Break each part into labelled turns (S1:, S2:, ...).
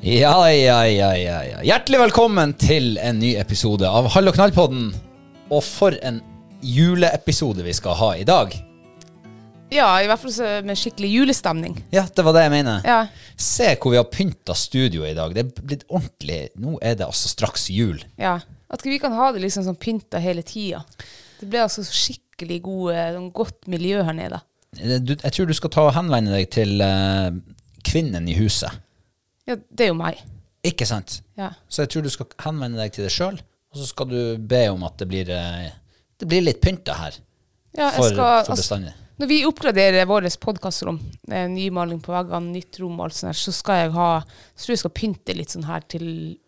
S1: Ja, ja, ja, ja, ja. Hjertelig velkommen til en ny episode av Hall og knall-podden. Og for en juleepisode vi skal ha i dag.
S2: Ja, i hvert fall så med skikkelig julestemning.
S1: Ja, det var det jeg mener.
S2: Ja.
S1: Se hvor vi har pynta studioet i dag. Det er blitt ordentlig Nå er det altså straks jul.
S2: ja. At vi kan ha det liksom sånn pynta hele tida. Det blir altså skikkelig god, eh, sånn godt miljø her nede.
S1: Eh, Du, jeg tror du skal ta og henvende deg til eh, kvinnen i huset.
S2: Ja, det er jo meg.
S1: Ikke sant?
S2: Ja.
S1: Så jeg tror du skal henvende deg til deg sjøl, og så skal du be om at det blir, eh, det blir litt pynta her.
S2: Ja, jeg
S1: for,
S2: skal- altså-
S1: for bestandig.
S2: Når vi oppgraderer vårt podkastrom, eh, nymaling på veggene, nytt rom og alt sånt, her, så skal jeg ha Så tror jeg skal pynte litt sånn her til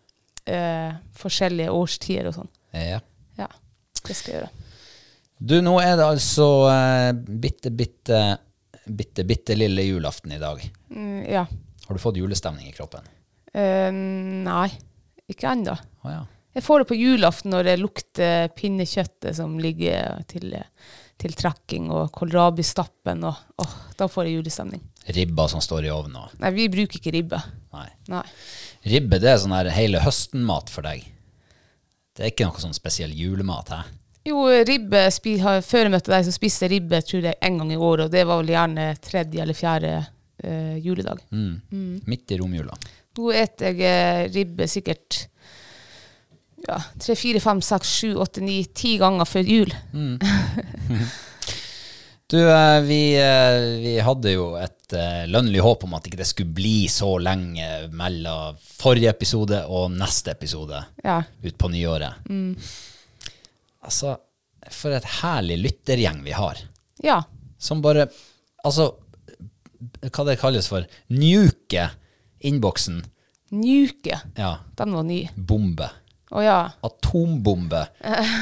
S2: eh, forskjellige årstider og sånn.
S1: Ja.
S2: Ja. Det skal jeg gjøre.
S1: Du, nå er det altså eh, bitte, bitte, bitte, bitte lille julaften i dag.
S2: Mm, ja.
S1: Har du fått julestemning i kroppen?
S2: Eh, nei, ikke ennå.
S1: Å ja.
S2: Jeg får det på julaften når det lukter pinnekjøttet som ligger til, til trekking, og kålrabistappen. Og, åh, da får jeg julestemning.
S1: Ribba som står i ovnen og
S2: Nei, vi bruker ikke ribbe.
S1: Nei.
S2: Nei.
S1: Ribbe, det er sånn her hele høsten-mat for deg. Det er ikke noe sånn spesiell julemat, hæ?
S2: Jo, ribbe spi, har- Før jeg møtte deg, så spiste jeg ribbe tror jeg, en gang i året, og det var vel gjerne tredje eller fjerde eh, juledag.
S1: Mm. Midt i romjula.
S2: Nå eter jeg eh, ribbe sikkert ja, tre, fire, fem, seks, sju, åtte, ni, ti ganger før jul.
S1: Du, eh, vi, eh, vi hadde jo et eh, lønnlig håp om at ikke det skulle bli så lenge mellom forrige episode og neste episode.
S2: Ja.
S1: ut på nyåret. Altså, for et herlig lyttergjeng vi har.
S2: ja.
S1: Som bare Altså, hva det kalles for? Nuke innboksen.
S2: Nuke.
S1: Ja.
S2: Den var ny.
S1: Bombe.
S2: Å ja.
S1: Atombombe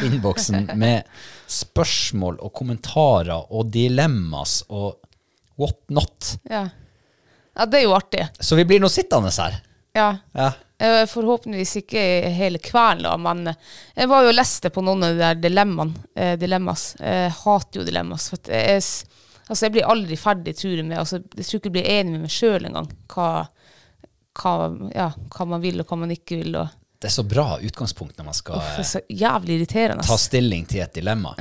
S1: innboksen med spørsmål og kommentarer og dilemmas og what not.
S2: Ja. ja, det er jo artig.
S1: Så vi blir nå sittende her.
S2: Ja.
S1: Ja.
S2: Eh, Forhåpentligvis ikke hele kvelden, da, men eh, jeg var jo og leste på noen av de der dilemmaene. Eh, dilemmas. Jeg hater jo dilemmas. For at jeg, s- altså jeg blir aldri ferdig, tror jeg. Med, altså, jeg tror ikke jeg blir enig med meg sjøl engang hva, hva, ja, hva man vil, og hva man ikke vil. Og,
S1: Det er så bra utgangspunkt når man skal
S2: uff, det
S1: eh,
S2: er så jævlig irriterende.
S1: ta
S2: ass.
S1: stilling til et dilemma.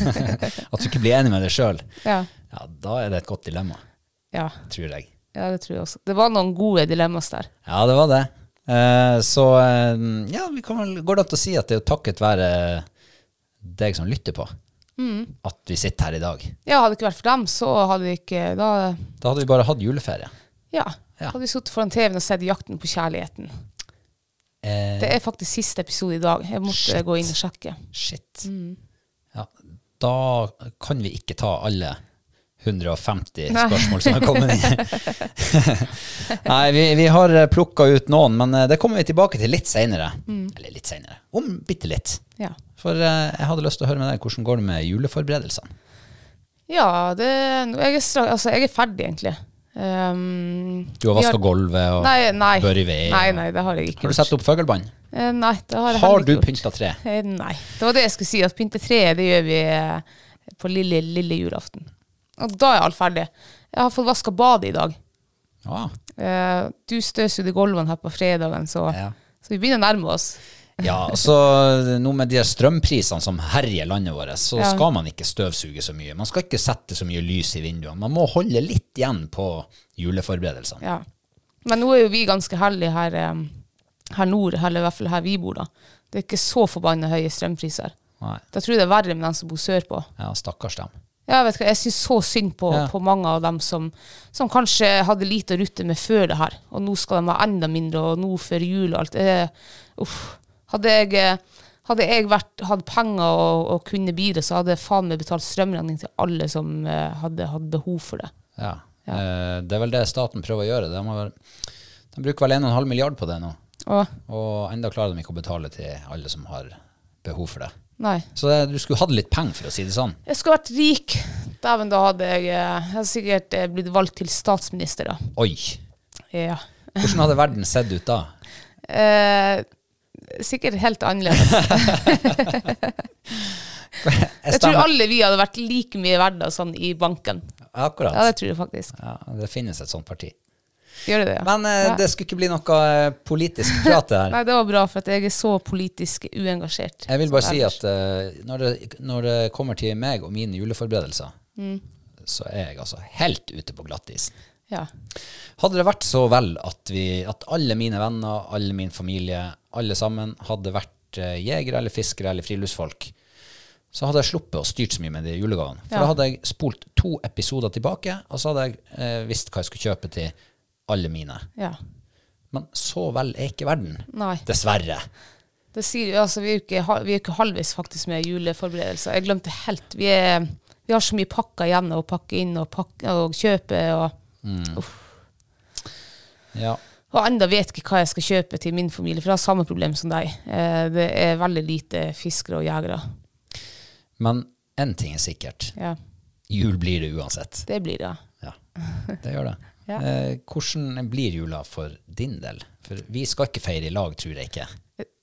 S1: At du ikke blir enig med deg sjøl.
S2: Ja.
S1: Ja, da er det et godt dilemma,
S2: Ja.
S1: tror jeg.
S2: ja, det tror jeg også. Det var noen gode dilemmas der.
S1: Ja, det var det. Eh, så eh, ja, vi kan vel, går det an å si at det er jo takket være deg som lytter på. at vi sitter her i dag.
S2: Ja, hadde det ikke vært for dem, så hadde vi ikke Da
S1: Da hadde vi bare hatt juleferie.
S2: ja,
S1: Ja.
S2: hadde vi sittet foran TV-en og sett 'Jakten på kjærligheten'.
S1: Eh,
S2: Det er faktisk siste episode i dag. Jeg måtte
S1: Shit.
S2: gå inn og sjekke.
S1: Shit. Ja, da kan vi ikke ta alle 150 spørsmål som har kommet inn. Nei, vi, vi har plukka ut noen, men eh, det kommer vi tilbake til litt seinere. Eller litt seinere. Om bitte litt.
S2: Ja.
S1: For eh, jeg hadde lyst til å høre med deg hvordan går det med juleforberedelsene.
S2: Ja, det, nå- jeg, er stra- altså, jeg er ferdig, egentlig. Um,
S1: Du har
S2: vi
S1: vaska gulvet og
S2: Nei, nei.
S1: børi ved.
S2: Nei, nei, det har jeg ikke.
S1: Har du satt opp fuglebånd?
S2: Eh, Nei, det har jeg
S1: Har
S2: heller
S1: du
S2: ikke gjort.
S1: pynta tre?
S2: Eh, Nei. Det var det jeg skulle si, at pyntetreet det gjør vi eh, på lille, lille julaften. Og da er alt ferdig. Jeg har fått vaska badet i dag.
S1: Ja.
S2: Eh, Du støvsugde gulvene her på fredagen, så,
S1: Ja.
S2: så vi begynner å nærme oss.
S1: Ja, altså nå med de her strømprisene som herjer landet vårt, så
S2: Ja.
S1: skal man ikke støvsuge så mye. Man skal ikke sette så mye lys i vinduene. Man må holde litt igjen på juleforberedelsene.
S2: Ja. Men nå er jo vi ganske heldige her, eh, her nord, eller i hvert fall her vi bor, da. Det er ikke så forbanna høye strømpriser.
S1: Nei.
S2: Da tror jeg det er verre med dem som bor sørpå.
S1: Ja, stakkars dem.
S2: Ja, Jeg, vet ikke, jeg syns så synd på,
S1: Ja.
S2: på mange av dem som, som kanskje hadde lite å rutte med før det her, og nå skal de ha enda mindre, og nå før jul og alt. Eh, uff. Hadde jeg, eh, hadde jeg vært, hatt penger og, og kunne bidra, så hadde jeg faen meg betalt strømregning til alle som eh, hadde hatt behov for det.
S1: Ja. Eh, det er vel det staten prøver å gjøre. De, har, de bruker vel 1,5 milliard på det nå,
S2: Og,
S1: og enda klarer de ikke å betale til alle som har behov for det.
S2: nei.
S1: Så det, du skulle hatt litt penger, for å si det sånn.
S2: Jeg skulle vært rik. Dæven, da hadde jeg, eh, jeg hadde sikkert eh, blitt valgt til statsminister, da.
S1: Oi!
S2: Ja.
S1: Hvordan hadde verden sett ut da?
S2: Eh, sikkert helt annerledes.
S1: Jeg
S2: Jeg tror
S1: stemmer-
S2: alle vi hadde vært like mye verdt av sånn i banken.
S1: Akkurat.
S2: Ja, det tror jeg faktisk.
S1: ja, det finnes et sånt parti.
S2: Gjør det det? ja?
S1: Men eh,
S2: Nei.
S1: det skulle ikke bli noe eh, politisk prat det her.
S2: Nei, det var bra, for at jeg er så politisk uengasjert.
S1: Jeg vil bare
S2: Som
S1: si
S2: ellers.
S1: at eh, når, det, når det kommer til meg og mine juleforberedelser,
S2: Mm.
S1: så er jeg altså helt ute på glattisen.
S2: Ja.
S1: Hadde det vært så vel at, vi, at alle mine venner, alle min familie, alle sammen hadde vært eh, jegere eller fiskere eller friluftsfolk, så hadde jeg sluppet å styrt så mye med de julegavene. For
S2: Ja.
S1: da hadde jeg spolt to episoder tilbake, og så hadde jeg eh, visst hva jeg skulle kjøpe til alle mine.
S2: ja.
S1: Men så vel er ikke verden.
S2: Nei.
S1: Dessverre.
S2: Det sier jo, altså, vi er jo ikke, ha- vi er jo ikke halvveis faktisk med juleforberedelser. Jeg glemte helt. Vi, er, vi har så mye pakker igjen å pakke inn og, pakke, og kjøpe. Og, Uff.
S1: Ja.
S2: og enda vet ikke hva jeg skal kjøpe til min familie, for jeg har samme problem som deg. Eh, det er veldig lite fiskere og jegere.
S1: Men én ting er sikkert.
S2: Ja,
S1: Jul blir det uansett.
S2: det blir det.
S1: Ja, det gjør det.
S2: Ja.
S1: Eh, hvordan blir jula for din del? For vi skal ikke feire i lag, tror jeg ikke.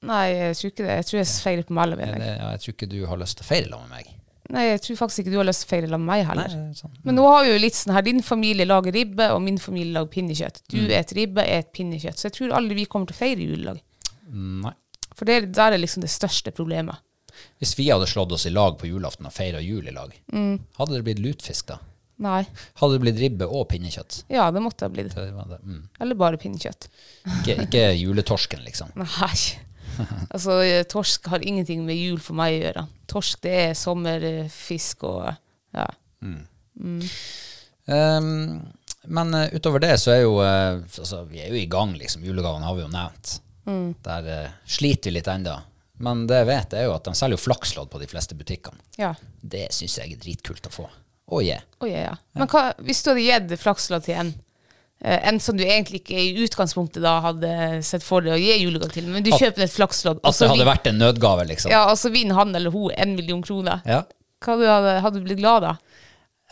S2: Nei, jeg tror ikke det. Jeg tror jeg feirer på mellom.
S1: Jeg,
S2: Jeg.
S1: eh, jeg tror ikke du har lyst til å feire i lag med meg.
S2: Nei, jeg tror faktisk ikke du har lyst til å feire sammen med meg heller.
S1: Nei, sånn.
S2: Men nå har vi jo litt sånn her, din familie lager ribbe, og min familie lager pinnekjøtt. Du et ribbe, jeg et pinnekjøtt. Så jeg tror aldri vi kommer til å feire jul i lag.
S1: Nei.
S2: For det, er- der er liksom det største problemet.
S1: Hvis vi hadde slått oss i lag på julaften og feira jul i lag, hadde det blitt lutfisk da?
S2: Nei.
S1: Hadde det blitt ribbe og pinnekjøtt?
S2: Ja, det måtte ha blitt.
S1: Det var det. Mm.
S2: Eller bare pinnekjøtt.
S1: Ikke, ikke juletorsken, liksom.
S2: Nei. Altså, eh, torsk har ingenting med jul for meg å gjøre. Torsk, det er sommerfisk og ja.
S1: Ehm, men eh, utover det så er jo eh, altså, Vi er jo i gang, liksom. Julegavene har vi jo nevnt. Der eh, sliter vi litt ennå. Men det jeg vet, er jo at de selger jo flakslodd på de fleste butikkene.
S2: ja.
S1: Det syns jeg er dritkult å få. Å je.
S2: Å, Oh, ja, ja. Men hva, hvis du hadde gitt flakslodd til en, eh, en som du egentlig ikke i utgangspunktet da hadde sett for deg å gi julegave til, men du
S1: At-
S2: kjøper et flakslodd, og
S1: At
S2: så
S1: det hadde
S2: vin-
S1: vært en nødgave, liksom.
S2: Altså, ja, og så vinner han eller hun en million kroner,
S1: Ja,
S2: hva du hadde, hadde du blitt glad da?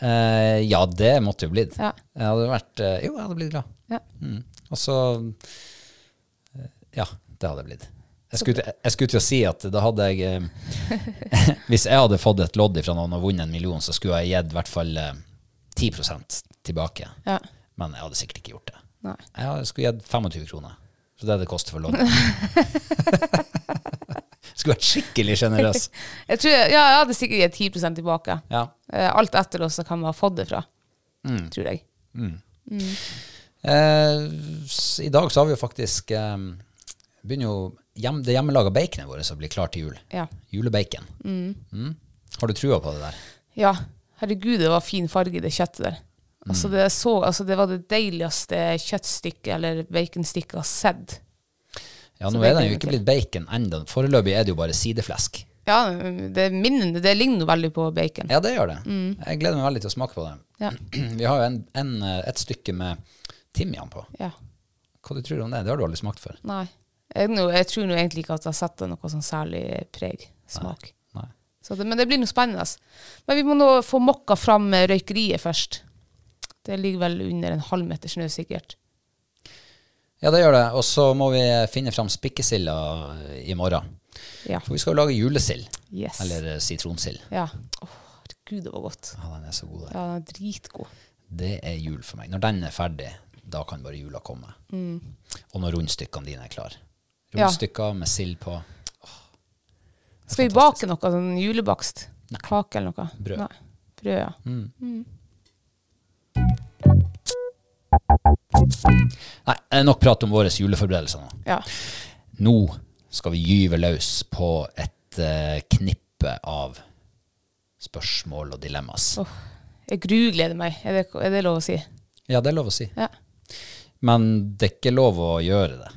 S1: Eh, ja det måtte jo blitt.
S2: Ja.
S1: Jeg hadde vært eh, Jo, jeg hadde blitt glad.
S2: Ja.
S1: Mm. Og så eh, Ja, det hadde jeg blitt. Jeg skulle, til- jeg skulle til å si at da hadde jeg eh, Hvis jeg hadde fått et lodd fra noen og vunnet en million, så skulle jeg gitt i hvert fall eh, 10 tilbake.
S2: Ja.
S1: Men jeg hadde sikkert ikke gjort det.
S2: Nei.
S1: Jeg hadde- skulle gitt 25 kroner. Så det er det det koster for loddet. skulle vært skikkelig sjenerøs.
S2: Jeg tror, jeg- ja, jeg hadde sikkert gitt 10 tilbake.
S1: Ja. Mm.
S2: Eh, Alt etter oss kan man ha fått det fra, tror jeg.
S1: Eh, s- I dag så har vi jo faktisk eh, begynner jo hjem, Det hjemmelaga baconet vårt som blir klart til jul.
S2: Ja.
S1: Julebacon. Mm. Har du trua på det der?
S2: Ja, herregud, det var fin farge i det kjøttet der.
S1: Mm.
S2: Altså, det, så, altså, det var det deiligste kjøttstykket eller baconsstykket jeg har sett.
S1: Ja,
S2: Så
S1: nå
S2: det
S1: er den
S2: gleder
S1: jo
S2: jeg
S1: ikke
S2: meg
S1: blitt bacon ennå. Foreløpig er det jo bare sideflesk.
S2: Ja, det, minner, det ligner jo veldig på bacon.
S1: Ja, det gjør det. Jeg gleder meg veldig til å smake på det.
S2: Mm. Ja.
S1: Vi har jo en, en, eh, et stykke med timian på.
S2: Ja.
S1: Hva du tror du om det? Det har du aldri smakt før.
S2: Nei. Jeg, nå, jeg tror nå egentlig ikke at jeg setter noe sånn særlig preg, smak.
S1: Nei.
S2: Så det, men det blir noe spennende. Men vi må nå få mokka fram eh, røykeriet først. Det ligger vel under en halvmeter snø, sikkert.
S1: Ja, det gjør det. Og så må vi eh, finne fram spikkesilda i morgen.
S2: Ja.
S1: For vi skal jo lage julesild.
S2: Yes.
S1: Eller eh, sitronsild.
S2: Ja. Åh, herregud, det var godt.
S1: Ja, den er så god. den.
S2: Ja, den er dritgod.
S1: Det er jul for meg. Når den er ferdig, da kan bare jula komme. Og når rundstykkene dine er klare.
S2: Mm. Ja.
S1: Rundstykker med sild på.
S2: Skal vi bake noe sånn julebakst?
S1: Nei.
S2: Kake eller noe?
S1: Brød. Mm.
S2: Nei. Brød, ja.
S1: Nei, nok prat om våre juleforberedelser nå.
S2: ja.
S1: Nå skal vi gyve løs på et eh, knippe av spørsmål og dilemmas.
S2: Jeg grugleder meg, er det, er det lov å si?
S1: Ja, det er lov å si.
S2: Ja.
S1: Men det er ikke lov å gjøre det.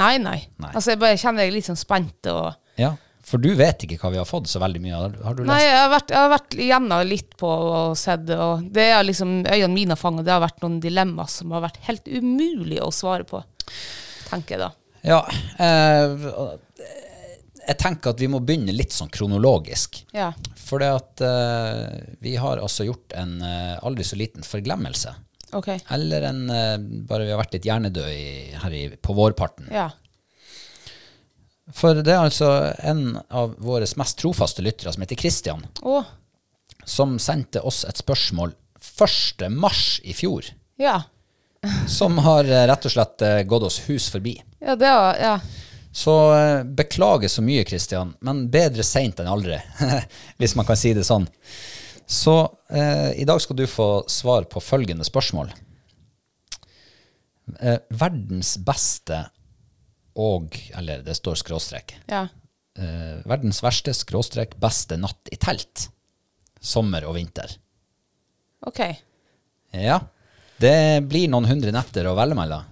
S2: Nei, nei.
S1: Nei.
S2: Altså, jeg bare kjenner jeg er litt sånn spent og
S1: Ja, For du vet ikke hva vi har fått så veldig mye av. Har du
S2: Nei,
S1: lest?
S2: jeg har vært, jeg har vært igjennom litt på og sett, og det er liksom øynene mine har fanget. Det har vært noen dilemmaer som har vært helt umulig å svare på, tenker jeg da.
S1: Ja, eh, jeg tenker at vi må begynne litt sånn kronologisk.
S2: Ja.
S1: For det at eh, vi har altså gjort en eh, aldri så liten forglemmelse.
S2: Ok.
S1: Eller en eh, Bare vi har vært litt hjernedøde i, her i, på vårparten.
S2: Ja.
S1: For det er altså en av våre mest trofaste lyttere som heter Christian,
S2: Å,
S1: som sendte oss et spørsmål 1. mars i fjor,
S2: ja.
S1: som har eh, rett og slett eh, gått oss hus forbi.
S2: Ja, det var, ja.
S1: Så eh, beklager så mye, Christian, men bedre seint enn aldri, hvis man kan si det sånn. Så eh, i dag skal du få svar på følgende spørsmål. Eh, verdens beste og Eller det står skråstrek.
S2: Ja.
S1: Eh, verdens verste skråstrek beste natt i telt. Sommer og vinter.
S2: Ok.
S1: Ja. Det blir noen hundre netter å velge mellom.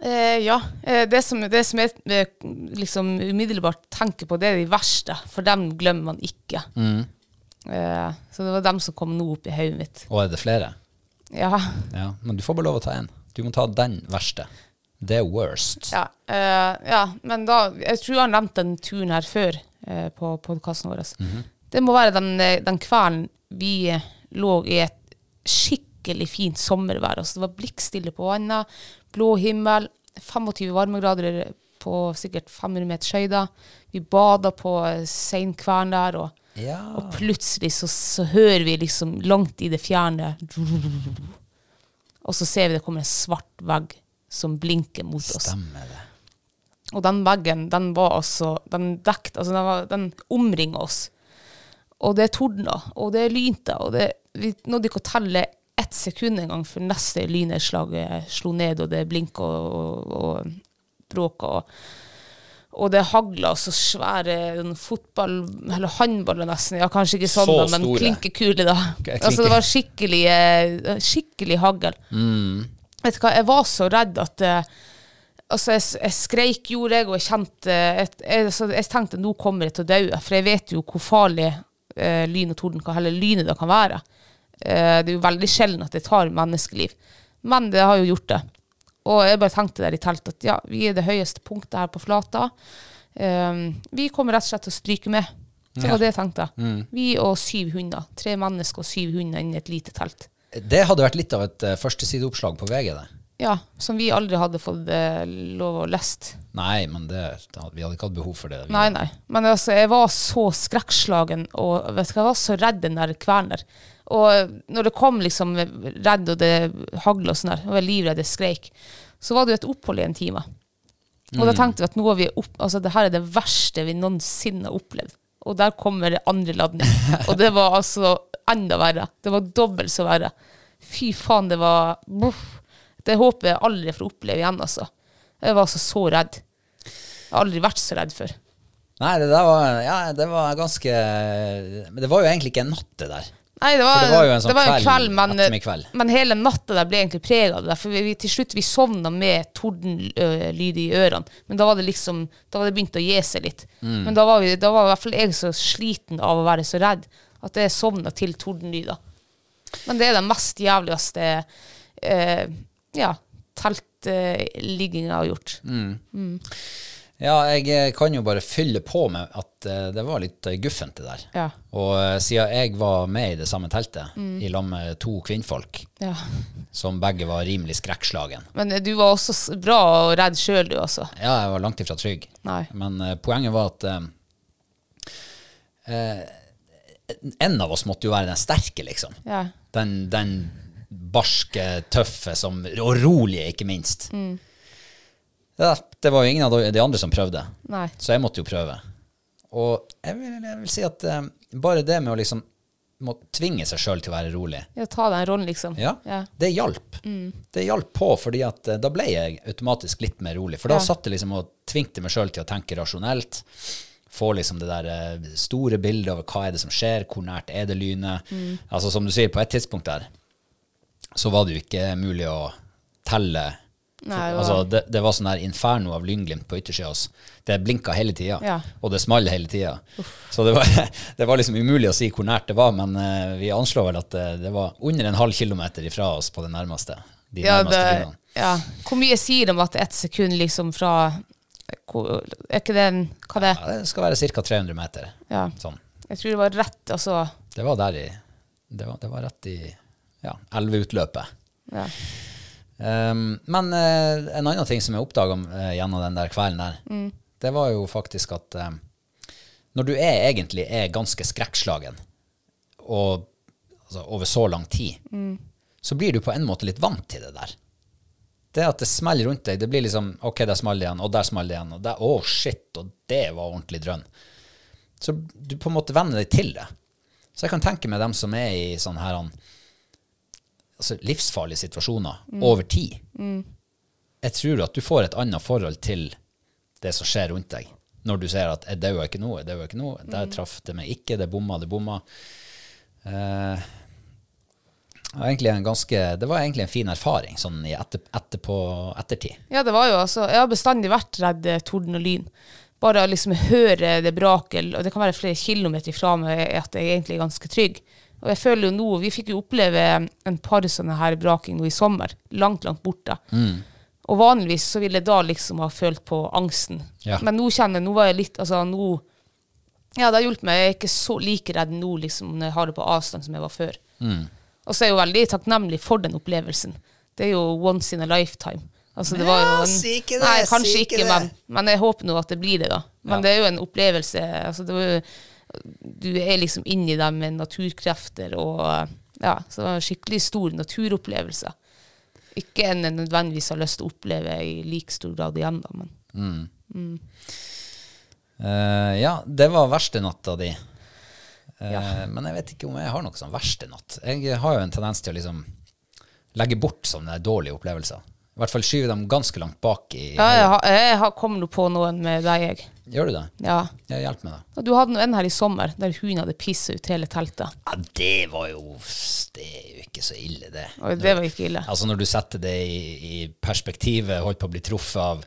S2: Eh, ja. Eh, det, som, det som jeg eh, liksom umiddelbart tenker på, det er de verste, for dem glemmer man ikke. Eh, så det var dem som kom nå opp i hodet mitt.
S1: Og er det flere?
S2: Ja.
S1: Ja, men du får bare lov å ta én. Du må ta den verste. The worst.
S2: Ja, eh, ja, men da Jeg tror han nevnte den turen her før eh, på podkasten vår. altså. Det må være den, eh, den kvelden vi eh, lå i et skikkelig fint sommervær. Altså, det var blikkstille på vannet, blå himmel, 25 varmegrader på sikkert 500 meters høyde. Vi bada på eh, seinkvern der, og,
S1: Ja.
S2: og plutselig så, så hører vi liksom langt i det fjerne Og så ser vi det kommer en svart vegg som blinker mot oss.
S1: Stemmer det.
S2: Og den veggen, den var altså Den dekt, altså den, var- den omringa oss. Og det tordna, og det lynte, og det Vi nådde ikke å telle ett sekund engang før neste lynnedslag eh, slo ned, og det blinka og, og, og bråka. Og, og det hagla så svære den fotball... Eller håndballer, nesten. Ja, kanskje ikke sånn,
S1: Så
S2: da, men
S1: store.
S2: klinkekuler, da.
S1: Ok,
S2: Altså,
S1: klinke.
S2: det var skikkelig, eh, skikkelig hagl.
S1: Mm.
S2: Vet du hva, jeg var så redd at eh, Altså, jeg, jeg skreik, gjorde jeg, og jeg kjente jeg, jeg, altså, jeg tenkte nå kommer jeg til å dø, for jeg vet jo hvor farlig eh, lyn og torden kan, eller lynet da kan være. Eh, det er jo veldig sjelden at det tar menneskeliv, men det har jo gjort det. Og jeg bare tenkte der i teltet at ja, vi er det høyeste punktet her på flata. Eh, vi kommer rett og slett til å stryke med. Det var det jeg tenkte. Vi og syv hunder. Tre mennesker og syv hunder inni et lite telt.
S1: Det hadde vært litt av et eh, førstesideoppslag på VG, det.
S2: Ja, som vi aldri hadde fått eh, lov å lest.
S1: Nei, men det, det hadde- vi hadde ikke hatt behov for det. Vi,
S2: Nei, nei. Men altså, jeg var så skrekkslagen, og vet du hva, jeg var så redd den der kvelden der. Og når det kom liksom redd, og det hagla og sånn der, og jeg var livredd, jeg skreik, så var det jo et opphold i en time. Og da tenkte vi at nå er vi opp, altså det her er det verste vi noensinne har opplevd. Og der kommer det andre ladning. Og det var altså enda verre. Det var dobbelt så verre. Fy faen, det var Uff. Det håper jeg aldri får oppleve igjen, altså. Jeg var altså så redd. Jeg har aldri vært så redd før.
S1: Nei, det der var, ja, det var ganske Men det var jo egentlig ikke en natt, det der.
S2: Nei, det var,
S1: For det var jo en sånn
S2: det var en
S1: kveld,
S2: kveld, men,
S1: ettermiddagskveld.
S2: men hele natta der ble egentlig prega av det. der, For vi, vi, til slutt vi sovna med tordenlyd i ørene. Men da var det liksom Da var det begynt å gi seg litt.
S1: Mm.
S2: Men da var, vi, da var i hvert fall jeg så sliten av å være så redd at jeg sovna til tordenlyder. Men det er den mest jævligste eh, ja, teltligginga jeg har gjort.
S1: Mm. Ja, jeg eh, kan jo bare fylle på med at eh, det var litt eh, guffent, det der.
S2: Ja.
S1: Og eh, siden jeg var med i det samme teltet, i lag med to kvinnfolk,
S2: Ja.
S1: som begge var rimelig skrekkslagen
S2: Men eh, du var også s- bra og redd sjøl, du, altså.
S1: Ja, jeg var langt ifra trygg.
S2: Nei.
S1: Men eh, poenget var at eh, eh, En av oss måtte jo være den sterke, liksom.
S2: Ja.
S1: Den, den barske, tøffe som, og rolige, ikke minst.
S2: Mm.
S1: Ja, det var jo ingen av de de andre som prøvde,
S2: Nei.
S1: så jeg måtte jo prøve. Og jeg vil, jeg vil si at eh, bare det med å liksom må tvinge seg sjøl til å være rolig,
S2: Ja, ta den rollen, liksom.
S1: ja,
S2: Ja. Mm.
S1: det hjalp. Det hjalp på, fordi at eh, da ble jeg automatisk litt mer rolig. For da
S2: Ja.
S1: satt jeg liksom og tvingte meg sjøl til å tenke rasjonelt. Få liksom det der eh, store bildet over hva er det som skjer, hvor nært er det lynet.
S2: Mm.
S1: Altså Som du sier, på et tidspunkt der så var det jo ikke mulig å telle. For,
S2: Nei, det var-
S1: altså, det, det var sånn her inferno av lynglimt på yttersida av oss. Det blinka hele tida,
S2: Ja.
S1: og det small hele tida. Så det var, det var liksom umulig å si hvor nært det var, men eh, vi anslår vel at det, det var under en halv kilometer ifra oss på det nærmeste. De
S2: ja,
S1: nærmeste
S2: det-
S1: lynene.
S2: ja. Hvor mye sier de at ett sekund liksom fra hvor, Er ikke det en Hva det
S1: Ja, det skal være ca. 300 meter.
S2: Ja.
S1: Sånn.
S2: Jeg tror det var rett, altså.
S1: Det var der i Det var, det var rett i ja, elveutløpet.
S2: Ja.
S1: Um, men eh, en annen ting som jeg oppdaga gjennom den der kvelden der, det var jo faktisk at eh, når du er, egentlig er ganske skrekkslagen og, altså, over så lang tid, så blir du på en måte litt vant til det der. Det at det smeller rundt deg, det blir liksom OK, der smalt det igjen, og der smalt det igjen, og der Å, shit, og det var ordentlig drønn. Så du på en måte venner deg til det. Så jeg kan tenke meg dem som er i sånne her han, altså, livsfarlige situasjoner over tid. Jeg tror at du får et annet forhold til det som skjer rundt deg, når du ser at «Eh, jeg dauer ikke nå, jeg dauer ikke nå, der traff det meg ikke, det bomma, det bomma. Eh, det var egentlig en ganske, det var egentlig en fin erfaring sånn i etter, etterpå, ettertid.
S2: ja, det var jo altså Jeg har bestandig vært redd eh, torden og lyn. Bare å liksom høre det brakel, og det kan være flere kilometer ifra meg at jeg egentlig er ganske trygg. Og jeg føler jo nå, Vi fikk jo oppleve en par sånne her braking nå i sommer, langt, langt borte. Og vanligvis så ville jeg da liksom ha følt på angsten.
S1: Ja.
S2: Men nå kjenner jeg, nå var jeg litt altså nå, Ja, det har hjulpet meg. Jeg er ikke så like redd nå liksom, når jeg har det på avstand som jeg var før. Og så er jeg jo veldig takknemlig for den opplevelsen. Det er jo once in a lifetime. Altså, det var jo en,
S1: si ikke det,
S2: Nei, kanskje
S1: si ikke
S2: ikke,
S1: det.
S2: men, men jeg håper nå at det blir det, da. Men
S1: Ja.
S2: det er jo en opplevelse. Altså, det var jo, du er liksom inni dem med naturkrefter og Ja, så det var en skikkelig stor naturopplevelse. Ikke en jeg nødvendigvis har lyst til å oppleve i like stor grad igjen, da, men
S1: Eh, ja, det var verste natta di. Eh,
S2: Ja.
S1: Men jeg vet ikke om jeg har noe sånn verste natt. Jeg har jo en tendens til å liksom legge bort sånne dårlige opplevelser. I hvert fall skyve dem ganske langt bak i
S2: Ja, jeg, har- jeg har- kom nå på noen med deg, jeg.
S1: Gjør du det?
S2: Ja.
S1: Ja, hjelp meg, da.
S2: Og du hadde nå en her i sommer der hun hadde pissa ut hele teltet.
S1: Ja, det var jo Det er jo ikke så ille, det.
S2: Og det var ikke ille.
S1: Altså Når du setter det i, i perspektivet, holdt på å bli truffet av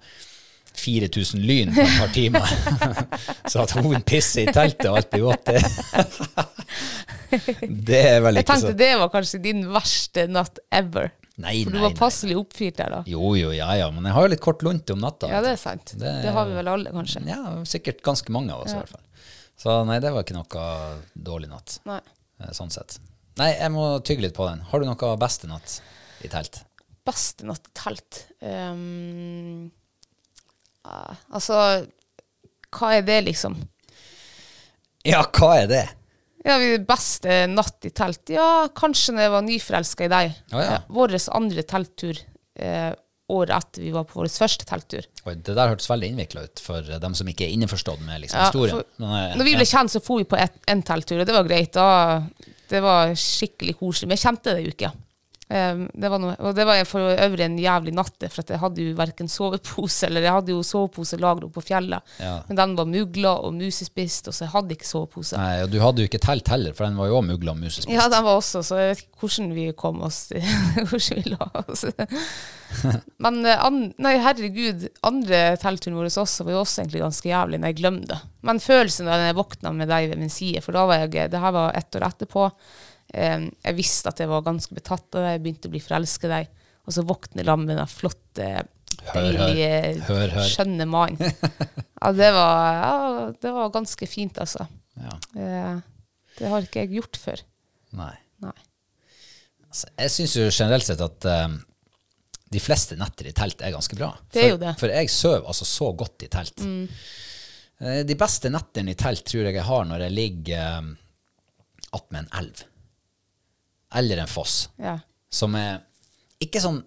S1: 4000 lyn på et par timer, så at hun pisser i teltet og alt blir vått, det Det er vel
S2: Jeg
S1: ikke så
S2: tenkte det var kanskje din verste natt ever.
S1: Nei,
S2: For du
S1: nei,
S2: var
S1: nei.
S2: passelig oppfyrt der da.
S1: Jo, jo, ja, ja, men jeg har jo litt kort lunte om natta.
S2: Ja, det er
S1: vet
S2: sant.
S1: Det er-
S2: Det har vi vel alle, kanskje.
S1: du. Ja, sikkert ganske mange av oss i hvert fall. Så nei, det var ikke noe dårlig natt,
S2: Nei.
S1: eh, sånn sett. Nei, jeg må tygge litt på den. Har du noe beste natt i telt?
S2: Beste natt i telt. Ehm, ja, altså, hva er det, liksom?
S1: Ja, hva er det?
S2: Ja, vi beste natt i telt. Ja, kanskje når jeg var nyforelska i deg.
S1: Å, ja.
S2: Eh, Vår andre telttur eh, året etter vi var på vår første telttur.
S1: Oi, det der hørtes veldig innvikla ut for eh, dem som ikke er innforstått med liksom,
S2: Ja,
S1: historien.
S2: for-
S1: Men, eh,
S2: Når vi ble
S1: ja.
S2: kjent, så dro vi på et, en telttur, og det var greit. Da, det var skikkelig koselig. Men jeg kjente det jo ikke. Ehm, det var noe, og det var for øvrig en jævlig natt, det, for at jeg hadde jo verken sovepose eller jeg hadde jo sovepose lagra på fjellet,
S1: Ja.
S2: men den var mugla og musespist, og så jeg hadde ikke sovepose.
S1: Nei, og du hadde jo ikke telt heller, for den var jo òg mugla og musespist.
S2: Ja, den var også, så jeg vet ikke hvordan vi kom oss Hvordan vi la oss. Men eh, an, nei, herregud, andre teltturen vår også var jo også egentlig ganske jævlig, men jeg glemte det. Men følelsen da jeg våkna med deg ved min side, for da var jeg Det her var ett år etterpå. eh, Jeg visste at jeg var ganske betatt av deg, jeg begynte å bli forelska i deg, og så våkner jeg sammen med den flotte,
S1: Hør, hør.
S2: deilige,
S1: Hør, hør.
S2: skjønne mannen. Ja, det var, ja, det var ganske fint, altså.
S1: Ja.
S2: Eh, Det har ikke jeg gjort før.
S1: Nei.
S2: Nei.
S1: Altså, jeg syns jo generelt sett at eh, de fleste netter i telt er ganske bra.
S2: Det er jo
S1: For-
S2: det. Mm.
S1: For jeg sover altså så godt i telt. Eh, De beste nettene i telt tror jeg jeg har når jeg ligger um, attmed en elv. Eller en foss.
S2: Ja.
S1: Som er ikke sånn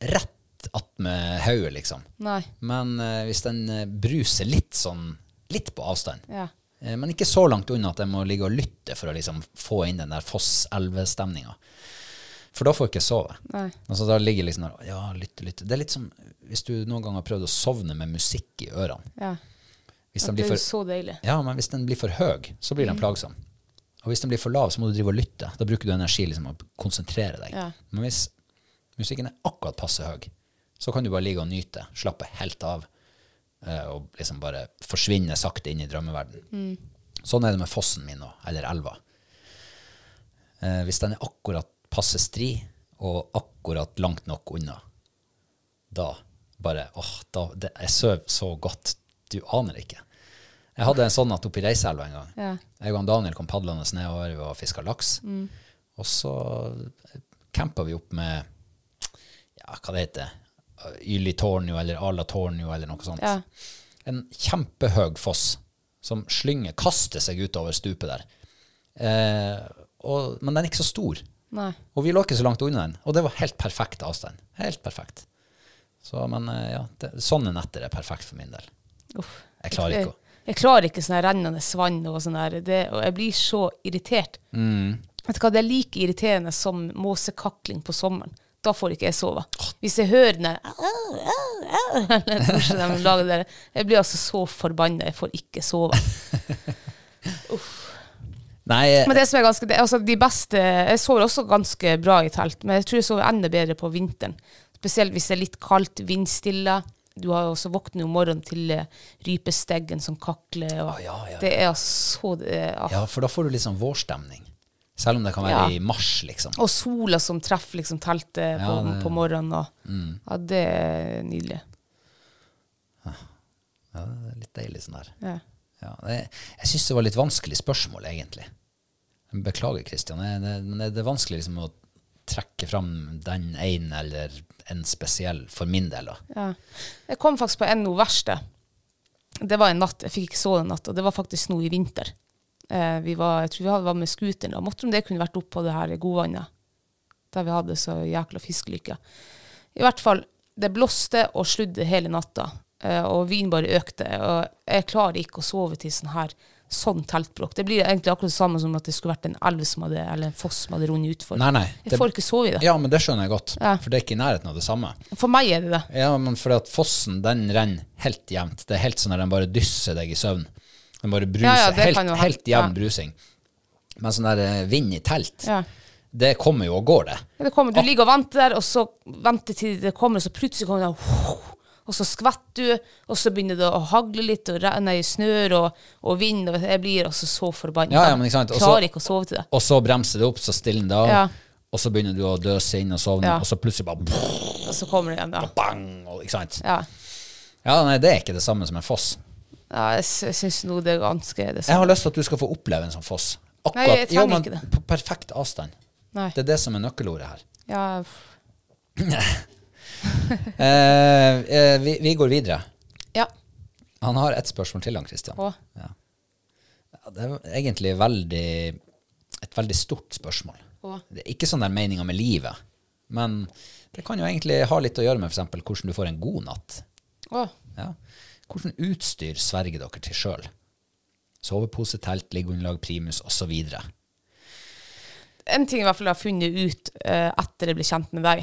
S1: rett attmed hodet, liksom.
S2: Nei.
S1: Men eh, hvis den eh, bruser litt sånn Litt på avstand.
S2: Ja.
S1: Eh, Men ikke så langt unna at jeg må ligge og lytte for å liksom få inn den der Foss-elvestemninga. For da får jeg ikke sove.
S2: Nei.
S1: Altså, da ligger jeg liksom der, ja, lytte, lytte. Det er litt som hvis du noen gang har prøvd å sovne med musikk i ørene.
S2: ja.
S1: Hvis
S2: At
S1: den
S2: det
S1: blir
S2: er jo
S1: for,
S2: så deilig.
S1: ja, men hvis den blir for høy, så blir den plagsom. Og hvis den blir for lav, så må du drive og lytte. Da bruker du energi liksom å konsentrere deg.
S2: Ja.
S1: Men hvis musikken er akkurat passe høy, så kan du bare ligge og nyte, slappe helt av, eh, og liksom bare forsvinne sakte inn i drømmeverden. Sånn er det med fossen min nå, eller elva. Eh, hvis den er akkurat passe stri, og akkurat langt nok unna, da bare, åh, da, det, jeg søv så godt, du aner ikke. Jeg hadde en sånn natt oppe i Reiselva en gang.
S2: Ja. Mm.
S1: Jeg og Daniel kom padlende nedover og fiska laks. Og så campa vi opp med ja, hva det heter Yli Tornio eller Ala Tornio eller noe sånt.
S2: Ja.
S1: En kjempehøg foss som slynger, kaster seg utover stupet der. Eh, og, men den er ikke så stor.
S2: Nei.
S1: Og vi lå ikke så langt unna den. Og det var helt perfekt avstand. Helt perfekt. Så, men eh, ja, det, sånne netter er perfekt for min del.
S2: Uff.
S1: Jeg klarer ikke å
S2: Jeg klarer ikke sånn her rennende vann og sånn her. Det, og jeg blir så irritert.
S1: Mm.
S2: Vet du hva, det er like irriterende som måsekakling på sommeren. Da får ikke jeg sove. Hvis jeg hører den der «Au, au, au», eller hvordan de lager det der, Jeg blir altså så forbanna. Jeg får ikke sove.
S1: Nei, eh,
S2: Men det som er ganske det, er altså de beste, Jeg sover også ganske bra i telt, men jeg tror jeg sover enda bedre på vinteren. Spesielt hvis det er litt kaldt, vindstille. Du har jo også våkner om morgenen til eh, rypesteggen som kakler. Og
S1: Å, ja, ja, ja.
S2: Det er altså så det er- ah.
S1: Ja, for da får du litt sånn vårstemning. Selv om det kan være
S2: Ja.
S1: i mars, liksom.
S2: Og sola som treffer liksom teltet på,
S1: Ja, det- Mm.
S2: på morgenen. Og, Ja, det er nydelig.
S1: Ja, det er litt deilig sånn der.
S2: Ja.
S1: Ja, det, jeg syns det var litt vanskelig spørsmål, egentlig. Beklager, Kristian, men det, det er vanskelig liksom å trekke fram den ene eller en spesiell, for min del. da.
S2: Ja. Jeg kom faktisk på en noe verste. Det var en natt, jeg fikk ikke sove en natt, og det var faktisk nå i vinter. Eh, vi var, jeg tror vi hadde, var med skuteren, og måtte om det kunne vært opp på det her godvannet, der vi hadde så jækla fiskelykke. I hvert fall, det blåste og sludde hele natta, eh, og vinen bare økte, og jeg klarer ikke å sove til sånn her, sånn teltbråk. Det blir egentlig akkurat det samme som at det skulle vært en elv som hadde, eller en foss som hadde rundet utfor.
S1: Nei, nei.
S2: Jeg får ikke sove i det.
S1: Ja, men det skjønner jeg godt,
S2: Ja.
S1: for det er ikke i nærheten av det samme.
S2: For meg er det det.
S1: Ja, men fordi at fossen, den renner helt jevnt. Det er helt sånn at den bare dysser deg i søvn. Den bare bruser.
S2: Ja, ja, det kan
S1: helt,
S2: jo hende.
S1: helt jevn
S2: Ja.
S1: brusing. Men sånn der eh, vind i telt,
S2: Ja.
S1: det kommer jo og går, det.
S2: Ja, Det kommer, du ligger og venter der, og så venter til det kommer, og så plutselig kommer det Og så skvetter du, og så begynner det å hagle litt, og renne i snør og, og vind. Og jeg blir altså så forbanna.
S1: Ja, ja, men ikke sant, og så-
S2: Klarer ikke å sove til det.
S1: Og så bremser det opp, så stiller den av.
S2: Ja.
S1: Og så begynner du å døse inn og sovne,
S2: Ja.
S1: og så plutselig bare brrr,
S2: Og så kommer det igjen, da.
S1: bang! Og, ikke sant?
S2: Ja.
S1: Ja, nei, det er ikke det samme som en foss.
S2: ja jeg syns nå det er ganske det
S1: Jeg har
S2: samme.
S1: lyst til at du skal få oppleve en sånn foss. Akkurat,
S2: Nei, jeg trenger
S1: jo, men
S2: ikke det.
S1: På perfekt avstand.
S2: Nei.
S1: Det er det som er nøkkelordet her.
S2: Ja, f-
S1: Eh, eh, vi, vi går videre.
S2: ja.
S1: Han har ett spørsmål til, han Kristian.
S2: Å.
S1: Ja. Ja, Det er egentlig veldig, et veldig stort spørsmål.
S2: Å.
S1: Det er ikke sånn der meninga med livet, men det kan jo egentlig ha litt å gjøre med f.eks. hvordan du får en god natt.
S2: Å,
S1: Ja. Hvordan utstyr sverger dere til sjøl? Sovepose, telt, liggeunderlag, primus osv.
S2: en ting jeg i hvert fall har funnet ut eh, etter jeg ble kjent med deg,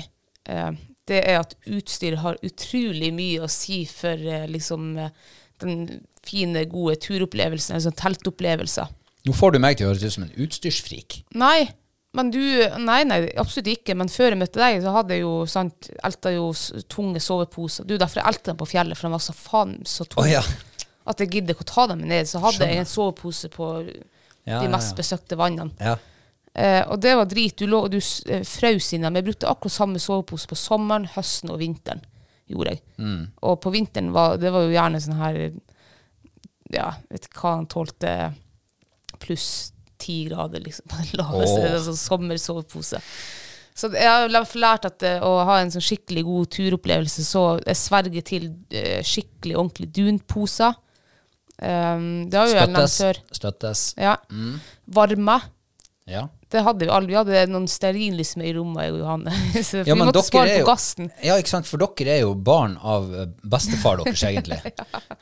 S2: eh, det er at utstyr har utrolig mye å si for eh, liksom, eh, den fine, gode turopplevelsen, eller sånn teltopplevelser.
S1: Nå får du meg til å høres ut som en utstyrsfrik.
S2: Nei, men du, nei, nei, absolutt ikke. Men før jeg møtte deg, så hadde jeg jo, sant, elta jo s- tunge soveposer. Du, derfor jeg elta dem på fjellet, for de var så faen så tunge.
S1: ja.
S2: At jeg gidder ikke å ta dem med ned. Så hadde jeg en sovepose på
S1: Ja,
S2: de
S1: ja,
S2: mest
S1: ja.
S2: besøkte vannene.
S1: Ja.
S2: Eh, og det var drit. Du, lå, du s- eh, frøs inni dem. Jeg brukte akkurat samme sovepose på sommeren, høsten og vinteren. gjorde jeg. Og på vinteren var det var jo gjerne sånn her Ja, vet ikke hva han tålte. Pluss ti grader, liksom. På den laveste
S1: Åh.
S2: altså, sommersovepose. Så det- jeg har i hvert fall lært at eh, å ha en sånn skikkelig god turopplevelse, så jeg sverger til eh, skikkelig ordentlig dunposer. Um, det har jo jeg nevnt
S1: Støttes.
S2: før.
S1: Støttes.
S2: Ja. Varme.
S1: Ja.
S2: Det hadde vi aldri. Vi hadde noen stearinlys med i rommet, jeg og Johanne. Så
S1: Ja,
S2: vi
S1: men
S2: måtte
S1: dere
S2: spare
S1: er
S2: på
S1: jo-
S2: gassen.
S1: Ja, ikke sant? For dere er jo barn av eh, bestefar deres, egentlig.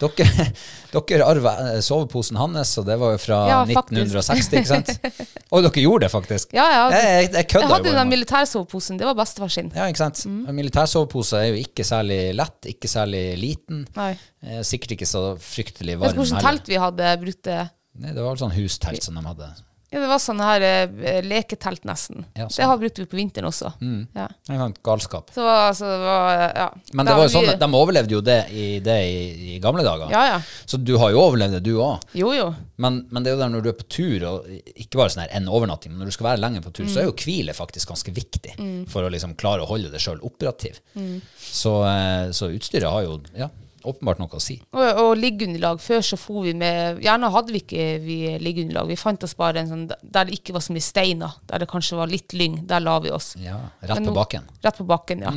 S1: dere, dere arva eh, soveposen hans, og det var jo fra
S2: Ja, faktisk.
S1: 1960, ikke sant? Og dere gjorde det, faktisk.
S2: Ja, ja.
S1: Jeg, jeg, jeg
S2: Jeg
S1: kødda jo. bare
S2: hadde den Mm.
S1: med-
S2: militærsoveposen. Det var bestefar sin.
S1: Ja, ikke sant? Militærsovepose er jo ikke særlig lett, ikke særlig liten.
S2: Nei.
S1: Eh, Sikkert ikke så fryktelig
S2: Vet
S1: varm.
S2: du hvilket
S1: heller.
S2: telt vi hadde brukt? det?
S1: Nei, det var vel sånn hustelt som de hadde.
S2: Ja, det var sånn her eh, leketelt, nesten.
S1: Ja, sånn.
S2: Det har brukte vi på vinteren også. Ja.
S1: Det var en Galskap.
S2: Så det var, altså, det var eh, ja.
S1: Men
S2: Da
S1: det var jo
S2: vi-
S1: sånn, at de overlevde jo det i, det i, i gamle dager.
S2: Ja, ja.
S1: Så du har jo overlevd det, du òg.
S2: Jo, jo.
S1: Men, men det er jo der når du er på tur, og ikke bare sånn her en overnatting, men når du skal være lenge på tur, så er jo
S2: Mm.
S1: hvile faktisk ganske viktig for å liksom klare å holde deg sjøl operativ.
S2: Mm.
S1: Så, eh, så utstyret har jo ja, åpenbart noe å si.
S2: Og, og liggeunderlag. Før så for vi med Gjerne hadde vi ikke vi liggeunderlag. Vi fant oss bare en sånn der det ikke var så mye steiner. Der det kanskje var litt lyng. Der la vi oss.
S1: Ja, rett
S2: Men
S1: på
S2: nå-
S1: bakken. Mm,
S2: Rett på bakken, ja.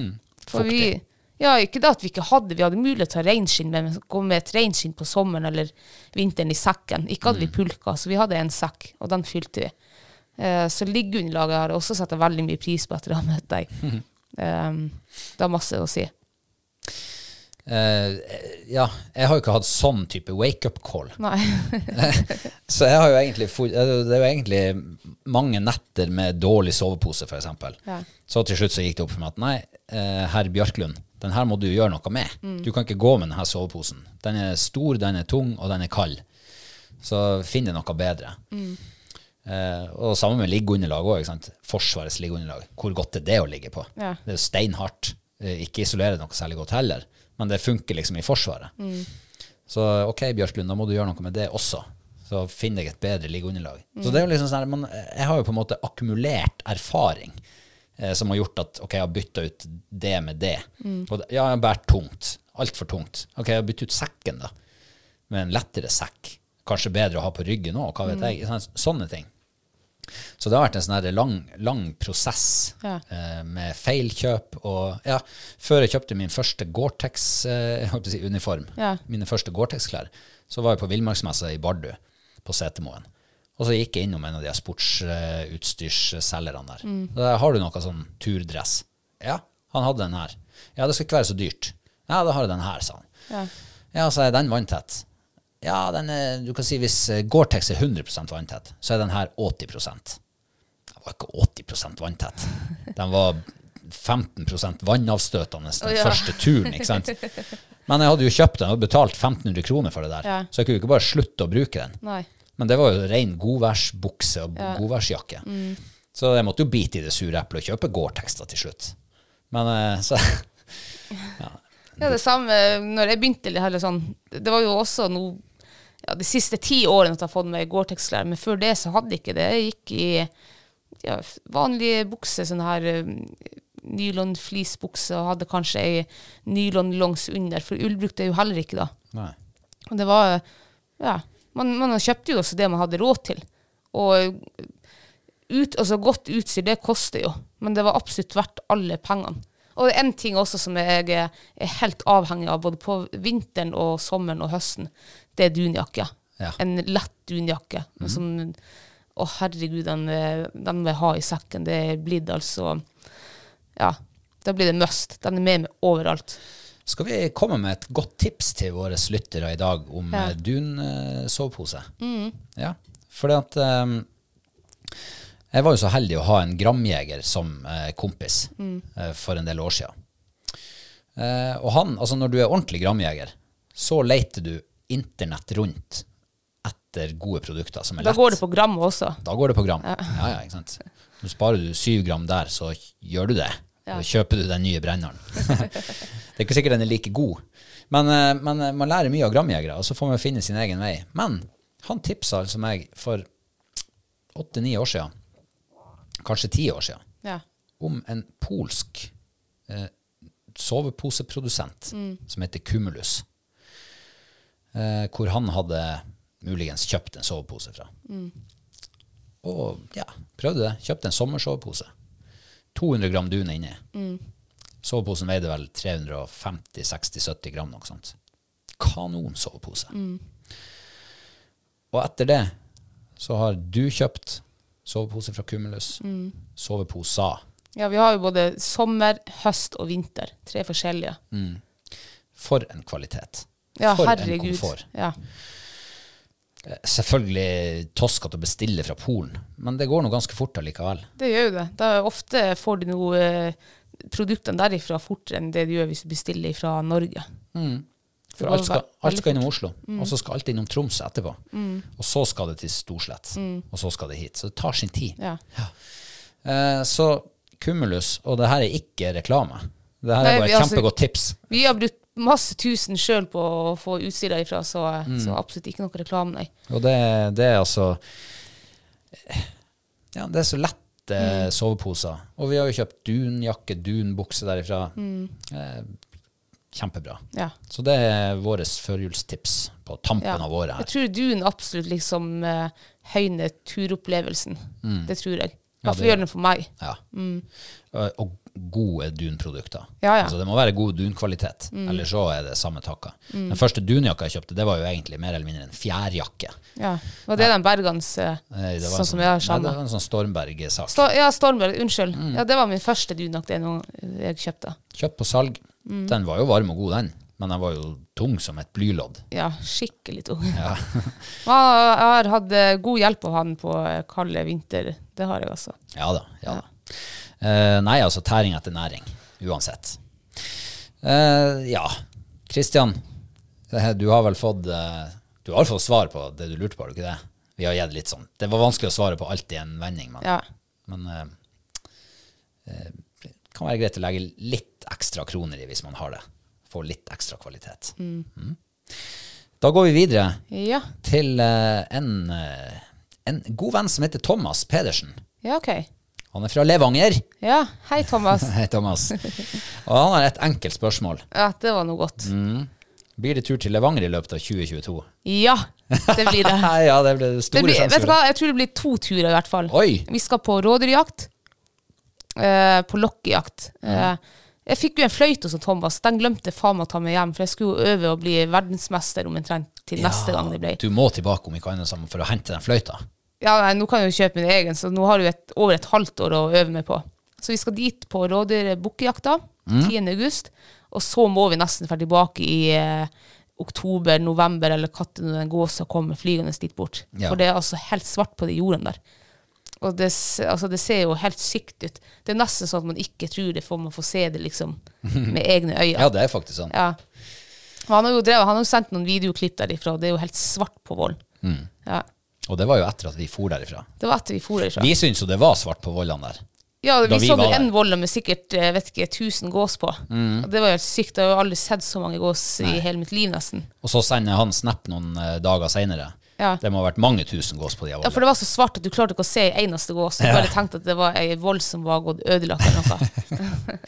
S2: For vi, ja, ikke det at vi ikke hadde Vi hadde mulighet til å ha reinskinn, men vi kom med et reinskinn på sommeren eller vinteren i sekken. Ikke hadde
S1: Mm.
S2: vi pulka, så vi hadde en sekk, og den fylte vi. Eh, så liggeunderlaget har jeg også satt veldig mye pris på etter å ha møtt deg. Em, det har masse å si.
S1: Eh, ja, jeg har jo ikke hatt sånn type wake-up-call.
S2: Nei.
S1: Så jeg har jo egentlig for, det er jo egentlig mange netter med dårlig sovepose, f.eks.
S2: Ja.
S1: Så til slutt så gikk det opp for meg at nei, eh, herr Bjørklund, den her må du gjøre noe med. Du kan ikke gå med denne soveposen. Den er stor, den er tung, og den er kald. Så finn deg noe bedre. Eh, og samme med liggeunderlag òg. Forsvarets liggeunderlag. Hvor godt er det å ligge på?
S2: Ja.
S1: Det er jo steinhardt. Eh, Ikke isolerer noe særlig godt heller, men det funker liksom i Forsvaret. Så ok, Bjørklund, da må du gjøre noe med det også. Så finn deg et bedre liggeunderlag. Så det er jo liksom sånn, her, man, Jeg har jo på en måte akkumulert erfaring eh, som har gjort at ok, jeg har bytta ut det med det. Og det- ja, jeg har båret tungt. Altfor tungt. Ok, jeg har byttet ut sekken, da. Med en lettere sekk. Kanskje bedre å ha på ryggen òg, hva vet jeg. Sånne, sånne ting. Så det har vært en sånn her lang, lang prosess
S2: Ja.
S1: eh, med feilkjøp og Ja, før jeg kjøpte min første eh, Gore-Tex-uniform,
S2: Ja.
S1: mine første Gore-Tex-klær, så var jeg på villmarksmessa i Bardu, på Setermoen. Og så gikk jeg innom en av de her sportsutstyrsselgerne der.
S2: Mm.
S1: Der har du noe sånn turdress. Ja, han hadde den her. Ja, det skal ikke være så dyrt. Ja, da har jeg den her, sa han.
S2: Ja.
S1: Ja, så er den vanntett. Ja, den er, du kan si hvis eh, Gore-Tex er 100 vanntett, så er den her 80 Den var ikke 80 vanntett. Den var 15 vannavstøtende den
S2: Å, ja.
S1: første turen, ikke sant? Men jeg hadde jo kjøpt den og betalt 1500 kroner for det der,
S2: Ja.
S1: så jeg kunne jo ikke bare slutte å bruke den.
S2: Nei.
S1: Men det var jo ren godværsbukse og godværsjakke.
S2: Mm.
S1: Så jeg måtte jo bite i det sure eplet og kjøpe Gore-Tex da til slutt. Men eh, så
S2: Ja, det samme når jeg begynte litt heller sånn. Det var jo også noe ja, De siste ti årene at jeg har fått meg Gore-Tex-klær, men før det så hadde jeg ikke det. Jeg gikk i ja, vanlige bukser, sånne her um, nylon-fleecebukser, og hadde kanskje ei nylon-longs under, for ull brukte jeg jo heller ikke da.
S1: Nei.
S2: Og det var Ja. Man, man kjøpte jo også det man hadde råd til. Og ut, altså godt utstyr, det koster jo. Men det var absolutt verdt alle pengene. Og en ting også som jeg er er helt avhengig av, både på vinteren og sommeren og høsten, det er dunjakke.
S1: Ja. Mhm.
S2: En lett dunjakke. men Som, å, herregud, den, eh, den vil jeg ha i sekken. Det blir det altså Ja. Da blir det must. Den er med meg overalt.
S1: Skal vi komme med et godt tips til våre lyttere i dag om
S2: Ja. Mm.
S1: eh, dun eh, sovepose? Ja, for det at eh, Jeg var jo så heldig å ha en gramjeger som eh, kompis
S2: Mm.
S1: eh, for en del år siden. Eh, og han, altså når du er ordentlig gramjeger, så leter du internett rundt etter gode produkter som er
S2: Da
S1: lett.
S2: går det på gram også.
S1: Da går det på gram. Ja. Ja, ikke sant? Nå sparer du syv gram der, så gjør du det. Da kjøper du den nye brenneren. det er ikke sikkert den er like god. Men, eh, men eh, man lærer mye av gramjegere, og så får man finne sin egen vei. Men han tipsa altså meg for åtte-ni år siden, kanskje ti år siden,
S2: Ja.
S1: om en polsk eh, soveposeprodusent som heter Cumulus. Eh, hvor han hadde muligens kjøpt en sovepose fra. Og ja, prøvde det. Kjøpte en sommersovepose. 200 gram dun inni. Soveposen veide vel 350-60-70 gram, noe sånt. Kanonsovepose. Og etter det så har du kjøpt sovepose fra Cumulus. Soveposa.
S2: ja, vi har jo både sommer, høst og vinter. Tre forskjellige.
S1: For en kvalitet.
S2: Ja,
S1: Mm, For en
S2: herregud.
S1: komfort.
S2: Ja.
S1: Selvfølgelig toskete å bestille fra Polen, men det går nå ganske fort allikevel.
S2: Det gjør jo det. Da ofte får du noe eh, produktene derifra fortere enn det du gjør hvis du bestiller fra Norge.
S1: For
S2: Det
S1: alt
S2: går
S1: skal,
S2: ve-
S1: alt
S2: veldig Mm.
S1: skal innom Oslo, og så skal alt innom Tromsø etterpå. Og så skal det til Storslett, og så skal det hit. Så det tar sin tid.
S2: Mm. Ja.
S1: Eh, så Cumulus, og det her er ikke reklame. Det her
S2: Nei,
S1: er bare
S2: vi-
S1: et
S2: altså-
S1: kjempegodt tips.
S2: Vi har brukt masse tusen sjøl på å få utstyr derifra, så, eh,
S1: Mm.
S2: så absolutt ikke noe reklame, nei.
S1: Og det, det er altså Ja, det er så lette
S2: Mm.
S1: soveposer. Og vi har jo kjøpt dunjakke, dunbukse derifra.
S2: Mm.
S1: Eh, kjempebra.
S2: Ja.
S1: Så det er våre førjulstips på tampen
S2: Ja.
S1: av året
S2: Jeg
S1: her.
S2: tror dun absolutt liksom eh, høyner turopplevelsen. Det tror jeg. I
S1: Mm. Ja,
S2: hvert fall
S1: det-
S2: gjør den for meg.
S1: Ja. Eh, Og gode dunprodukter.
S2: Mm. Ja, Mm. ja.
S1: Altså, det må være god dunkvalitet, eller så er det samme takka.
S2: Mm.
S1: Den første dunjakka jeg kjøpte, det var jo egentlig mer eller mindre en fjærjakke.
S2: Ja. Var det den Bergans eh,
S1: Eh, det var en
S2: sånn som jeg
S1: nei,
S2: har
S1: det
S2: savna?
S1: var en sånn Stormberg-sak.
S2: Sto ja, Stormberg. Unnskyld. Ja, det var min første dunjakke det er noe jeg kjøpte.
S1: Kjøpt på salg.
S2: Mm.
S1: Den var jo varm og god, den. Men den var jo tung som et blylodd.
S2: Ja, skikkelig tung. Men jeg har hatt eh, god hjelp av han på eh, kalde vinter. Det har jeg altså.
S1: Ja da. ja, da. Eh, nei, altså tæring etter næring. Uansett. Eh, ja, Kristian. Du har vel fått eh, Du har fått svar på det du lurte på, har du ikke det? Vi har gitt litt sånn. Det var vanskelig å svare på alt i en vending, men,
S2: Ja.
S1: men eh, eh, det kan være greit å legge litt ekstra kroner i hvis man har det. Få litt ekstra kvalitet. Mm. Da går vi videre
S2: Ja,
S1: til eh, en, eh, en god venn som heter Thomas Pedersen.
S2: ja ok.
S1: Han er fra Levanger.
S2: Ja, hei Thomas.
S1: Hei, Thomas. Og han har et enkelt spørsmål.
S2: Ja, det var noe godt.
S1: Blir det tur til Levanger i løpet av 2022?
S2: Ja, det blir det.
S1: Nei, ja, det blir
S2: Det
S1: store
S2: blir, vet
S1: sjanser.
S2: du hva, jeg tror det blir to turer i hvert fall.
S1: Oi.
S2: Vi skal på rådyrjakt, eh, på lokkejakt.
S1: Mm.
S2: Eh, jeg fikk jo en fløyte hos Thomas, den glemte jeg faen meg å ta med hjem, for jeg skulle jo øve å bli verdensmester omtrent til neste gang det ble.
S1: Du må tilbake om ikke annet sammen for å hente den fløyta.
S2: Ja, nei, nå kan jeg jo kjøpe min egen, så nå har jeg jo et, over et halvt år å øve meg på. Så vi skal dit på rådyrbukkjakta
S1: Mm.
S2: 10. august, og så må vi nesten være tilbake i eh, oktober, november, eller katten når den gåsa kommer flygende dit bort.
S1: Ja.
S2: For det er altså helt svart på de jordene der. Og det, s- altså, det ser jo helt sykt ut. Det er nesten sånn at man ikke tror det, for man får se det liksom med egne øyne.
S1: Ja, det er faktisk sånn.
S2: Ja. Og han har jo drevet, han har jo sendt noen videoklipp derifra, og det er jo helt svart på vollen.
S1: Mm.
S2: Ja.
S1: Og det var jo etter at vi for derifra.
S2: Det var etter vi for derifra.
S1: Vi syns jo det var svart på vollene der.
S2: Ja,
S1: da
S2: vi,
S1: vi
S2: så
S1: var Mm.
S2: jo
S1: der.
S2: en volle med sikkert eh, vet ikke, 1000 gås på. Og Det var jo helt sykt. Jeg har jo aldri sett så mange gås i hele mitt liv, nesten.
S1: Og så sender han snap noen eh, dager seinere.
S2: Ja.
S1: Det må ha vært mange tusen gås på de
S2: Ja, For
S1: vollene.
S2: det var så svart at du klarte ikke å se ei eneste gås. Du bare tenkte at det var ei voll som var gått ødelagt eller noe.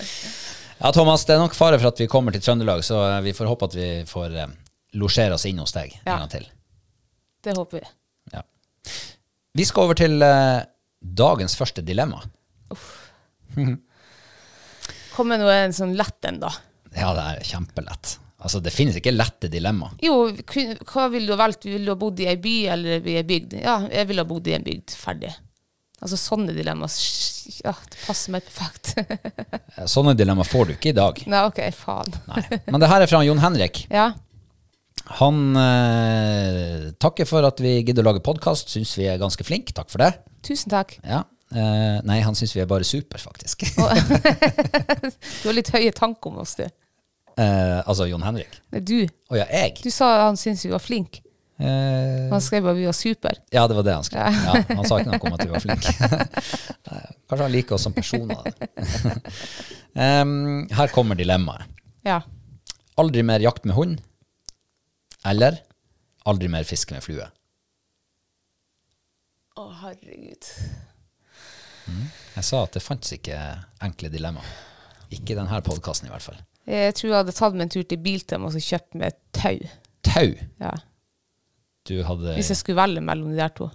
S1: Ja, Thomas, det er nok fare for at vi kommer til Trøndelag, så eh, vi får håpe at vi får eh, losjere oss inn hos deg
S2: Ja.
S1: en gang til.
S2: Det håper vi.
S1: Ja. Vi skal over til eh, dagens første dilemma.
S2: Kom med noe en sånn lett en, da.
S1: Ja, det er kjempelett. Altså, det finnes ikke lette dilemma.
S2: Jo, kun- hva ville du ha valgt? Ville du ha bodd i ei by eller i ei bygd? Ja, jeg ville ha bodd i en bygd. Ferdig. Altså sånne dilemmaer. sh- Ja, det passer meg perfekt.
S1: Eh, Sånne dilemma får du ikke i dag.
S2: Nei, ok, faen.
S1: Nei. Men det her er fra Jon Henrik.
S2: Ja.
S1: Han eh, takker for at vi gidder å lage podkast, syns vi er ganske flinke. Takk for det.
S2: Tusen takk.
S1: Ja. Eh, nei, han syns vi er bare super, faktisk.
S2: Du har litt høye tanker om oss, du.
S1: Eh, altså Jon Henrik.
S2: Nei, du.
S1: Å ja, jeg.
S2: Du sa han syntes vi var flinke.
S1: Eh,
S2: Han skrev bare vi var super.
S1: ja, det var det han skrev. Ja, han sa ikke noe om at vi var flinke. Nei, Kanskje han liker oss som personer. Em, her kommer dilemmaet.
S2: Ja.
S1: Aldri mer jakt med hund, eller aldri mer fiske med flue.
S2: Å, herregud.
S1: Jeg sa at det fantes ikke enkle dilemmaer. Ikke i denne podkasten, i hvert fall.
S2: Jeg tror jeg hadde tatt meg en tur til Biltema og så kjøpt meg et tau.
S1: Tau!
S2: Ja.
S1: Du hadde
S2: Hvis jeg skulle velge mellom de der to.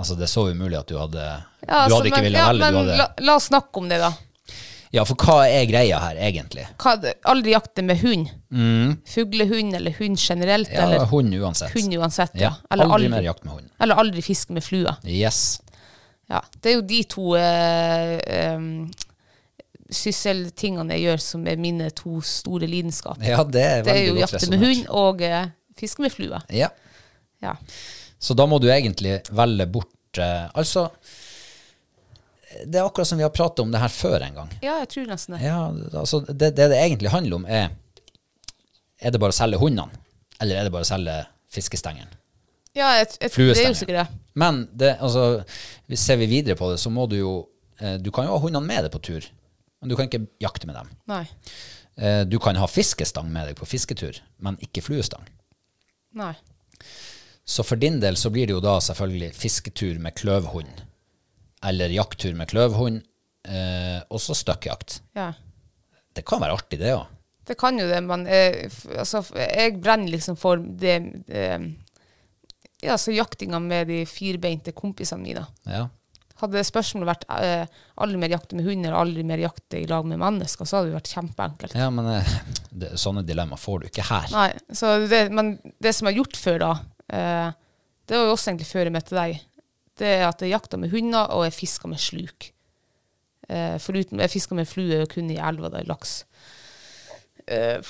S1: Altså, det er så umulig at du hadde
S2: Ja,
S1: Du
S2: altså,
S1: hadde ikke
S2: men-
S1: villet
S2: ja,
S1: velge.
S2: Men
S1: Du hadde,
S2: la, la oss snakke om det, da.
S1: ja, for hva er greia her, egentlig?
S2: Hva, aldri jakte med hund. Fuglehund eller hund generelt.
S1: Mm. Ja,
S2: Mm. eller
S1: hund uansett.
S2: hund uansett.
S1: Ja,
S2: Ja. Eller
S1: aldri mer jakt med hund.
S2: Eller aldri fiske med flua.
S1: Yes.
S2: Ja, det er jo de to eh, em, sysseltingene jeg gjør som er mine to store lidenskaper.
S1: Ja, det er
S2: det er
S1: veldig
S2: jo
S1: godt
S2: jakte med
S1: resonert.
S2: hund og eh, fiske med flue.
S1: Ja.
S2: Ja.
S1: Så da må du egentlig velge bort eh, Altså, det er akkurat som vi har pratet om det her før en gang.
S2: ja, jeg tror nesten det.
S1: Ja, altså, det, det det egentlig handler om, er Er det bare å selge hundene, eller er det bare å selge fiskestengeren?
S2: Ja, jeg, jeg, det er jo sikkert det.
S1: Fluestengeren. Men det, altså, hvis- ser vi videre på det, så må du jo eh, Du kan jo ha hundene med deg på tur, men du kan ikke jakte med dem.
S2: Nei.
S1: Eh, Du kan ha fiskestang med deg på fisketur, men ikke fluestang.
S2: Nei.
S1: Så for din del så blir det jo da selvfølgelig fisketur med kløvhund, eller jakttur med kløvhund, eh, og så støkkjakt.
S2: Ja.
S1: Det kan være artig, det òg.
S2: Det kan jo det, men eh, f- altså, f- jeg brenner liksom for det eh, Ja, så jaktinga med de firbeinte kompisene mine.
S1: Ja.
S2: Hadde spørsmålet vært eh, aldri mer jakte med hund eller aldri mer jakte i lag med mennesker, så hadde det vært kjempeenkelt.
S1: Ja, men eh, det, sånne dilemma får du ikke her.
S2: Nei, så det, men det som jeg har gjort før da, eh, det var jo også egentlig før jeg møtte deg, det er at jeg jakta med hunder, og jeg fiska med sluk. Eh, foruten, jeg fiska med flue og kun i elva da, i laks. Eh,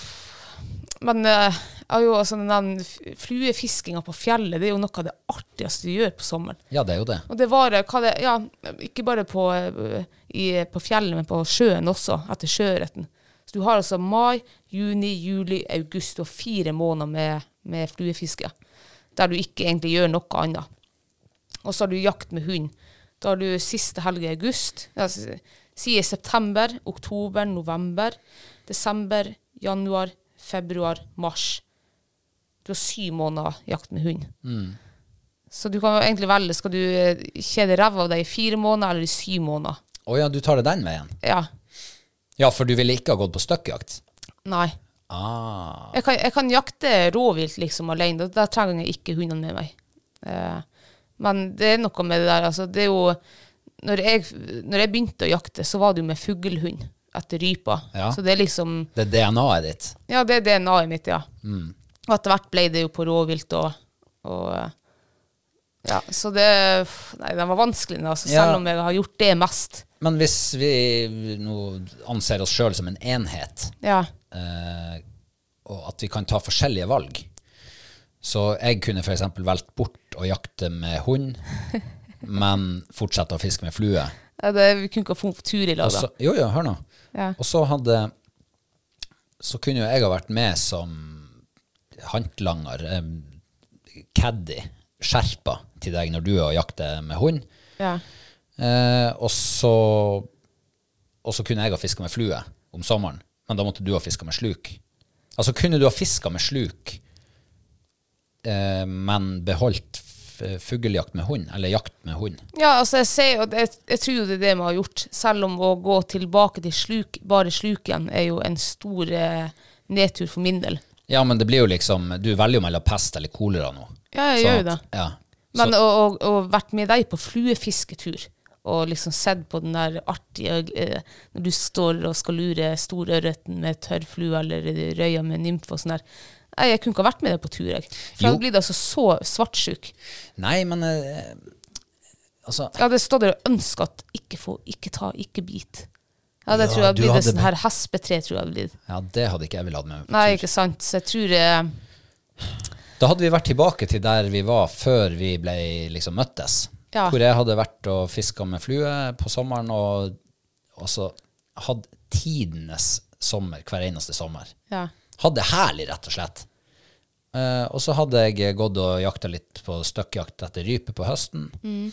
S2: men eh, jeg har jo altså den der f- fluefiskinga på fjellet, det er jo noe av det artigste du gjør på sommeren.
S1: Ja, det er jo det.
S2: Og det var eh, hva det, ja, ikke bare på, eh, i, på fjellet, men på sjøen også, etter sjøørreten. Så du har altså mai, juni, juli, august og fire måneder med, med fluefiske. Der du ikke egentlig gjør noe annet. Og så har du jakt med hund. Da har du siste helg i august. Ja, s- si i september, oktober, november, desember, januar, februar, mars. Du har syv måneder jakt med hund. Så du kan jo egentlig velge, skal du eh, kjede ræva av deg i fire måneder eller i syv måneder?
S1: Å ja, du tar det den veien?
S2: Ja.
S1: Ja, for du ville ikke ha gått på støkkjakt?
S2: Nei.
S1: Ah.
S2: Jeg kan, jeg kan jakte rovvilt liksom alene, da, da trenger jeg ikke hundene med meg. Eh, men det er noe med det der, altså. Det er jo Når jeg, når jeg begynte å jakte, så var det jo med fuglehund etter rypa.
S1: Ja.
S2: Så det er liksom
S1: Det er DNA-et ditt?
S2: Ja, det er DNA-et mitt, ja.
S1: Mm.
S2: Og etter hvert ble det jo på rovvilt og, og eh, Ja, så det Nei, den var vanskelig, da. Altså,
S1: Ja.
S2: Selv om jeg har gjort det mest.
S1: Men hvis vi nå anser oss sjøl som en enhet,
S2: Ja.
S1: eh, og at vi kan ta forskjellige valg Så jeg kunne f.eks. valgt bort å jakte med hund, men fortsette å fiske med flue.
S2: Ja, det, vi kunne ikke få på tur i lag,
S1: Og
S2: da.
S1: så, jo, jo, hør nå.
S2: Ja.
S1: Og så hadde Så kunne jo jeg ha vært med som håndlanger, eh, caddy, skjerpa til deg når du er og jakter med hund.
S2: Ja.
S1: Eh, og så Og så kunne jeg ha fiska med flue om sommeren, men da måtte du ha fiska med sluk. Altså kunne du ha fiska med sluk, eh, men beholdt f- fuglejakt med hund, eller jakt med hund.
S2: ja, altså, jeg ser jo at jeg, jeg tror jo det er det vi har gjort. Selv om å gå tilbake til sluk, bare sluken, er jo en stor eh, nedtur for min del.
S1: Ja, men det blir jo liksom Du velger jo mellom pest eller kolera nå.
S2: Ja, jeg gjør jo det.
S1: at- Ja.
S2: Men å, å, å vært med deg på fluefisketur, og liksom sett på den der artige eh, Når du står og skal lure storørreten med tørrflue eller røya med nymfe og sånn der. Nei, jeg kunne ikke ha vært med deg på tur, jeg. For jeg
S1: Jo.
S2: hadde blitt altså så svartsjuk.
S1: Nei, men eh, Altså,
S2: Jeg hadde stått der og ønska at ikke få, ikke ta, ikke bit. Ja, det
S1: Ja,
S2: tror jeg hadde
S1: du
S2: blitt
S1: hadde
S2: et sånn her hespetre, tror jeg hadde blitt.
S1: ja, det hadde ikke jeg villet hatt med meg på
S2: Nei,
S1: tur.
S2: ikke sant. Så jeg tror eh,
S1: Da hadde vi vært tilbake til der vi var før vi ble liksom møttes.
S2: Ja.
S1: Hvor jeg hadde vært og fiska med flue på sommeren, og, og så hadde tidenes sommer hver eneste sommer.
S2: Ja.
S1: Hadde det herlig, rett og slett. Eh, og så hadde jeg gått og jakta litt på støkkjakt etter rype på høsten.
S2: Mm.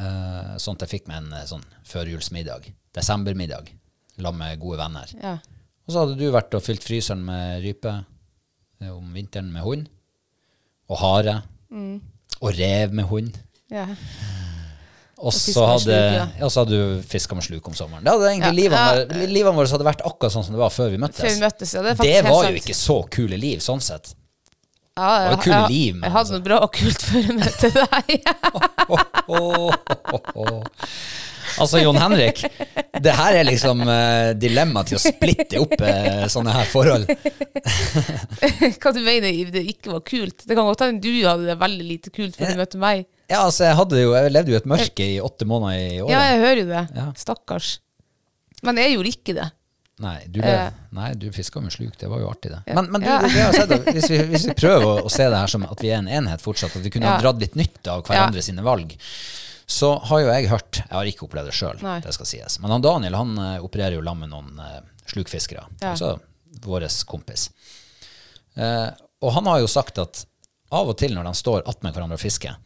S1: Eh, sånn at jeg fikk meg en eh, sånn førjulsmiddag, desembermiddag, sammen med gode venner.
S2: Ja.
S1: Og så hadde du vært og fylt fryseren med rype eh, om vinteren med hund, og hare,
S2: Mm.
S1: og rev med hund.
S2: ja.
S1: Og
S2: fisk
S1: så
S2: med
S1: hadde,
S2: sluk, ja.
S1: ja, så hadde du fiska med sluk om sommeren. Det hadde egentlig
S2: Ja,
S1: livene, våre, livene våre hadde vært akkurat sånn som det var før vi møttes.
S2: Før vi møttes, ja. Det er
S1: det
S2: faktisk helt
S1: var
S2: sant.
S1: jo ikke så kule liv, sånn sett.
S2: Ja,
S1: Det var kule
S2: jeg-
S1: liv, men
S2: Jeg hadde
S1: altså.
S2: noe bra og kult før jeg møtte deg.
S1: Altså, Jon Henrik, det her er liksom eh, dilemmaet til å splitte opp eh, sånne her forhold.
S2: Hva du mener det ikke var kult? Det kan godt hende du hadde det veldig lite kult før du møtte meg.
S1: Ja, altså, jeg, hadde jo, jeg levde jo i et mørke i åtte måneder i året.
S2: Ja, jeg hører jo det.
S1: Ja.
S2: Stakkars. Men jeg gjorde ikke det.
S1: Nei, du,
S2: Eh.
S1: lev- nei, du fiska med sluk, det var jo artig, det.
S2: Ja.
S1: Men, men du,
S2: Ja.
S1: det har jeg sett, da. hvis, vi, hvis vi prøver å, å se det her som at vi er en enhet fortsatt, at vi kunne
S2: Ja.
S1: ha dratt litt nytte av hverandre sine valg, så har jo jeg hørt Jeg har ikke opplevd det sjøl,
S2: Nei.
S1: det skal sies. Men han Daniel han eh, opererer jo sammen med noen eh, slukfiskere,
S2: Ja.
S1: altså vår kompis. Eh, og han har jo sagt at av og til når de står attmed hverandre og fisker,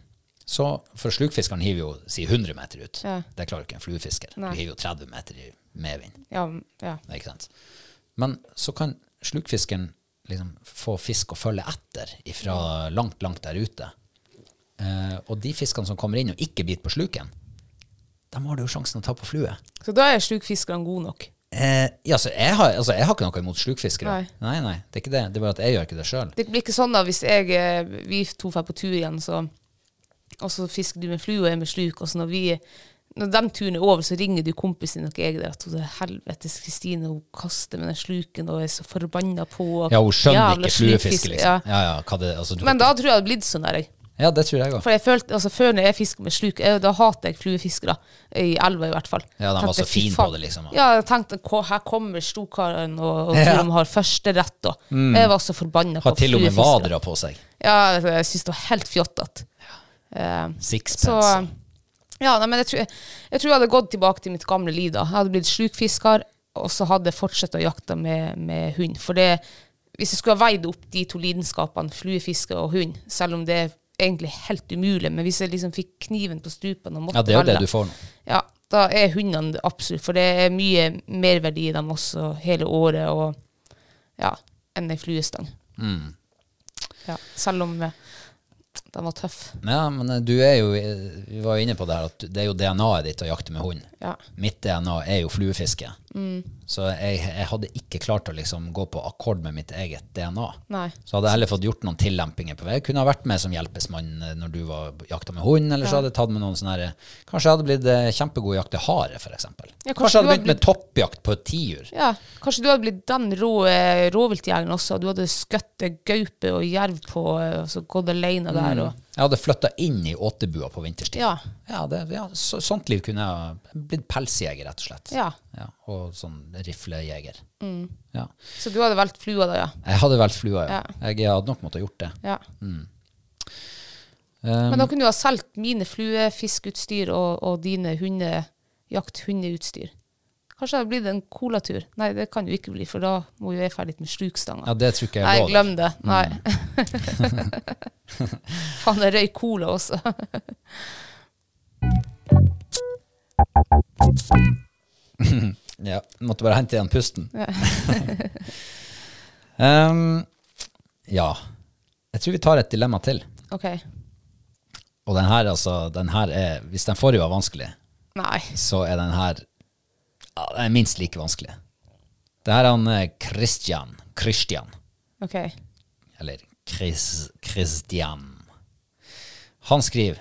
S1: så For slukfiskeren hiver jo si 100 meter ut.
S2: Ja.
S1: Det klarer ikke en fluefisker.
S2: Nei.
S1: Du hiver jo 30 meter i medvind.
S2: Ja, ja.
S1: Nei, Ikke sant? Men så kan slukfisken liksom få fisk å følge etter fra langt, langt der ute. Eh, og de fiskene som kommer inn og ikke biter på sluken, de har du jo sjansen å ta på flue.
S2: Så da er slukfiskerne gode nok.
S1: Eh, ja, så jeg, har, altså, jeg har ikke noe imot slukfiskere.
S2: Nei.
S1: Nei, nei, det er ikke det. Det er bare at jeg gjør ikke det sjøl.
S2: Det blir ikke sånn da hvis jeg, eh, vi to drar på tur igjen, så, og så fisker du med flue og jeg med sluk, og så når, vi, når den turen er over, så ringer du kompisen din og jeg der at hun helvetes Kristine, hun kaster med den sluken og er så forbanna på og
S1: Ja, hun skjønner
S2: jævla
S1: ikke fluefiske,
S2: slukfisk-
S1: liksom.
S2: Ja.
S1: Ja, ja, hva det, altså, du,
S2: Men da tror jeg det hadde blitt sånn der, jeg.
S1: ja, det tror jeg òg.
S2: For jeg følte, altså Før når jeg fisker med sluk, jeg, da hater jeg fluefiskere. I elva, i hvert fall.
S1: Ja, de var
S2: Tenkte,
S1: så fin
S2: "Fy faen."
S1: på det, liksom.
S2: Ja, jeg tenkte "Ko- her kommer storkaren og, og tror
S1: Ja. Mm.
S2: de har førsterett. og Jeg var så forbanna på
S1: Har til og med
S2: fluefiskere.
S1: vadra på seg.
S2: Ja, jeg syns det var helt fjottete. Eh,
S1: Sixpence.
S2: så Ja, nei, men jeg tror jeg, tror jeg hadde gått tilbake til mitt gamle liv da. Jeg hadde blitt slukfisker, og så hadde jeg fortsatt å jakte med, med hund. For det, hvis jeg skulle ha veid opp de to lidenskapene, fluefiske og hund, selv om det er egentlig helt umulig, men hvis jeg liksom fikk kniven på strupen og måtte
S1: ja, det er jo det
S2: velge,
S1: du får nå.
S2: ja, da er hundene det absolutt, for det er mye merverdi i dem også hele året og ja, enn ei fluestang. Ja, selv om eh, den var tøff.
S1: Ja, men eh, du er jo, eh, vi var jo inne på det her, at det er jo DNA-et ditt å jakte med hund.
S2: Ja. Mm.
S1: Mitt DNA er jo fluefiske. Så jeg, jeg hadde ikke klart å liksom gå på akkord med mitt eget DNA.
S2: Nei.
S1: Så hadde jeg heller fått gjort noen tillempinger på vei. Jeg kunne ha vært med som hjelpesmann eh, når du var jakta med hund, eller så hadde jeg tatt med noen sånne her, kanskje jeg hadde blitt eh, kjempegod i å jakte hare, for eksempel.
S2: Ja, kanskje
S1: kanskje, jeg
S2: du
S1: hadde
S2: hadde
S1: begynt med toppjakt på et tiur.
S2: Ja, Kanskje du hadde blitt den rå eh, rovviltjegeren også, og du hadde skutt eh, gaupe og jerv på eh, og så gått alene der. Og,
S1: Jeg hadde flytta inn i åtebua på vinterstid.
S2: ja,
S1: Ja, det, ja så, sånt liv kunne jeg ha blitt pelsjeger, rett og slett.
S2: ja.
S1: Ja, og sånn riflejeger.
S2: Mm.
S1: Ja.
S2: Så du hadde valgt flua da, ja.
S1: Jeg hadde valgt flua, ja.
S2: Ja.
S1: Jeg hadde nok måttet gjort det.
S2: ja.
S1: Mm.
S2: Men da kunne du ha solgt mine fluefiskeutstyr og, og dine hunde, jakthundeutstyr. Kanskje det hadde blitt en colatur. Nei, det kan jo ikke bli, for da må jo jeg ferdig med slukstanga.
S1: Ja, det tror ikke
S2: Nei,
S1: jeg lå der.
S2: glem det. Nei.
S1: Mm.
S2: Faen, jeg røyk cola også.
S1: Ja, måtte bare hente igjen pusten. um, ja. Jeg tror vi tar et dilemma til.
S2: Ok.
S1: Og den her, altså, den her er, hvis den forrige var vanskelig,
S2: Nei.
S1: så er den her ja, den er minst like vanskelig. Det her er han eh, Christian. Christian.
S2: Ok.
S1: eller Chris, Christian. Han skriver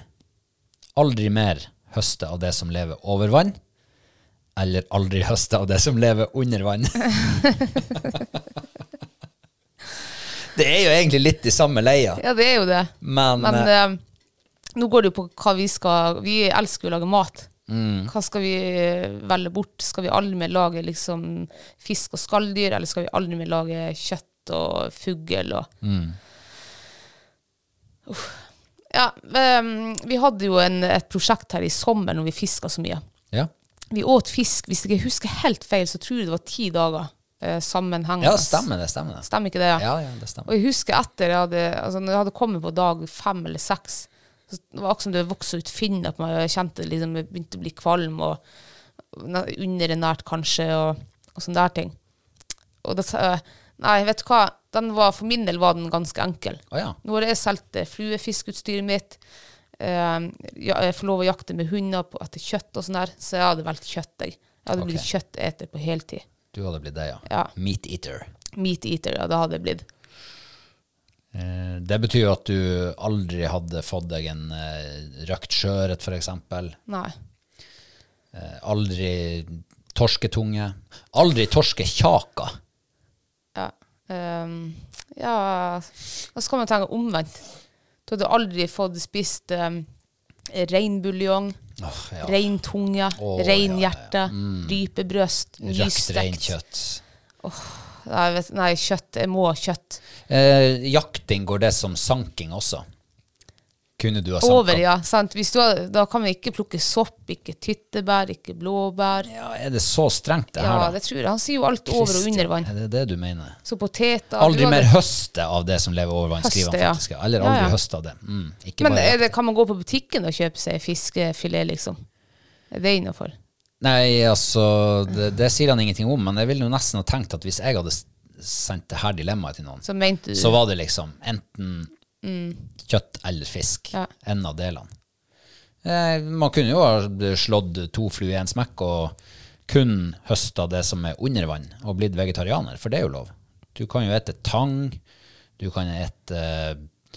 S1: aldri mer høste av det som lever over vann, eller aldri høste av det som lever under vann. det er jo egentlig litt i samme leia,
S2: Ja, det er jo det.
S1: men,
S2: Men
S1: eh,
S2: eh, nå går det jo på hva vi skal Vi elsker jo å lage mat.
S1: Mm.
S2: Hva skal vi eh, velge bort? Skal vi aldri mer lage liksom, fisk og skalldyr, eller skal vi aldri mer
S1: Mm.
S2: lage kjøtt og fugl og Uff. Ja, ehm, vi hadde jo en, et prosjekt her i sommer når vi fiska så mye.
S1: Ja,
S2: Vi åt fisk, hvis jeg ikke husker helt feil, så tror jeg det var ti dager eh, sammenhengende.
S1: ja stemmer det. stemmer det.
S2: Stemmer ikke det?
S1: Ja, ja, det
S2: Og
S1: stemmer.
S2: jeg husker etter jeg hadde, altså når jeg hadde kommet på dag fem eller seks, så det var akkurat som det vokste ut finner på meg, og jeg kjente liksom, jeg begynte å bli kvalm, og na- underernært kanskje, og, og sånne der ting. Og det, sa jeg, nei, vet du hva, den var, for min del var den ganske enkel.
S1: Å ja.
S2: Nå har jeg solgt eh, fluefiskutstyret mitt, eh, ja, jeg får lov å jakte med hunder på, etter kjøtt og sånn der, så jeg hadde valgt kjøtt, jeg. Jeg hadde blitt kjøtteter på heltid.
S1: Du hadde blitt det, ja.
S2: Ja.
S1: Meat eater.
S2: Meat eater, ja, det hadde jeg blitt.
S1: Eh, Det betyr jo at du aldri hadde fått deg en eh, røkt sjøørret, f.eks.
S2: Nei.
S1: Aldri torsketunge. Aldri torskekjaka.
S2: Ja. ehm, ja Og så kan man tenke omvendt. Du hadde aldri fått spist um, reinbuljong,
S1: Åh, ja.
S2: reintunge,
S1: Å,
S2: reinhjerte, rypebrøst,
S1: Røkt
S2: nystekt
S1: reinkjøtt.
S2: Nei, vet, nei, kjøtt. Jeg må ha kjøtt.
S1: Eh, jakting går det som sanking også. Kunne du ha sanka?
S2: Over, ja. Sant? Hvis du har, da kan vi ikke plukke sopp, ikke tyttebær, ikke blåbær. Ja,
S1: Ja, Er det så strengt, det her, da?
S2: det tror jeg. Han sier jo alt over og
S1: Kristian,
S2: under vann.
S1: Er det det du mener?
S2: Så poteter
S1: Aldri
S2: du hadde-
S1: mer høste av det som lever over vann,
S2: Høste,
S1: skriver han
S2: ja.
S1: faktisk. Eller
S2: Ja,
S1: aldri
S2: ja.
S1: høste av det. Mm, ikke
S2: Men eh,
S1: bare
S2: er det, kan man gå på butikken og kjøpe seg fiskefilet, liksom? Er det innafor?
S1: Nei, altså, det, det sier han ingenting om, men jeg ville jo nesten ha tenkt at hvis jeg hadde s- sendt det her dilemmaet til noen,
S2: Så mente du
S1: så var det liksom enten kjøtt eller fisk.
S2: Mm. Ja.
S1: En av delene. Eh, man kunne jo ha slått to fluer i en smekk og kun høsta det som er under vann, og blitt vegetarianer, for det er jo lov. Du kan jo ete tang, du kan ete eh,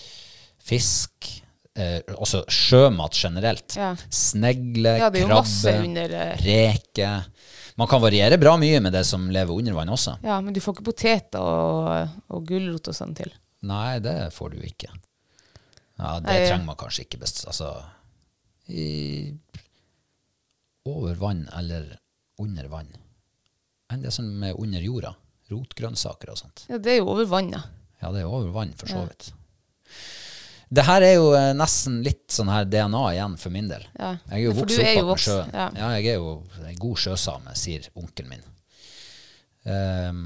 S1: fisk, eh, også sjømat generelt.
S2: Ja.
S1: Snegle,
S2: Ja, det er jo masse
S1: krabbe,
S2: under, eh.
S1: reke. Man kan variere bra mye med det som lever under vann også.
S2: Ja, men du får ikke poteter og, og gulrot og sånn til.
S1: Nei, det får du ikke. Ja, det
S2: Nei, ja.
S1: trenger man kanskje ikke best. Altså i, Over vann eller under vann. Enn det som er under jorda. Rotgrønnsaker og sånt.
S2: Ja, det er jo over vannet.
S1: Ja, det er over vann, for så vidt. Det her er jo eh, nesten litt sånn her DNA igjen for min del.
S2: Ja.
S1: Jeg er jo
S2: For
S1: vokst
S2: du er
S1: opp
S2: jo
S1: med
S2: vokst,
S1: sjøen. Ja.
S2: ja.
S1: jeg er jo en god sjøsame, sier onkelen min. Ehm,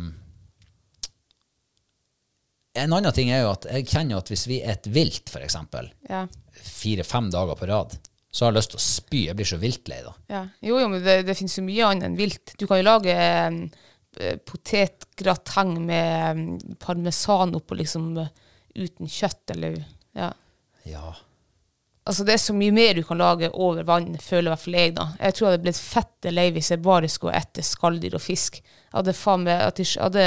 S1: en annen ting er jo at jeg kjenner jo at hvis vi er et vilt, for eksempel,
S2: Ja.
S1: fire-fem dager på rad, så har jeg lyst til å spy. Jeg blir så viltlei da.
S2: Ja. Jo, jo, men det, det finnes jo mye annet enn vilt. Du kan jo lage eh, potetgrateng med eh, parmesan oppå, liksom eh, uten kjøtt, eller ja.
S1: Ja.
S2: Altså, det er så mye mer du kan lage over vann, føler i hvert fall jeg, da. Jeg tror jeg hadde blitt fette lei hvis jeg bare skulle ette skalldyr og fisk. Jeg hadde faen meg at jeg hadde,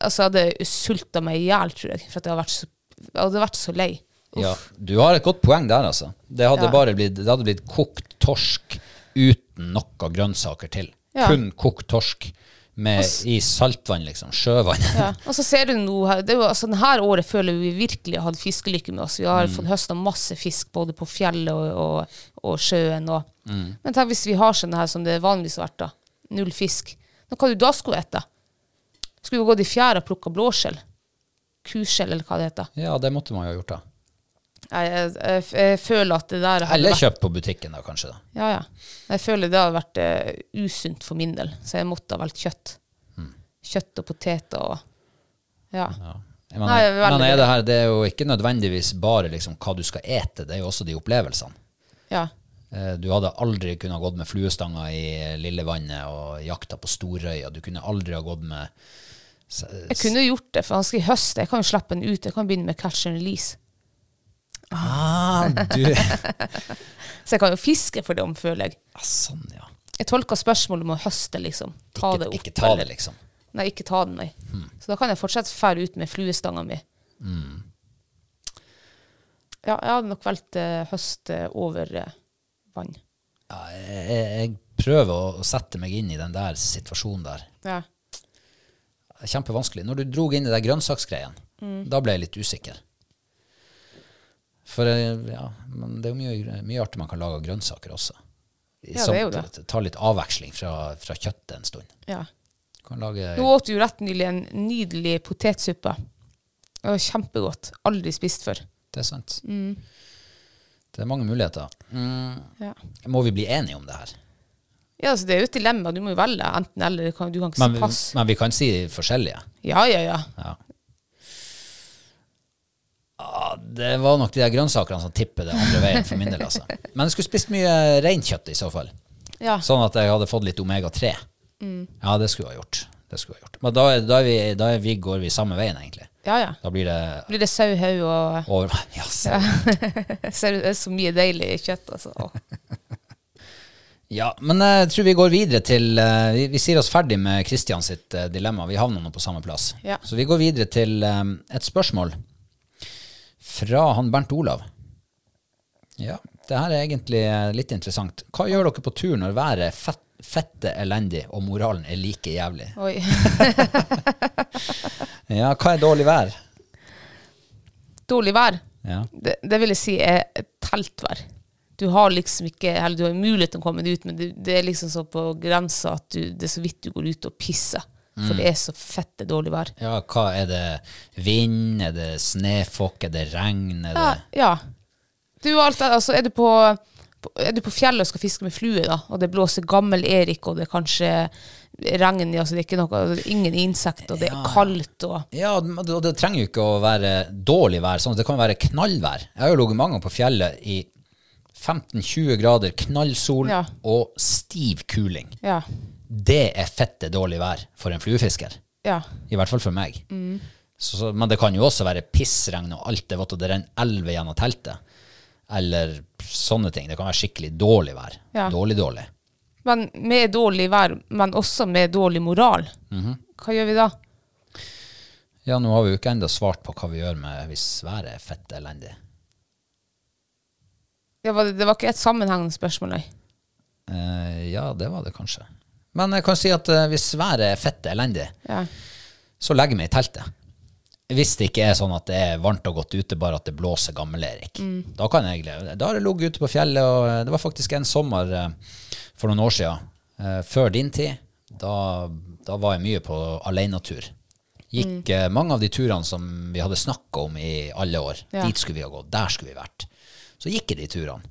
S2: altså, jeg hadde sulta meg i hjel, tror jeg, for at jeg hadde vært så, jeg hadde vært så lei.
S1: Ja, du har et godt poeng der, altså. Det hadde
S2: Ja.
S1: bare blitt, det hadde blitt kokt torsk uten noe grønnsaker til.
S2: Ja.
S1: Kun kokt torsk med, i saltvann, liksom. Sjøvann.
S2: Ja. Og så ser du noe her, det er jo, altså denne året føler vi virkelig har hatt fiskelykke med oss. Vi har fått høsta masse fisk både på fjellet og, og, og sjøen. Og. Men tenk hvis vi har sånn her som det vanligvis har vært, da. Null fisk. Nå, hva du da skulle ete? Skulle vi gått i fjæra og plukka blåskjell? Kuskjell, eller hva det heter.
S1: Ja, det måtte man jo ha gjort, da.
S2: Jeg, jeg, jeg, jeg føler at det der hadde
S1: Eller
S2: vært
S1: kjøpt på butikken, da, kanskje. da.
S2: ja, ja. Jeg føler det hadde vært eh, usunt for min del, så jeg måtte ha valgt kjøtt. Kjøtt og poteter og Mm. Ja.
S1: Men,
S2: Nei, veldig
S1: men er
S2: bra.
S1: det, her, det er jo ikke nødvendigvis bare liksom, hva du skal ete, det er jo også de opplevelsene.
S2: ja.
S1: Eh, Du hadde aldri kunnet gått med fluestanga i Lillevannet og jakta på Storøya. Du kunne aldri ha gått med
S2: Jeg kunne jo gjort det, for han skal i høst. Jeg kan jo slippe den ut. Jeg kan begynne med catch and release.
S1: ah, du.
S2: Så jeg kan jo fiske for det, om føler jeg.
S1: Ja, Sånn, ja.
S2: Jeg tolker spørsmålet med å høste, liksom. Ta
S1: Ikke,
S2: det opp.
S1: ikke Hmm. ta det,
S2: eller-
S1: liksom.
S2: Nei, ikke ta den, nei. Så da kan jeg fortsatt fære ut med fluestanga mi.
S1: Hmm.
S2: Ja, jeg hadde nok valgt eh, høst eh, over eh, vann.
S1: Ja, jeg, jeg prøver å- å sette meg inn i den der situasjonen der.
S2: Ja.
S1: Kjempevanskelig. Når du drog inn i den grønnsaksgreien,
S2: Mm.
S1: da ble jeg litt usikker. For eh, ja, men det er jo mye, mye artig man kan lage av grønnsaker også.
S2: Ja, det er jo
S1: Som t- Tar litt avveksling fra, fra kjøttet en stund.
S2: ja.
S1: Du kan lage
S2: Nå åt vi jo rett nylig en nydelig potetsuppe. Det var kjempegodt. Aldri spist før.
S1: Det er sant. Det er mange muligheter. Mm,
S2: Ja.
S1: må vi bli enige om det her?
S2: Ja, altså Det er jo et dilemma. Du må jo velge enten eller. Du kan, du kan ikke
S1: Men,
S2: si pass.
S1: men vi kan si forskjellige.
S2: Ja, ja, ja.
S1: Ja. Ah, Det var nok de der grønnsakene som tippet det andre veien for min del. Altså. Men jeg skulle spist mye reinkjøtt i så fall.
S2: ja.
S1: Sånn at jeg hadde fått litt omega-3. Ja, det skulle jeg ha gjort. Det skulle jeg ha gjort. Men da, er- da, er vi, da er vi, går vi samme veien, egentlig.
S2: ja, ja.
S1: Da blir det
S2: Blir det sauhau og
S1: over... Ja, se.
S2: Ser du, det er så mye deilig kjøtt, altså. Åh.
S1: ja, men eh, jeg tror vi går videre til eh, Vi, vi sier oss ferdig med Kristian sitt eh, dilemma. Vi havner nå på samme plass.
S2: Ja.
S1: Så vi går videre til eh, et spørsmål fra han Bernt Olav. Ja, det her er egentlig eh, litt interessant. Hva gjør dere på tur når været er fett, fette elendig og moralen er like jævlig?
S2: Oi.
S1: Ja, hva er dårlig vær?
S2: Dårlig vær.
S1: Ja.
S2: Det, det vil jeg si er et teltvær. Du har liksom ikke Eller du har muligheten til å komme deg ut, men det, det er liksom så på grensa at du, det er så vidt du går ut og pisser. For det er så fette dårlig vær.
S1: Ja, hva er det? Vind? Er det snøfokk? Er det regn? Er det...
S2: Ja. ja. Du, alt, det- altså, er, du på, på- er du på fjellet og skal fiske med flue, da, og det blåser gammel Erik, og det er kanskje regn i, altså, det er ikke noe, det er ingen insekter, og det er kaldt og
S1: Ja, men det, og det trenger jo ikke å være dårlig vær. Sånn. Det kan være knallvær. Jeg har jo ligget mange ganger på fjellet i 15-20 grader, knallsol
S2: Ja.
S1: og stiv kuling.
S2: Ja.
S1: Det er fette dårlig vær for en fluefisker.
S2: ja.
S1: I hvert fall for meg.
S2: Mm.
S1: Så, så, men det kan jo også være pissregn og alt det vått, og det renner elver gjennom teltet. Eller sånne ting. Det kan være skikkelig dårlig vær.
S2: Ja.
S1: Dårlig, dårlig.
S2: Men med dårlig vær, men også med dårlig moral, hva gjør vi da?
S1: Ja, nå har vi jo ikke enda svart på hva vi gjør med hvis været er fette elendig.
S2: Det var, det var ikke et sammenhengende spørsmål, nei.
S1: Eh, ja, det var det kanskje. Men jeg kan si at eh, hvis været er fette elendig,
S2: Ja.
S1: så legger jeg meg i teltet. Hvis det ikke er sånn at det er varmt og godt ute, bare at det blåser gammel-Erik. Da kan jeg glede Da har jeg ligget ute på fjellet, og eh, det var faktisk en sommer eh, for noen år siden, eh, før din tid, da, da var jeg mye på alenetur. Gikk eh, mange av de turene som vi hadde snakka om i alle år.
S2: Ja.
S1: Dit skulle vi ha gått, der skulle vi vært. Så gikk jeg de turene.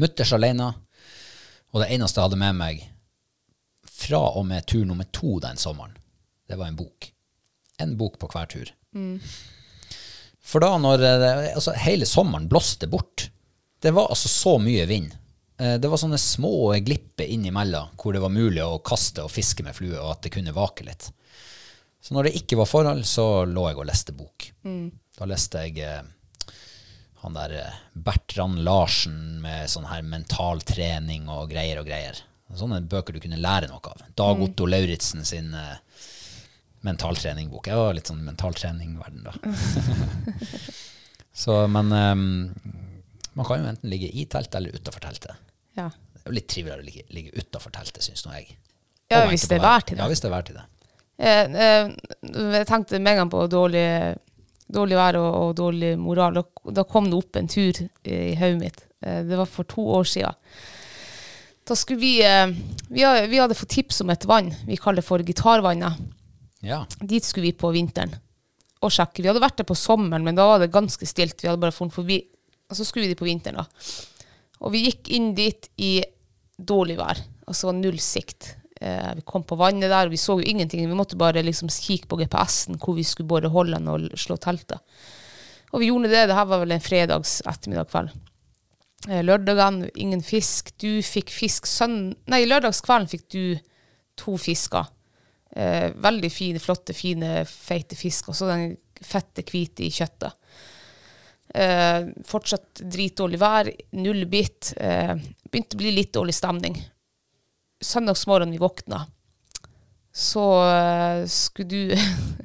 S1: Mutters aleine, og det eneste jeg hadde med meg fra og med tur nummer to den sommeren, det var en bok. En bok på hver tur. For da når eh, altså, Hele sommeren blåste bort. Det var altså så mye vind. Eh, Det var sånne små glipper innimellom hvor det var mulig å kaste og fiske med flue, og at det kunne vake litt. Så når det ikke var forhold, så lå jeg og leste bok. Da leste jeg eh, han der eh, Bertrand Larsen med sånn her mental trening og greier og greier. Sånne bøker du kunne lære noe av.
S2: Mm.
S1: Dag Otto Lauritzen sin eh, mentaltreningbok. Jeg var litt sånn mentaltrening-verden da. så, men eh, man kan jo enten ligge i teltet eller utafor teltet.
S2: Ja.
S1: Det er jo litt triveligere å ligge, ligge utafor teltet, syns nå jeg.
S2: Ja,
S1: Og
S2: hvis
S1: vente
S2: det er
S1: på været.
S2: vær til det.
S1: Ja, hvis det er vær til det.
S2: Eh, eh, jeg tenkte med en gang på dårlig, dårlig vær og, og dårlig moral. Og da kom det opp en tur i hodet mitt. Eh, det var for to år siden. Da skulle vi, eh, vi, ha- vi hadde fått tips om et vann vi kaller for Gitarvannet.
S1: Ja.
S2: Dit skulle vi på vinteren og sjekke. Vi hadde vært der på sommeren, men da var det ganske stilt. Vi hadde bare funnet forbi. Og så skulle vi dit på vinteren, da. Og vi gikk inn dit i dårlig vær. Altså var null sikt. Eh, vi kom på vannet der, og vi så jo ingenting. Vi måtte bare liksom kikke på GPS-en hvor vi skulle både holde den og slå teltet. Og vi gjorde det. Det her var vel en fredags ettermiddag kveld. Eh, Lørdagen, ingen fisk. Du fikk fisk sønn... Nei, lørdagskvelden fikk du to fisker. Eh, veldig fine, flotte, fine, feite fisk. Og så den fette, hvite i kjøttet. Eh, fortsatt dritdårlig vær, null bit. Eh, begynte å bli litt dårlig stemning. Søndagsmorgen vi våkna, så eh, skulle du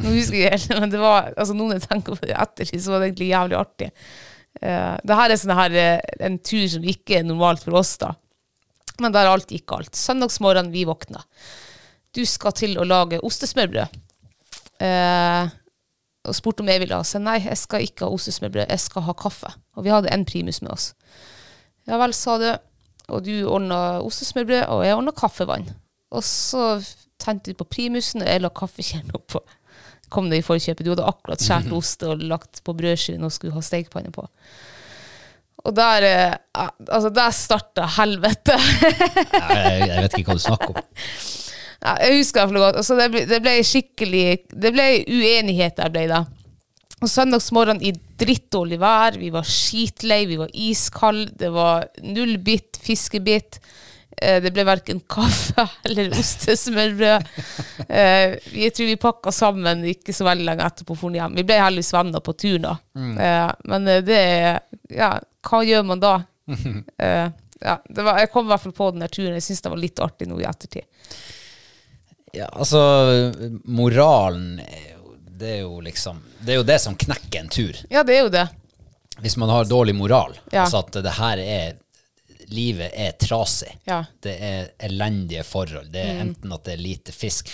S2: Nå husker jeg ikke helt, men det var altså noen jeg tenker på det ettertid, så var det egentlig jævlig artig. Eh, det her er sånn her, eh, en tur som ikke er normalt for oss, da. Men der alt gikk galt. Søndagsmorgen vi våkna. Du skal til å lage ostesmørbrød. Eh, og spurte om jeg ville ha. Så nei, jeg skal ikke ha ostesmørbrød, jeg skal ha kaffe. Og vi hadde en primus med oss. Ja vel, sa du. Og du ordna ostesmørbrød, og jeg ordna kaffevann. Og så f- tent ut på primusen og jeg la kaffekjernen oppå. Kom det i forkjøpet. Du hadde akkurat skåret ost og lagt på brødskiven og skulle ha stekepanne på. Og der eh, Altså, der starta helvete.
S1: Jeg, jeg vet ikke hva du snakker om.
S2: Ja, jeg husker det for godt. Altså, det, ble, det ble skikkelig Det ble uenighet der ble det. Og søndagsmorgen i drittdårlig vær, vi var skitlei, vi var iskalde, det var null bit fiskebit. Eh, Det ble verken kaffe eller ostesmørbrød. Eh, Jeg tror vi pakka sammen ikke så veldig lenge etterpå. for hjem. Vi ble heldigvis venner på tur da. Eh, Men eh, det er- Ja, hva gjør man da? Eh, Ja, det var, jeg kom i hvert fall på den der turen. Jeg syns det var litt artig nå i ettertid.
S1: Ja, altså, moralen er jo, det er jo liksom Det er jo det som knekker en tur.
S2: Ja, det er jo det.
S1: Hvis man har dårlig moral,
S2: Ja.
S1: altså at det her er Livet er trasig.
S2: Ja. Mm.
S1: Det er elendige forhold. Det er enten at det er lite fisk,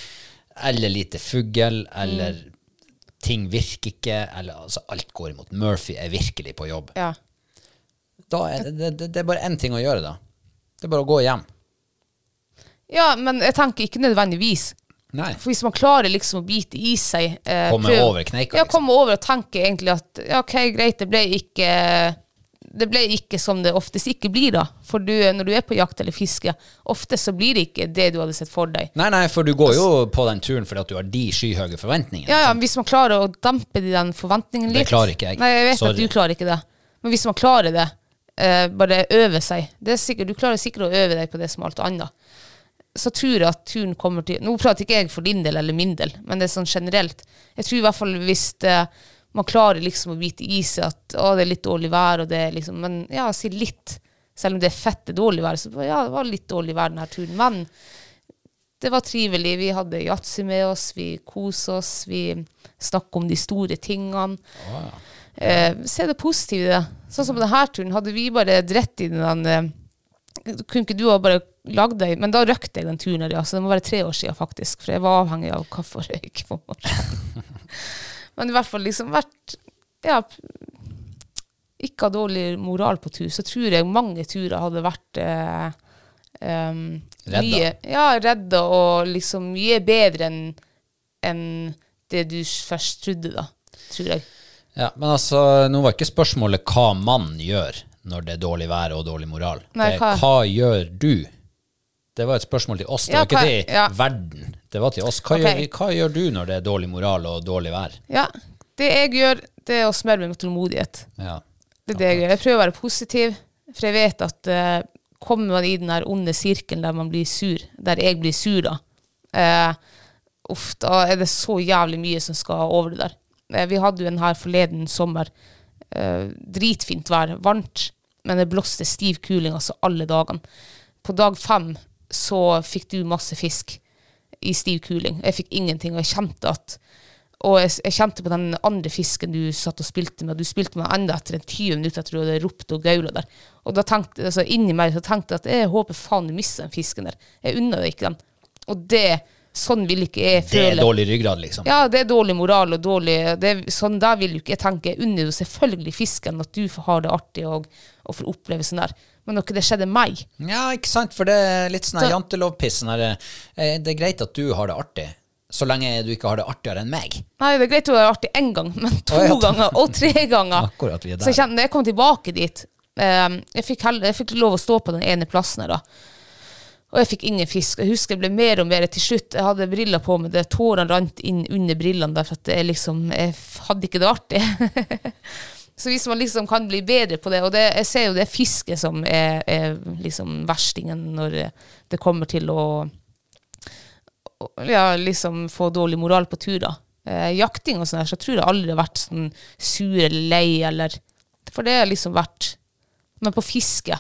S1: eller lite fugl, eller
S2: Mm.
S1: ting virker ikke, eller altså alt går imot. Murphy er virkelig på jobb.
S2: Ja.
S1: Da er det, det, det er bare én ting å gjøre, da. Det er bare å gå hjem.
S2: ja, men jeg tenker ikke nødvendigvis.
S1: Nei.
S2: For hvis man klarer liksom å bite i seg eh,
S1: Komme
S2: prøv-
S1: over kneika,
S2: Ja,
S1: liksom.
S2: komme over og tenke egentlig at ja, ok, greit, det ble ikke det ble ikke som det oftest ikke blir, da. For du, når du er på jakt eller fiske, ofte så blir det ikke det du hadde sett for deg.
S1: Nei, nei, for du går jo på den turen fordi at du har de skyhøye forventningene.
S2: Ja, ja, men Hvis man klarer å dampe de den forventningen
S1: Det
S2: litt
S1: klarer ikke jeg.
S2: Nei, jeg vet
S1: Sorry.
S2: at du klarer ikke det. Men hvis man klarer det, eh, bare øve seg det er sikkert, Du klarer sikkert å øve deg på det som alt annet. Så tror jeg at turen kommer til Nå prater ikke jeg for din del eller min del, men det er sånn generelt. Jeg tror i hvert fall hvis det, man klarer liksom å bite i seg at å, det er litt dårlig vær, og det er liksom Men ja, si litt. Selv om det er fette dårlig vær, så bare, ja, det var litt dårlig vær denne turen. Men det var trivelig. Vi hadde yatzy med oss, vi koste oss, vi snakket om de store tingene. eh, se det positive i det. Sånn som på denne turen, hadde vi bare dritt i den eh, Kunne ikke du ha bare lagd deg Men da røkte jeg den turen her, ja. Så det må være tre år siden, faktisk. For jeg var avhengig av kaffe og røyk på morgenen. Men i hvert fall liksom vært Ja. Ikke ha dårlig moral på tur, så tror jeg mange turer hadde vært eh, um,
S1: Redda.
S2: Mye, ja, redda og liksom mye bedre enn enn det du først trodde, da. Tror jeg.
S1: Ja, men altså, nå var ikke spørsmålet hva man gjør når det er dårlig vær og dårlig moral.
S2: Nei,
S1: det er
S2: hva-
S1: hva... gjør du? Det var et spørsmål til oss, det
S2: Ja,
S1: var ikke
S2: hva-
S1: til
S2: ja.
S1: verden. Det var til oss. Hva,
S2: Ok.
S1: gjør, vi- hva gjør du når det er dårlig moral og dårlig vær?
S2: Ja. Det jeg gjør, det er å smøre meg med tålmodighet.
S1: Ja.
S2: Det er det jeg gjør. Jeg prøver å være positiv, for jeg vet at eh, kommer man i den der onde sirkelen der man blir sur, der jeg blir sur, da eh, Uff, da er det så jævlig mye som skal over det der. Eh, vi hadde jo en her forleden sommer. Eh, dritfint vær, varmt, men det blåste stiv kuling altså alle dagene. På dag fem så fikk du masse fisk i stiv kuling. Jeg fikk ingenting, og jeg kjente at og jeg, jeg kjente på den andre fisken du satt og spilte med. Du spilte med den enda etter en 20 minutter etter du hadde ropt og gaula der. Og da tenkte, altså inni meg så tenkte jeg at jeg håper faen du mister den fisken der. Jeg unner deg ikke den. Og det, sånn vil ikke jeg
S1: Det
S2: føle.
S1: er dårlig ryggrad, liksom.
S2: Ja, det er dårlig moral og dårlig det, er- Sånn der vil jo ikke jeg tenke. Jeg unner jo selvfølgelig fisken at du får ha det artig og, og får oppleve sånn der. Men når ikke det skjedde meg
S1: Ja, ikke sant? For det er litt sånn her jantelovpiss. sånn her, eh, Det er greit at du har det artig, så lenge du ikke har det artigere enn meg.
S2: Nei, det er greit å være artig én gang, men to
S1: Å, ja.
S2: ganger og tre ganger.
S1: Akkurat, vi er der.
S2: Så jeg kjente, når jeg kom tilbake dit ehm, jeg, fikk hell- jeg fikk lov å stå på den ene plassen her, da. Og jeg fikk ingen fisk. Jeg husker jeg ble mer og mer til slutt. Jeg hadde briller på meg, det tårene rant inn under brillene der, for at jeg liksom Jeg f- hadde ikke det artig. Så hvis man liksom kan bli bedre på det, og det, jeg ser jo det er fisket som er, er liksom verstingen når det kommer til å ja, liksom få dårlig moral på tur, da. Eh, jakting og sånn her, så tror jeg aldri har vært sånn sur eller lei, eller For det har liksom vært Men på fiske,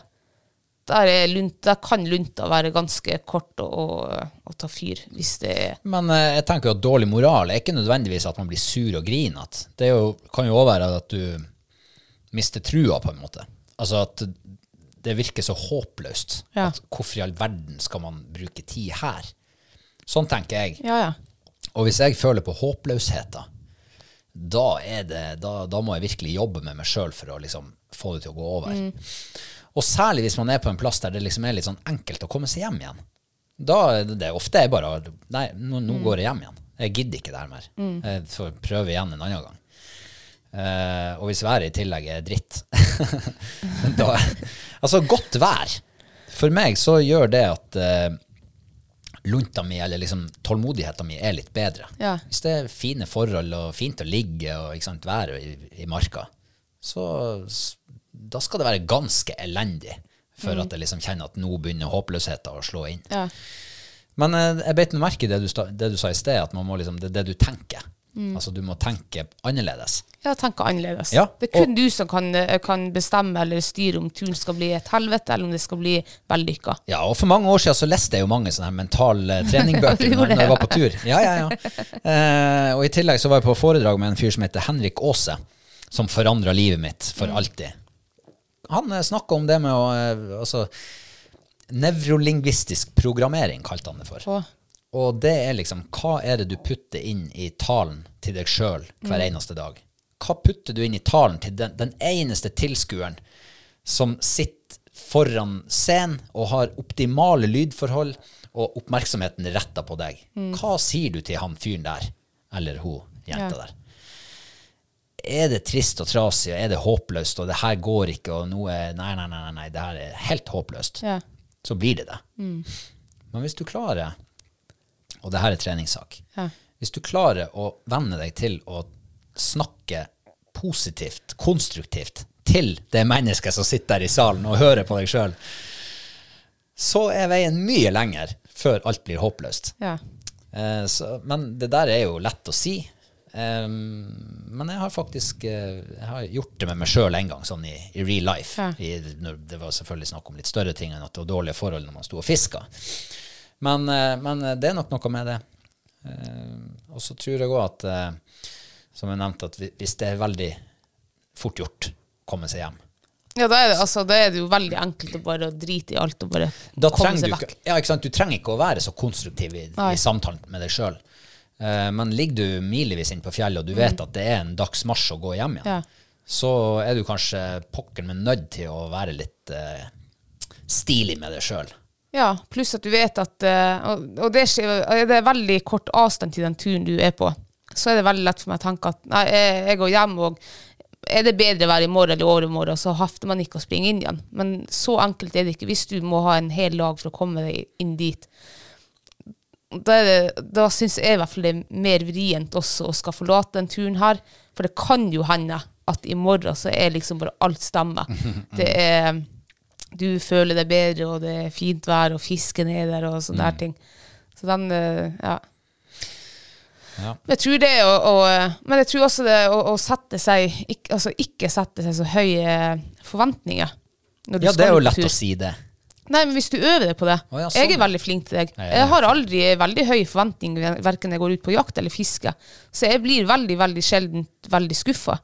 S2: der, er lunt, der kan lunta være ganske kort og, og, og ta fyr, hvis det er
S1: Men eh, jeg tenker jo at dårlig moral er ikke nødvendigvis at man blir sur og grinete. Det er jo, kan jo òg være at du mister trua, på en måte. Altså at det virker så håpløst.
S2: Ja.
S1: At hvorfor i all verden skal man bruke tid her? Sånn tenker jeg.
S2: Ja, ja.
S1: Og hvis jeg føler på håpløsheten, da, er det, da, da må jeg virkelig jobbe med meg sjøl for å liksom få det til å gå over. Og særlig hvis man er på en plass der det liksom er litt sånn enkelt å komme seg hjem igjen. Da er det det ofte er bare Nei, nå, nå går jeg hjem igjen. Jeg gidder ikke det her mer. Jeg får prøve igjen en annen gang. Eh, og hvis været i tillegg er dritt da, Altså, godt vær For meg så gjør det at eh, lunta mi, eller liksom tålmodigheta mi, er litt bedre.
S2: Ja.
S1: Hvis det er fine forhold og fint å ligge og ikke sant, været i, i marka, så s- da skal det være ganske elendig for at jeg liksom kjenner at nå begynner håpløsheten å slå inn.
S2: Ja.
S1: Men eh, jeg beit meg merke i det du, sta- det du sa i sted, at man må liksom, det er det du tenker. Altså du må tenke annerledes.
S2: Ja, tenke annerledes.
S1: Ja,
S2: det er kun
S1: og-
S2: du som kan, eh, kan bestemme eller styre om turen skal bli et helvete, eller om det skal bli vellykka.
S1: Ja, og for mange år siden så leste jeg jo mange sånne her mental eh, treningbøker når, når jeg var på tur. Ja, ja, ja. Eh, og i tillegg så var jeg på foredrag med en fyr som heter Henrik Aase, som forandra livet mitt for alltid. Han eh, snakka om det med å eh, altså, Nevrolingvistisk programmering kalte han det for.
S2: Å.
S1: Og det er liksom Hva er det du putter inn i talen til deg sjøl hver eneste dag? Hva putter du inn i talen til den, den eneste tilskueren som sitter foran scenen og har optimale lydforhold og oppmerksomheten retta på deg? Hva sier du til han fyren der, eller hun jenta der? Er det trist og trasig, og er det håpløst, og det her går ikke, og noe Nei, nei, nei, nei, nei det her er helt håpløst.
S2: Ja.
S1: Så blir det det. Men hvis du klarer og det her er treningssak.
S2: Ja.
S1: Hvis du klarer å venne deg til å snakke positivt, konstruktivt, til det mennesket som sitter der i salen og hører på deg sjøl, så er veien mye lenger før alt blir håpløst.
S2: Ja.
S1: Eh, så, men det der er jo lett å si. Eh, men jeg har faktisk eh, jeg har gjort det med meg sjøl en gang, sånn i, i real life.
S2: Ja.
S1: I, når det var selvfølgelig snakk om litt større ting enn at det var dårlige forhold når man sto og fiska. Men, eh, men det er nok noe med det. Eh, og så tror jeg òg at, eh, som jeg nevnte, at hvi- hvis det er veldig fort gjort å komme seg hjem,
S2: Ja, da er, det, altså, da er det jo veldig enkelt å bare drite i alt og bare
S1: da
S2: komme
S1: trenger
S2: seg
S1: du,
S2: vekk.
S1: ikke, ja, ikke sant? du trenger ikke å være så konstruktiv i,
S2: Nei.
S1: i samtalen med deg sjøl. men ligger du milevis inne på fjellet, og du vet at det er en dags marsj å gå hjem igjen,
S2: Mm. Ja.
S1: så er du kanskje pokker meg nødt til å være litt eh, stilig med deg sjøl.
S2: Ja, pluss at du vet at eh, Og, og det, skjer, og det er veldig kort avstand til den turen du er på. Så er det veldig lett for meg å tenke at nei, jeg, jeg går hjem, og er det bedre vær i morgen eller overmorgen, så hafter man ikke å springe inn igjen. Men så enkelt er det ikke hvis du må ha en hel dag for å komme deg inn dit. Da, er det, da syns jeg i hvert fall det er mer vrient også å skal forlate den turen her. For det kan jo hende at i morgen så er liksom bare alt stemmer. Det er du føler deg bedre, og det er fint vær, og fisken er der, og
S1: Mm.
S2: sånne der ting. Så den, eh, ja.
S1: Ja.
S2: Men Jeg tror det å, å Men jeg tror også det å, å sette seg ikke, Altså ikke sette seg så høye forventninger. når du
S1: Ja, det
S2: skal
S1: er jo
S2: på
S1: lett
S2: tur.
S1: å si det.
S2: Nei, men hvis du øver deg på det.
S1: Å, ja, sånn,
S2: jeg er
S1: ja.
S2: veldig flink til deg.
S1: Ja, ja, ja.
S2: Jeg har aldri veldig høy forventning verken jeg går ut på jakt eller fiske. Så jeg blir veldig, veldig sjelden veldig skuffa.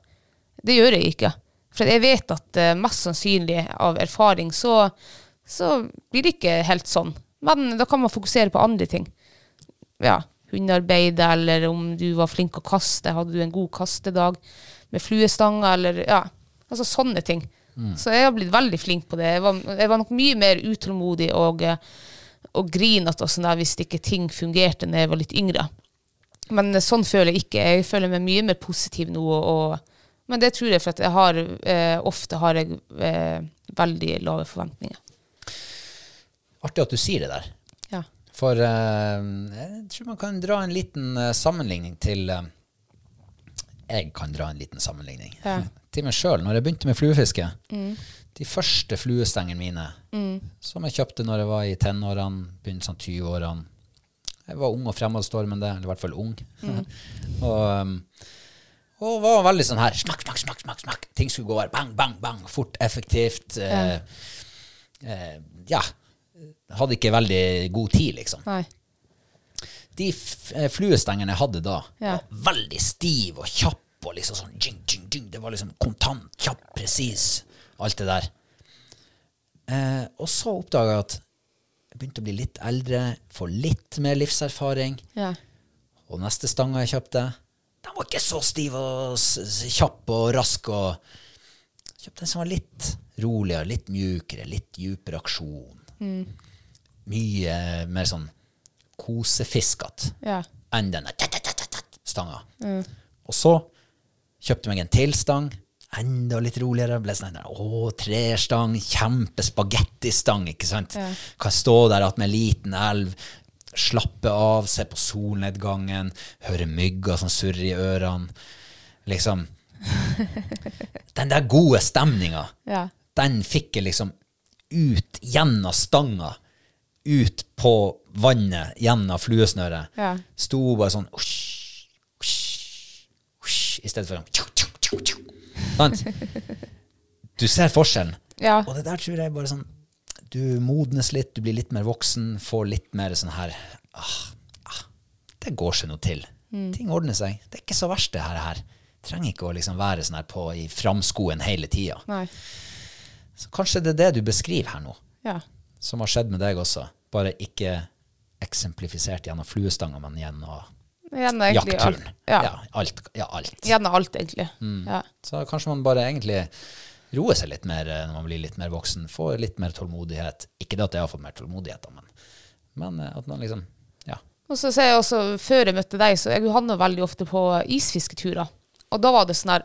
S2: Det gjør jeg ikke. For jeg vet at eh, mest sannsynlig av erfaring så, så blir det ikke helt sånn. Men da kan man fokusere på andre ting. Ja, hundearbeid, eller om du var flink å kaste. Hadde du en god kastedag med fluestanger, eller ja. Altså sånne ting. Så jeg har blitt veldig flink på det. Jeg var, jeg var nok mye mer utålmodig og, eh, og grinete og sånn der hvis ikke ting fungerte når jeg var litt yngre. Men eh, sånn føler jeg ikke. Jeg føler meg mye mer positiv nå. Og, og, men det tror jeg for at jeg har eh, ofte har jeg eh, veldig lave forventninger.
S1: Artig at du sier det der.
S2: Ja.
S1: For eh, jeg tror man kan dra en liten eh, sammenligning til eh, Jeg kan dra en liten sammenligning
S2: Ja.
S1: til meg sjøl. Når jeg begynte med fluefiske, de første fluestengene mine som jeg kjøpte når jeg var i tenårene, begynnelsen av 20-årene Jeg var ung og fremadstormende, eller i hvert fall ung. og, eh, og var veldig sånn her smakk, smakk, smakk, smakk, smakk. Ting skulle gå her. Bang, bang, bang. Fort, effektivt. eh, eh, ja. Hadde ikke veldig god tid, liksom.
S2: Nei.
S1: De f- eh, fluestengene jeg hadde da,
S2: Ja.
S1: var veldig stiv og kjapp og liksom sånn djing, djing, djing. Det var liksom kontant, kjapp, presis, alt det der. Eh, og så oppdaga jeg at jeg begynte å bli litt eldre, få litt mer livserfaring.
S2: Ja.
S1: Og neste stanga jeg kjøpte, den var ikke så stiv og s- s- kjapp og rask. Og jeg kjøpte en som var litt roligere, litt mjukere, litt djupere aksjon. mye mer sånn kosefiskete
S2: Ja.
S1: enn den stanga. Og så kjøpte jeg meg en til stang, enda litt roligere. Ble sånn, å, trestang, kjempespagettistang, ikke sant? Kan stå der at med en liten elv, slappe av, se på solnedgangen, høre mygger som surrer i ørene. Liksom, den der gode stemninga,
S2: Ja.
S1: den fikk jeg liksom ut gjennom stanga, ut på vannet, gjennom fluesnøret.
S2: Ja.
S1: Sto bare sånn «Husj, husj, husj», I stedet for sånn «tjo, tjo, tjo, tjo». Sant? Du ser forskjellen.
S2: Ja.
S1: Og det der tror jeg bare sånn Du modnes litt, du blir litt mer voksen, får litt mer sånn her ah, ah, Det går seg noe til. Ting ordner seg. Det er ikke så verst, det her. her. Trenger ikke å liksom være sånn her på i framskoen hele tida.
S2: Nei.
S1: Så kanskje det er det du beskriver her nå,
S2: Ja.
S1: som har skjedd med deg også. Bare ikke eksemplifisert gjennom fluestanga, men gjennom
S2: Gjennom egentlig alt.
S1: jaktturen.
S2: Ja.
S1: Ja, Mm. alt. Ja, alt.
S2: Gjennom alt, egentlig. Ja.
S1: Så kanskje man bare egentlig roer seg litt mer eh, når man blir litt mer voksen, får litt mer tålmodighet. Ikke det at jeg har fått mer tålmodighet, da, men, men eh, at man liksom Ja.
S2: Og så ser jeg også, Før jeg møtte deg, så jeg havna veldig ofte på isfisketurer. Og da var det sånn her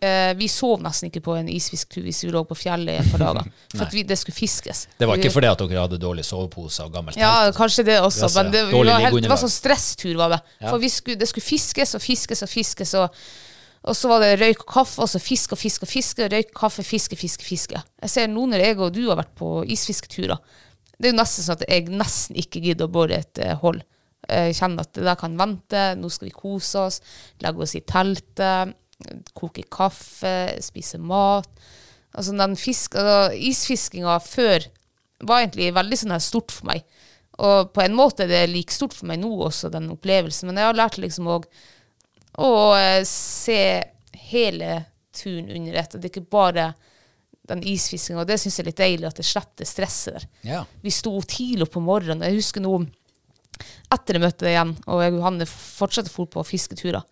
S2: eh, Vi sov nesten ikke på en isfisketur hvis vi lå på fjellet i et par dager. For at vi, det skulle fiskes.
S1: Det var
S2: Vi-
S1: ikke fordi at dere hadde dårlig sovepose og gammelt
S2: Ja, kanskje det også,
S1: Jaså,
S2: men det, vi
S1: dårlig
S2: var helt, det var
S1: liggeunderlag.
S2: sånn stresstur, var det. For vi skulle, det skulle fiskes og fiskes og fiskes, og, og så var det røyk og kaffe, og så fisk og fisk og fiske, røyk, kaffe, fiske, fiske, fiske. Jeg ser nå når jeg og du har vært på isfisketurer, det er jo nesten sånn at jeg nesten ikke gidder å bore et eh, hold. Jeg kjenner at det der kan vente, nå skal vi kose oss, legge oss i teltet, koke kaffe, spise mat. Altså den fisk, altså, isfiskinga før var egentlig veldig sånn her stort for meg. Og på en måte er det like stort for meg nå også, den opplevelsen. Men jeg har lært liksom òg å eh, se hele turen under ett. At det ikke bare den isfiskinga. Og det syns jeg er litt deilig, at jeg slipper det stresset der.
S1: Ja.
S2: Vi sto tidlig opp om morgenen. og Jeg husker nå etter jeg møtte deg igjen, og jeg og Johanne fortsatte for på fisketurer.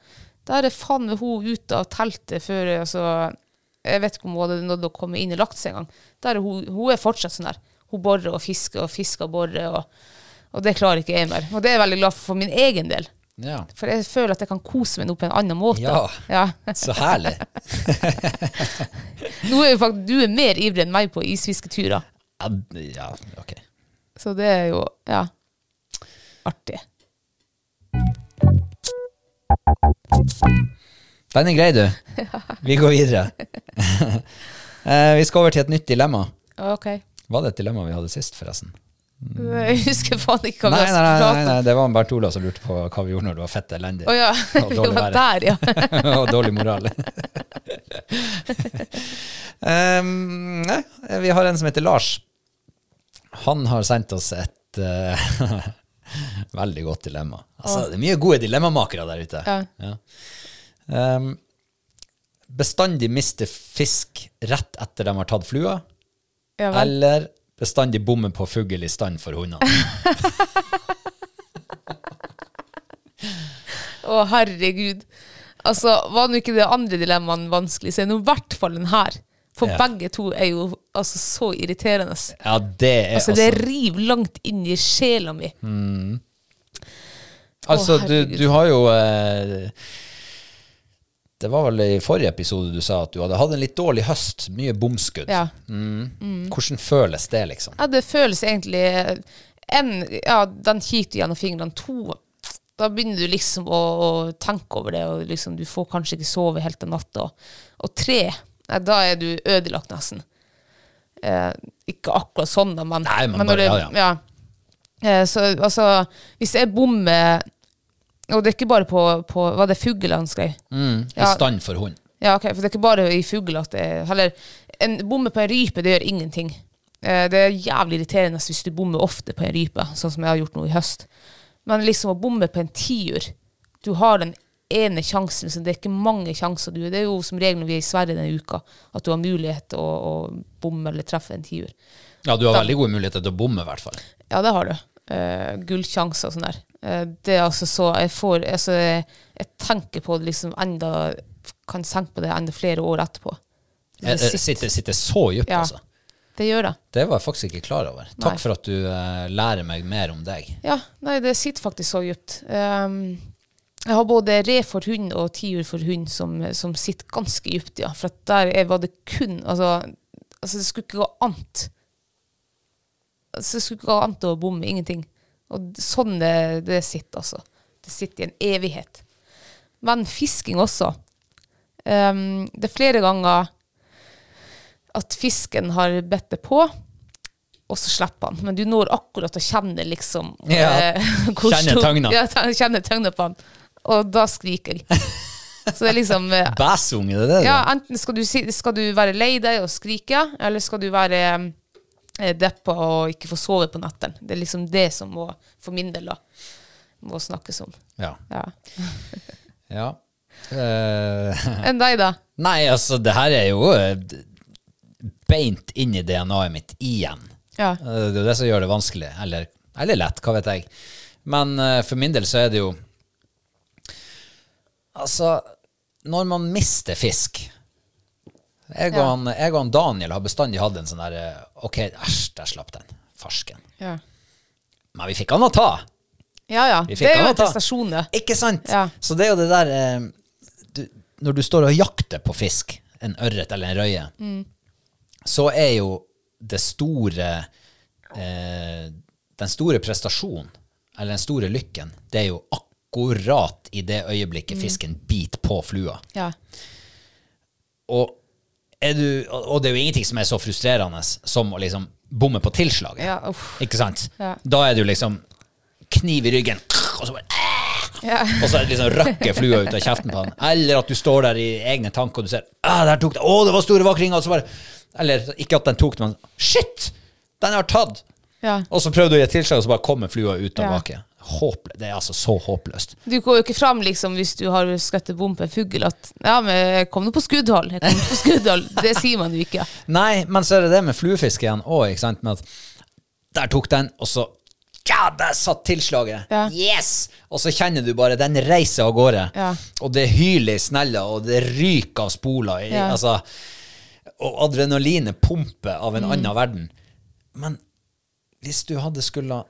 S2: Da er det faen meg hun ute av teltet før altså, Jeg vet ikke om hun hadde nådd å komme inn og lagt seg engang. Da er det hun, hun er fortsatt sånn der. Hun borer og fisker og fisker og borer, og, og det klarer ikke jeg mer. Og det er jeg veldig glad for for min egen del.
S1: Ja.
S2: For jeg føler at jeg kan kose meg nå på en annen måte.
S1: Ja.
S2: Ja.
S1: Så herlig.
S2: Nå er jo faktisk, du er mer ivrig enn meg på isfisketurer,
S1: Ja, d- ja ok.
S2: så det er jo ja, artig.
S1: Den er grei, du. Vi går videre. Eh, vi skal over til et nytt dilemma.
S2: Ok.
S1: Var det et dilemma vi hadde sist, forresten?
S2: Jeg husker faen ikke hva
S1: Nei,
S2: vi
S1: Mm. nei, nei,
S2: har
S1: nei,
S2: pratet om.
S1: nei, det var Bernt Ola som lurte på hva vi gjorde når det var fett elendig.
S2: Å ja,
S1: Og
S2: vi
S1: dårlig
S2: var
S1: været.
S2: der, ja.
S1: og dårlig moral. Em, nei, vi har en som heter Lars. Han har sendt oss et eh, veldig godt dilemma. Altså, det er mye gode dilemmamakere der ute.
S2: Ja.
S1: Em, bestandig miste fisk rett etter de har tatt flua,
S2: ja vel.
S1: eller bestandig bomme på fugl i stand for hundene.
S2: Å, herregud. Altså, var nå ikke det andre dilemmaet vanskelig, så er nå i hvert fall den her. For
S1: Ja.
S2: begge to er jo altså så irriterende.
S1: Ja, det er
S2: Altså, det river langt inn i sjela mi.
S1: Mm. Altså,
S2: Å,
S1: du,
S2: herregud.
S1: du har jo eh, Det var vel i forrige episode du sa at du hadde hatt en litt dårlig høst. Mye bomskudd. Mm.
S2: Ja. Mm.
S1: Hvordan føles det, liksom?
S2: ja, det føles egentlig eh, en, Ja, den kikker du gjennom fingrene. To Da begynner du liksom å, å tenke over det, og liksom, du får kanskje ikke sove helt den natta. Og tre ja, Da er du ødelagt, nesten. Eh, ikke akkurat sånn, da, men,
S1: Nei, men
S2: når
S1: bare-
S2: det- ja. Eh, så altså Hvis jeg bommer Og det er ikke bare på, på Var det fugl han skrev?
S1: I stand for hund.
S2: Ja, ok, for det er ikke bare i fugl at det Eller, en bomme på en rype, det gjør ingenting. Eh, Det er jævlig irriterende hvis du bommer ofte på en rype, sånn som jeg har gjort nå i høst. Men liksom å bomme på en tiur Du har den ene sjansen, så det er ikke mange sjanser. Du, det er jo som regel når vi er i Sverige denne uka, at du har mulighet til å, å bomme eller treffe en tiur.
S1: Ja, du har veldig gode muligheter til å bomme, i hvert fall.
S2: Ja, det har du. Eh, gullsjanser og sånn der. Eh, det er altså så Jeg får altså, jeg, jeg tenker på det liksom enda Kan tenke på det enda flere år etterpå.
S1: Jeg, jeg, Eh, sitter, sitter så dypt,
S2: Ja.
S1: altså.
S2: Det gjør det.
S1: Det var jeg faktisk ikke klar over. Takk
S2: Nei.
S1: for at du eh, lærer meg mer om deg.
S2: Ja, nei, det sitter faktisk så dypt. Ehm, jeg har både rev for hund og tiur for hund som, som sitter ganske dypt, ja. For at der er- var det kun Altså, altså det skulle ikke gå annet. Altså, det skulle ikke gå annet å bomme. Ingenting. Og d- sånn det, det sitter, altså. Det sitter i en evighet. Men fisking også. Ehm, det er flere ganger at fisken har bedt det på, og så slipper han. Men du når akkurat å kjenne liksom
S1: Ja.
S2: hvor
S1: Kjenne
S2: stor-
S1: tøgna.
S2: Ja, ta- kjenne tøgna på han. Og da skriker jeg. Så det er liksom eh,
S1: Bæsunge, det er det?
S2: ja, enten skal du, si, skal du være lei deg og skrike, eller skal du være eh, deppa og ikke få sove på natten. Det er liksom det som må, for min del, da, må snakkes om.
S1: Ja.
S2: Ja.
S1: ja. Eh,
S2: Enn deg, da?
S1: nei, altså, det her er jo eh, beint inn i DNA-et mitt igjen.
S2: Ja.
S1: Eh, Det er jo det som gjør det vanskelig, eller, eller lett, hva vet jeg. Men eh, for min del så er det jo Altså, når man mister fisk Jeg og,
S2: Ja.
S1: han, jeg og han Daniel har bestandig hatt en sånn der eh, OK, æsj, der slapp den. Farsken.
S2: Ja
S1: Men vi fikk han å ta.
S2: ja.
S1: Vi fikk
S2: Det er
S1: han å
S2: jo en
S1: ta.
S2: prestasjon, det.
S1: Ikke sant?
S2: Ja.
S1: Så det er jo det der eh, du, Når du står og jakter på fisk, en ørret eller en røye,
S2: Mm.
S1: så er jo det store eh, Den store prestasjonen, eller den store lykken, det er jo akkurat i det
S2: Mm.
S1: øyeblikket fisken biter på flua.
S2: Ja.
S1: Og, er du, og og det er jo ingenting som er så frustrerende som å liksom bomme på tilslaget.
S2: Ja, uff.
S1: Ikke sant?
S2: Ja.
S1: Da er det jo liksom kniv i ryggen, og så bare
S2: Ja.
S1: og så er det liksom røkker flua ut av kjeften på han. Eller at du står der i egne tanker og du ser «Ah, der tok det. Å, det var store vakringer! Og så bare Eller ikke at den tok det, men Shit! Den har tatt!
S2: Ja.
S1: Og så prøver du å gi et tilslag, og så bare kommer flua ut av
S2: Ja.
S1: baket. Håpløst. Det er altså så håpløst.
S2: Du går jo ikke fram liksom, hvis du har skutt en bom på en fugl at Ja, men jeg kom nå på skuddhold. Jeg kom nå på skuddhold. Det sier man jo ikke.
S1: Nei, men så er det det med fluefiske igjen òg, ikke sant. Med at der tok den, og så Ja, der satt tilslaget!
S2: Ja.
S1: Yes! Og så kjenner du bare den reiser av gårde.
S2: Ja.
S1: Og det hyler i snella, og det ryker av spoler. i-
S2: Ja.
S1: Altså, og adrenalinet pumper av
S2: Mm.
S1: en annen verden. Men hvis du hadde skulle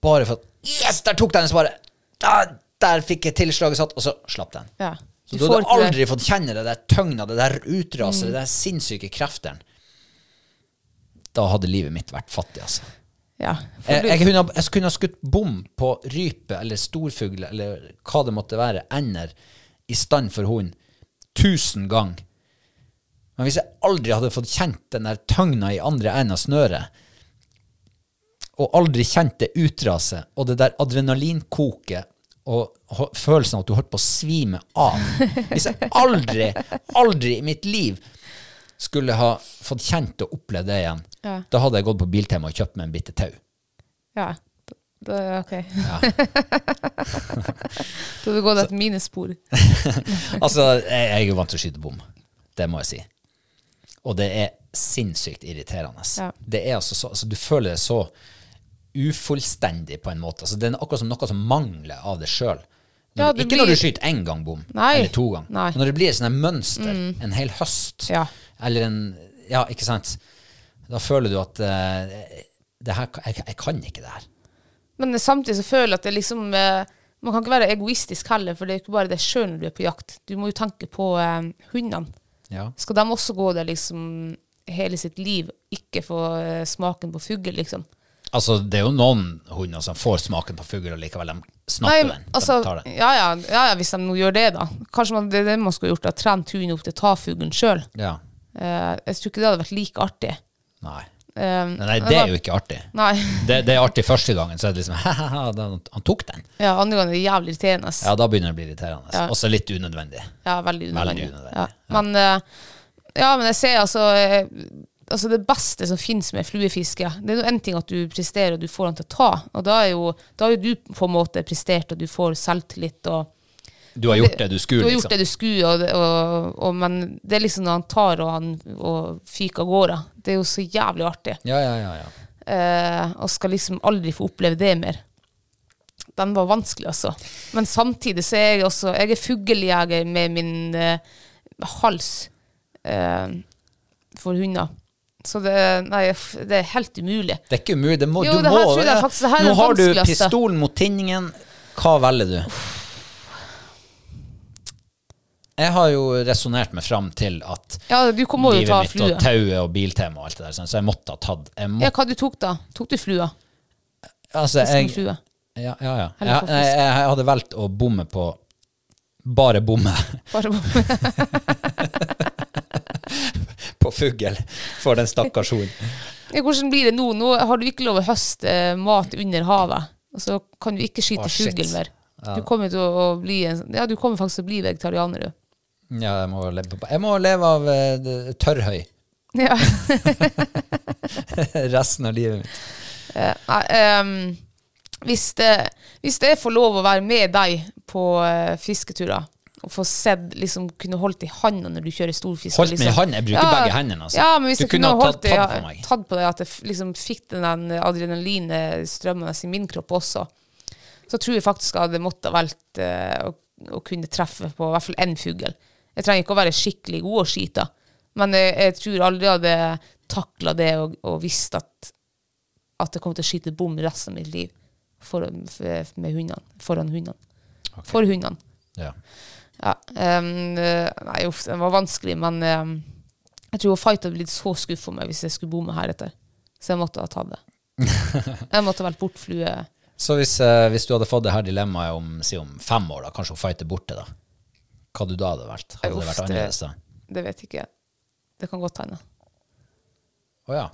S1: bare fått Yes, der tok den! Så bare der, der fikk jeg tilslaget satt, og så slapp den.
S2: Ja.
S1: Så
S2: Du
S1: du hadde
S2: får ikke det. Mm.
S1: aldri fått kjenne det der tøgna, det der utraset, det der sinnssyke kreftene. Da hadde livet mitt vært fattig, altså.
S2: Ja. for
S1: Eh, Jeg,
S2: du-
S1: jeg, kunne, ha- jeg skulle ha skutt bom på rype eller storfugl eller hva det måtte være, ender, i stand for hund, tusen ganger. Men hvis jeg aldri hadde fått kjent den der tøgna i andre enden av snøret, og aldri kjent det utraset, og det der adrenalinkoket, og ho- følelsen av at du holdt på å svime av Hvis jeg aldri, aldri i mitt liv skulle ha fått kjent og opplevd det igjen,
S2: Ja.
S1: da hadde jeg gått på Biltema og kjøpt meg en bitte tau.
S2: Ja. Da, ok. da har du gått etter mine spor.
S1: Altså, jeg, jeg er jo vant til å skyte bom. Det må jeg si. Og det er sinnssykt irriterende.
S2: Ja.
S1: Det er altså så, altså, du føler deg så ufullstendig på en måte. Altså, det er akkurat som noe som mangler av deg sjøl.
S2: Ja,
S1: ikke
S2: det
S1: når du
S2: blir-
S1: skyter én gang bom,
S2: Nei.
S1: eller to ganger.
S2: Nei. Mm.
S1: Men Når det blir et sånt her mønster en hel høst,
S2: Ja.
S1: eller en Ja, ikke sant? Da føler du at eh, det her, jeg, jeg kan ikke det her.
S2: Men samtidig så føler jeg at det liksom eh, Man kan ikke være egoistisk heller, for det er ikke bare deg sjøl når du er på jakt. Du må jo tenke på eh, hundene.
S1: Ja.
S2: Skal de også gå der liksom hele sitt liv, ikke få eh, smaken på fugl, liksom?
S1: Altså, det er jo noen hunder som får smaken på fugl, og likevel de
S2: Nei,
S1: snapper den. De
S2: altså,
S1: tar den.
S2: ja, ja, ja, ja, hvis de nå gjør det, da. Kanskje man, det er det man skulle gjort, da. Trent hunden opp til å ta fuglen sjøl.
S1: Ja.
S2: jeg tror ikke det hadde vært like artig.
S1: Nei.
S2: Eh,
S1: Nei, nei, det er jo ikke artig.
S2: Nei.
S1: Det, det er artig første gangen, så er det liksom «Hahaha, da- han tok den.
S2: Ja, andre gangen er det jævlig irriterende.
S1: Ja, da begynner det å bli irriterende.
S2: Ja.
S1: Også litt unødvendig.
S2: Ja, veldig
S1: Veldig
S2: unødvendig.
S1: unødvendig,
S2: Ja. Men, eh, ja, men jeg ser altså eh, Altså Det beste som finnes med fluefiske, det er jo en ting at du presterer og du får han til å ta. Og da er jo, da har jo du på en måte prestert og du får selvtillit. og
S1: Du har gjort det du skulle,
S2: Du har
S1: liksom.
S2: gjort det du skulle, og, det- og, og, men det er liksom når han tar og, han, og fyker av gårde. Det er jo så jævlig artig.
S1: Ja, ja, ja, ja.
S2: Eh, og skal liksom aldri få oppleve det mer. Den var vanskelig, altså. Men samtidig så er jeg også Jeg er fuglejeger med min eh, hals eh, for hunder. Så det, nei, f- det er helt umulig.
S1: Det er ikke umulig. Det må,
S2: Jo,
S1: du
S2: det her
S1: må,
S2: tror jeg faktisk- det her er
S1: Nå
S2: det
S1: har du
S2: vanskeligste.
S1: pistolen mot tinningen. Hva velger du? Jeg har jo resonnert meg fram til at
S2: Ja, du må jo
S1: livet
S2: ta
S1: mitt
S2: flue.
S1: og tauet og biltema og alt det der, sånn, så jeg måtte ha tatt jeg
S2: Ja,
S1: må,
S2: hva du tok da? Tok du flua?
S1: altså, jeg,
S2: Fiskeflue?
S1: ja, ja, ja.
S2: Eller
S1: Jeg, jeg, jeg hadde valgt å bomme på Bare bomme
S2: Bare på
S1: på fugl for den stakkars hunden.
S2: Ja, hvordan blir det nå? Nå har du ikke lov å høste eh, mat under havet. Og så kan du ikke skyte
S1: Å, shit.
S2: fugl mer. Du kommer til å å bli en, ja, du kommer faktisk til å bli vegetarianer, du.
S1: Ja, jeg må leve, på- jeg må leve av eh, det- tørrhøy
S2: Ja.
S1: resten av livet mitt.
S2: Nei, ehm, hvis, det, hvis jeg får lov å være med deg på eh, fisketurer, og få sett, liksom kunne holdt i handa når du kjører storfisk
S1: Holdt meg i
S2: liksom.
S1: handen? Jeg bruker begge hendene, altså.
S2: Ja, men hvis
S1: Du
S2: jeg
S1: kunne
S2: kunne
S1: ha
S2: holdt
S1: tatt
S2: i-
S1: tatt på meg.
S2: Tatt på deg at jeg f- liksom fikk den der adrenalinstrømmen i min kropp også. så tror jeg faktisk jeg hadde måttet valgt eh, å, å kunne treffe på i hvert fall én fugl. Jeg trenger ikke å være skikkelig god å skyte, men jeg, jeg tror aldri jeg hadde takla det og, og visst at, at jeg kom til å skyte bom resten av mitt liv for, for, med hundene, foran hundene. For hundene.
S1: Ja.
S2: Ja, ehm, eh, nei, uff, den var vanskelig, men ehm, jeg tror Fight hadde blitt så skuffa meg hvis jeg skulle bomme heretter. Så jeg måtte ha tatt det. Jeg måtte ha vært bortflue.
S1: Så hvis, eh, hvis du hadde fått det her dilemmaet om, si om fem år, da, kanskje hun fighter borte, da. hva du da hadde vært? Hadde det
S2: Uff,
S1: vært
S2: det-
S1: annerledes da?
S2: Det vet jeg ikke. Det kan godt hende.
S1: Å ja.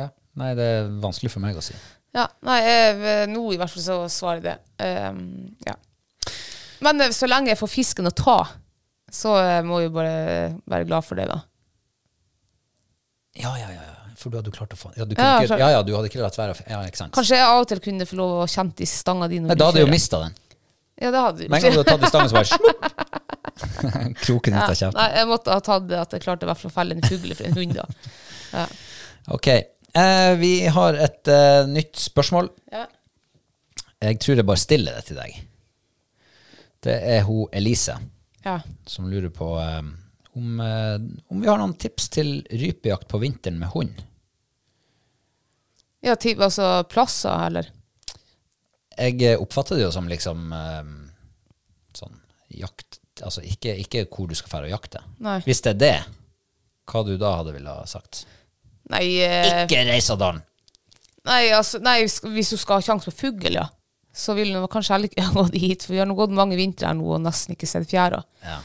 S1: ja. Nei, det er vanskelig for meg å si.
S2: Ja, nei, jeg, nå i hvert fall så svarer jeg det. Ehm, ja. Men eh, så lenge jeg får fisken å ta, så eh, må jeg jo bare være glad for det, da.
S1: Ja, ja, ja. ja. For du hadde jo klart å få Ja, du, kunne
S2: Ja,
S1: ikke,
S2: klart.
S1: ja, ja, du hadde ikke latt være å Ja, ikke sant.
S2: Kanskje jeg av og til kunne få lov å kjenne i stanga di når
S1: Nei, da hadde du jo
S2: kjører.
S1: mista den.
S2: Ja, det hadde
S1: Med en
S2: du
S1: gang du hadde tatt i stangen, så bare slupp! Kroken ut av
S2: Ja.
S1: kjeften.
S2: Nei, jeg måtte ha tatt det at jeg klarte i hvert fall å felle en fugle for en hund, da.
S1: Ok. Eh, vi har et eh, nytt spørsmål.
S2: Ja.
S1: Jeg tror jeg bare stiller det til deg. Det er hun Elise.
S2: Ja.
S1: som lurer på eh, om, eh, om vi har noen tips til rypejakt på vinteren med hund.
S2: ja typ, altså plasser, eller?
S1: Jeg eh, oppfatter det jo som liksom eh, sånn jakt Altså ikke, ikke hvor du skal fære og jakte.
S2: Nei.
S1: Hvis det er det, hva du da hadde ville ha sagt?
S2: Nei, eh,
S1: Ikke Reisadalen!
S2: Nei, altså, nei, sk- hvis hun skal ha sjanse på fugl, ja. Så vil hun kanskje heller ikke ha gått hit, for vi har nå gått mange vintre her nå og nesten ikke sett fjæra.
S1: Ja.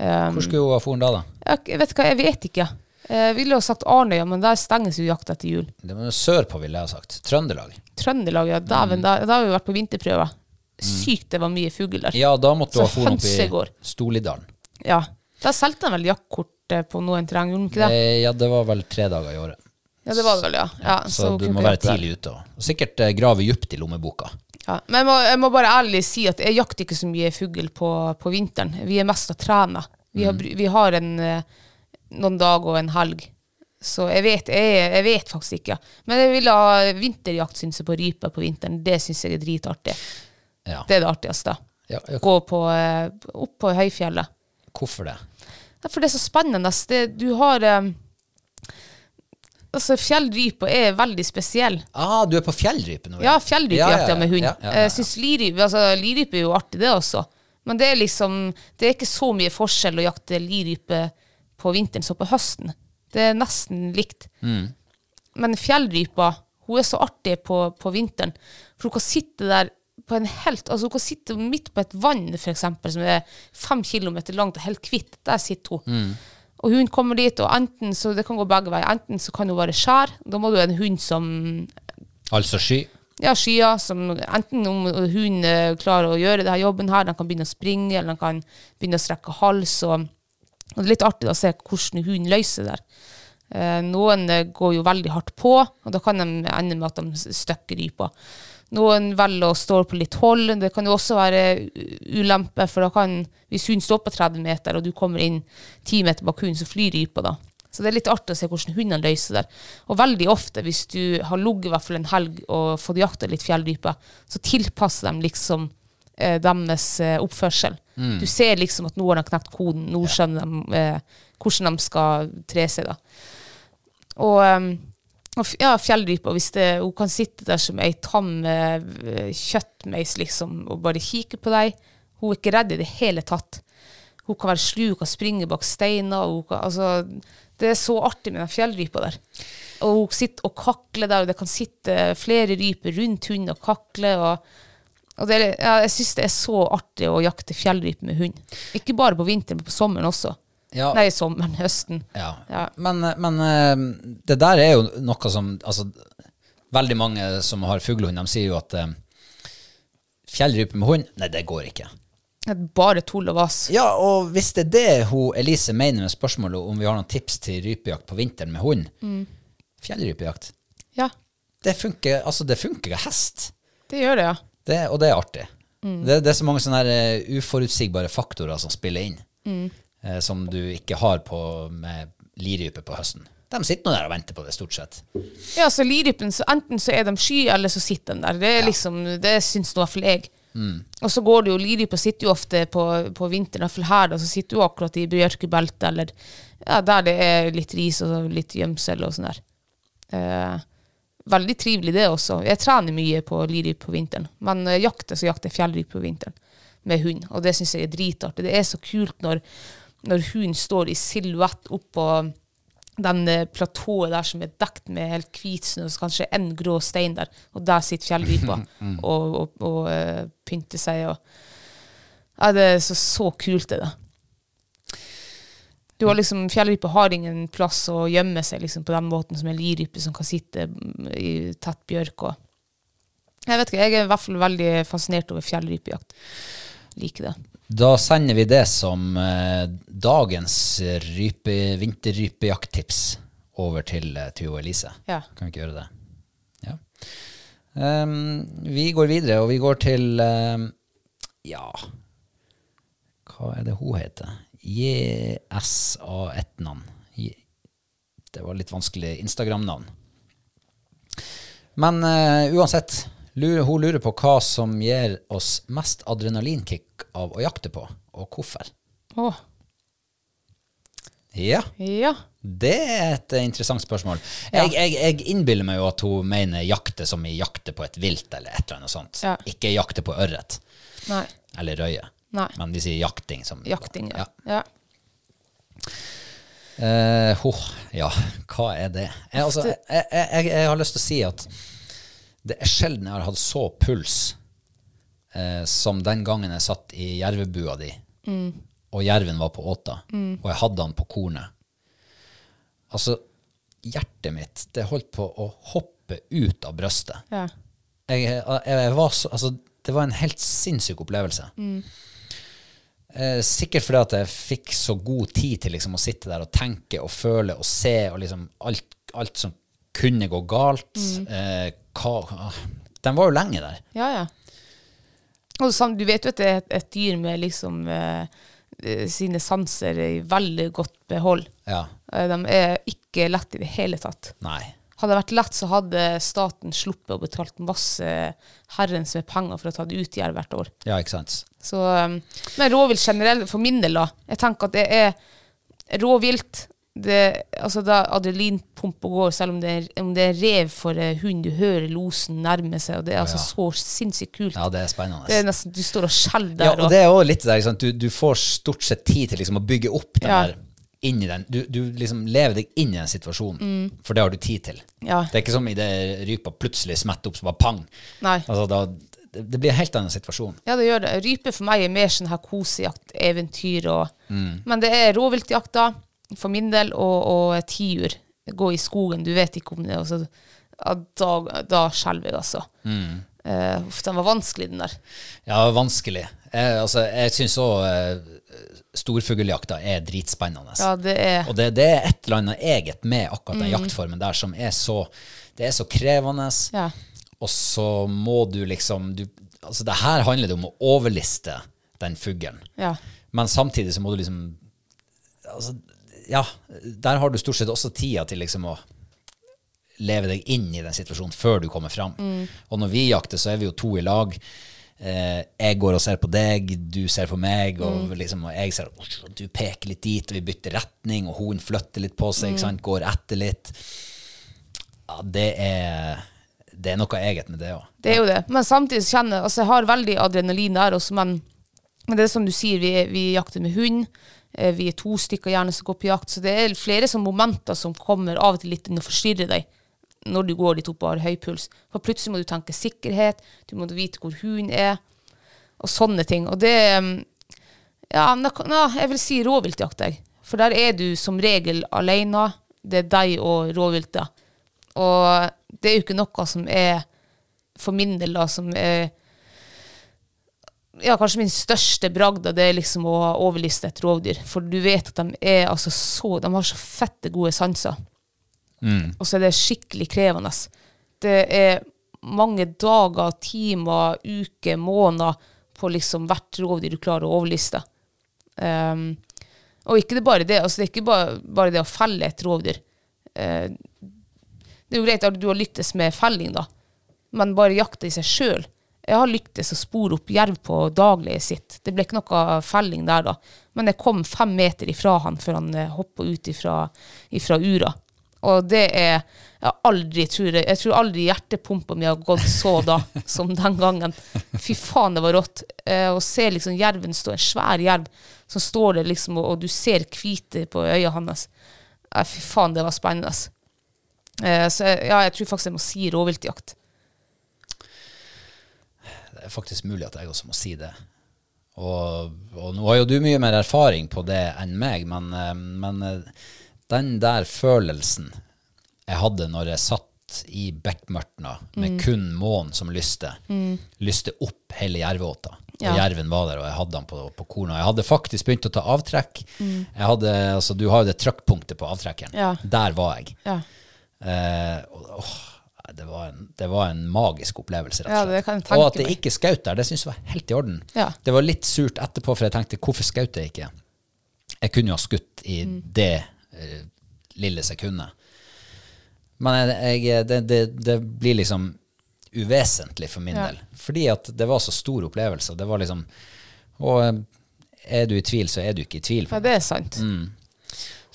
S2: Um,
S1: Hvor skulle hun ha foren da, da?
S2: jeg, jeg vet hva, jeg vet ikke. Eh, Jeg ville jo ha sagt Arnøya, men der stenges jo jakt etter jul.
S1: Det var Sørpå, ville jeg ha sagt. Trøndelag.
S2: Trøndelag, ja,
S1: Mm.
S2: dæven, da, da har vi vært på vinterprøve. Sykt det var mye fugl der.
S1: Ja, da måtte
S2: Så
S1: hun ha foren opp
S2: Hønsegård.
S1: i Stolidalen.
S2: Ja. Da solgte de vel jaktkort eh, på noen terreng, gjorde de ikke det?
S1: Eh, Ja, det var vel tre dager i året.
S2: Ja, det var det vel, ja. ja
S1: Så
S2: hun
S1: du
S2: kunne
S1: må
S2: ikke
S1: være
S2: jakte der.
S1: tidlig ute. og- Og sikkert eh, grave dypt i lommeboka.
S2: Ja. Men jeg må, jeg må bare ærlig si at jeg jakter ikke så mye fugl på, på vinteren. Vi er mest å trene. Vi
S1: Mm.
S2: har, br- vi har en, eh, noen dager og en helg. Så jeg vet, jeg, jeg vet faktisk ikke. Men jeg vil ha vinterjakt synes jeg, på rype på vinteren. Det syns jeg er dritartig.
S1: Ja.
S2: Det er det artigste.
S1: Ja, ja,
S2: Gå på, eh, opp på høyfjellet.
S1: Hvorfor det?
S2: Ja, for det er så spennende. Det, du har eh, Altså, fjellrypa er veldig spesiell.
S1: Ah, du er på fjellrype nå?
S2: Ja, fjellrypejakta med hund.
S1: ja, ja, ja.
S2: Jeg syns lirype altså, lirype er jo artig, det også. Men det er liksom Det er ikke så mye forskjell å jakte lirype på vinteren som på høsten. Det er nesten likt.
S1: Mm.
S2: Men fjellrypa, hun er så artig på, på vinteren. For hun kan sitte der på en helt Altså, hun kan sitte midt på et vann, for eksempel, som er fem kilometer langt og helt hvitt. Der sitter hun.
S1: Mm.
S2: Og hun kommer dit, og enten så Det kan gå begge veier. Enten så kan hun være skjær. Da må du ha en hund som
S1: Altså sky?
S2: ja, skyer som enten om hun eh, klarer å gjøre denne jobben her, den kan begynne å springe, eller den kan begynne å strekke hals. Og, og det er litt artig å se hvordan hun løser det der. Eh, noen eh, går jo veldig hardt på, og da kan de ende med at de s- støkker rypa. Noen velger å stå på litt hold. Det kan jo også være u- ulempe, for da kan, hvis hun står på 30 meter, og du kommer inn 10 meter bak hunden, så flyr rypa da. Så det er litt artig å se hvordan hundene løser det. Og veldig ofte, hvis du har ligget i hvert fall en helg og fått jakta litt fjellrype, så tilpasser de liksom eh, deres eh, oppførsel. Du ser liksom at nå har de knekt koden, nå skjønner de eh, hvordan de skal tre seg. da. Og, ehm, og f- ja, fjellrypa, hvis det, hun kan sitte der som ei tam eh, kjøttmeis liksom, og bare kikke på deg Hun er ikke redd i det hele tatt. Hun kan være slu, hun kan springe bak steiner. Hun kan, altså, det er så artig med den fjellrypa der. Og hun sitter og kakler der, og det kan sitte flere ryper rundt hunden og kakle. og og det er, ja, jeg syns det er så artig å jakte fjellrype med hund. Ikke bare på vinteren, men på sommeren også.
S1: Ja.
S2: Nei, sommeren, høsten.
S1: Ja.
S2: Ja.
S1: Men, men eh, det der er jo noe som altså, Veldig mange som har fuglehund, de sier jo at eh, fjellrype med hund, nei, det går ikke.
S2: Bare tull og vas.
S1: Ja, og hvis det er det hun Elise mener med spørsmålet om vi har noen tips til rypejakt på vinteren med hund Fjellrypejakt,
S2: Ja,
S1: det funker altså det funker med hest.
S2: det gjør det, ja.
S1: Det, og det er artig. Det, det er så mange sånne her, eh, uforutsigbare faktorer som spiller inn, eh, som du ikke har på, med lirype på høsten. De sitter nå der og venter på det, stort sett.
S2: Ja, så lirypen, så enten så er de sky, eller så sitter de der. Det, er liksom, det syns nå i hvert fall jeg. Og så går det jo, lirypa sitter jo ofte på, på vinteren, i hvert fall her, da, så sitter hun akkurat i bjørkebeltet, eller ja, der det er litt ris og litt gjemsel og sånn der. Eh, veldig trivelig det også. Jeg trener mye på lirype på vinteren, men når jeg jakter, så jakter jeg fjellrype på vinteren med hund, og det syns jeg er dritartig. Det er så kult når, når hunden står i silhuett oppå den eh, platået der som er dekt med helt hvit snø, og så kanskje en grå stein der, og der sitter fjellrypa og, og, og eh, pynter seg. Og, ja, det er så, så kult, det. da. Du har liksom, Fjellrype har ingen plass å gjemme seg liksom, på den måten som en lirype som kan sitte mm, i tett bjørk. Og. Jeg vet ikke, jeg er i hvert fall veldig fascinert over fjellrypejakt. Liker det.
S1: Da sender vi det som eh, dagens rype, vinterrypejakttips over til eh, Tuo Elise.
S2: Ja.
S1: Kan vi ikke gjøre det? Ja. Ehm, vi går videre, og vi går til ehm, Ja, hva er det hun heter? JSA1-navn. Det var litt vanskelig Instagram-navn. Men eh, uansett, lu- hun lurer på hva som gir oss mest adrenalinkick av å jakte på, og hvorfor.
S2: Å,
S1: Ja,
S2: ja.
S1: det er et eh, interessant spørsmål. Jeg, jeg, jeg innbiller meg jo at hun mener jakte som i jakte på et vilt, eller et eller annet sånt.
S2: Ja.
S1: Ikke jakte på ørret,
S2: Nei.
S1: eller røye.
S2: Nei.
S1: Men vi sier jakting som
S2: Jakting, ja.
S1: Ja.
S2: ja.
S1: Eh, ho, ja, hva er det? Jeg, altså, jeg, jeg, jeg, jeg har lyst til å si at det er sjelden jeg har hatt så puls eh, som den gangen jeg satt i jervebua di, og jerven var på åta, og jeg hadde han på kornet. Altså, hjertet mitt, det holdt på å hoppe ut av brøstet.
S2: ja.
S1: Jeg, jeg, jeg var så, altså, det var en helt sinnssyk opplevelse. Eh, sikkert fordi at jeg fikk så god tid til liksom, å sitte der og tenke og føle og se og liksom alt, alt som kunne gå galt. Eh, hva, den var jo lenge der.
S2: Ja, ja. Og sam, du vet jo at det er et, et dyr med liksom eh, eh, sine sanser i veldig godt behold.
S1: Ja,
S2: Eh, De er ikke lett i det hele tatt.
S1: nei.
S2: Hadde det vært lett, så hadde staten sluppet å betalt masse herrens med penger for å ta det ut jerv hvert år.
S1: Ja, ikke sant?
S2: Så, um, men rovvilt generelt, for min del, da. Jeg tenker at det er rovvilt. Det, altså da adrenalinpumpa går, selv om det er, om det er rev for eh, hund, du hører losen nærme seg, og det er altså så sinnssykt kult.
S1: Ja, det er spennende.
S2: Det er nesten, du står og skjelver der.
S1: ja, og det er også litt det der, ikke sant? Du, du får stort sett tid til liksom, å bygge opp den
S2: Ja.
S1: der inn i den. Du, du liksom lever deg inn i den situasjonen, for det har du tid til.
S2: Mm. Ja.
S1: Det er ikke som i det rypa plutselig smetter opp, så bare pang.
S2: Nei.
S1: Altså, da, det, det blir en helt annen situasjon.
S2: Ja, det gjør det. Rype for meg er mer sånn her kosejakt, eventyr og
S1: Mm.
S2: Men det er rovviltjakt, da, for min del, og, og tiur. Gå i skogen, du vet ikke om det. Og så, ja, da da skjelver jeg, altså.
S1: Mm.
S2: Eh, uff, den var vanskelig, den der.
S1: Ja, vanskelig. Jeg, altså, jeg syns òg eh, storfugljakta er dritspennende.
S2: Ja, det er Mm.
S1: Og det, det er et eller annet eget med akkurat den jaktformen der som er så, det er så krevende.
S2: Ja.
S1: Og så må du liksom du, Altså, det her handler det om å overliste den fuglen.
S2: Ja.
S1: Men samtidig så må du liksom Altså, ja. Der har du stort sett også tida til liksom å leve deg inn i den situasjonen før du kommer fram. Og når vi jakter, så er vi jo to i lag. eh, jeg går og ser på deg, du ser på meg, og, liksom, og jeg ser «Åh, Du peker litt dit, og vi bytter retning, og hun flytter litt på seg, ikke sant? går etter litt. Ja, det er, det er noe eget med det òg.
S2: Det er jo det. Men samtidig så kjenner jeg altså Jeg har veldig adrenalin der også, men, men det er som du sier, vi, vi jakter med hund. eh, Vi er to stykker gjerne som går på jakt, så det er flere sånne momenter som kommer av og til litt inn og forstyrrer deg når du går dit opp og har høy puls. For plutselig må du tenke sikkerhet, du må vite hvor hunden er, og sånne ting. Og det eh, Ja, nå, nå, jeg vil si rovviltjakt, jeg. For der er du som regel alene. Det er deg og rovviltet. Og det er jo ikke noe som er for min del, da, som er ja, kanskje min største bragd, da, det er liksom å ha overliste et rovdyr. For du vet at de er altså så De har så fette gode sanser. Og så er det skikkelig krevende. Det er mange dager, timer, uker, måneder på liksom hvert rovdyr du klarer å overliste. Um, og ikke det bare det. Altså, det er ikke bare, bare det å felle et rovdyr. Eh, det er jo greit at du har lyktes med felling, da, men bare jakta i seg sjøl. Jeg har lyktes å spore opp jerv på daglige sitt. Det ble ikke noe felling der, da. Men jeg kom fem meter ifra han før han eh, hoppa ut ifra, ifra ura. Og det er Jeg har aldri tror jeg, jeg tror aldri hjertepumpa mi har gått så da som den gangen. Fy faen, det var rått. Eh, å se liksom jerven stå, en svær jerv som står der, liksom, og, og du ser hvite på øya hans. Eh, fy faen, det var spennende. ass. Eh, så jeg, ja, jeg tror faktisk jeg må si rovviltjakt.
S1: Det er faktisk mulig at jeg også må si det. Og, og nå har jo du mye mer erfaring på det enn meg, men, eh, men eh, den der følelsen jeg hadde når jeg satt i Bekkmørtna med
S2: Mm.
S1: kun månen som lyste, lyste opp hele jervåta.
S2: Ja.
S1: Og jerven var der, og jeg hadde han på, på kornet. Jeg hadde faktisk begynt å ta avtrekk. Jeg hadde, altså, du har jo det trykkpunktet på avtrekkeren.
S2: Mm. Ja.
S1: Der var jeg.
S2: Ja,
S1: Eh, og, åh, det, var en, det var en magisk opplevelse, rett
S2: Ja,
S1: og
S2: det kan
S1: slett.
S2: jeg tenke
S1: og at det
S2: meg.
S1: ikke skjøt der, det syns jeg var helt i orden.
S2: Ja.
S1: Det var litt surt etterpå, for jeg tenkte hvorfor skjøt jeg ikke? Jeg kunne jo ha skutt i
S2: Mm.
S1: det eh, lille sekundet. Men jeg, jeg, det, det, det blir liksom uvesentlig for min
S2: Ja.
S1: del. Fordi at det var så stor opplevelse. og Det var liksom Og eh, er du i tvil, så er du ikke i tvil. på
S2: ja det er sant.
S1: Mm.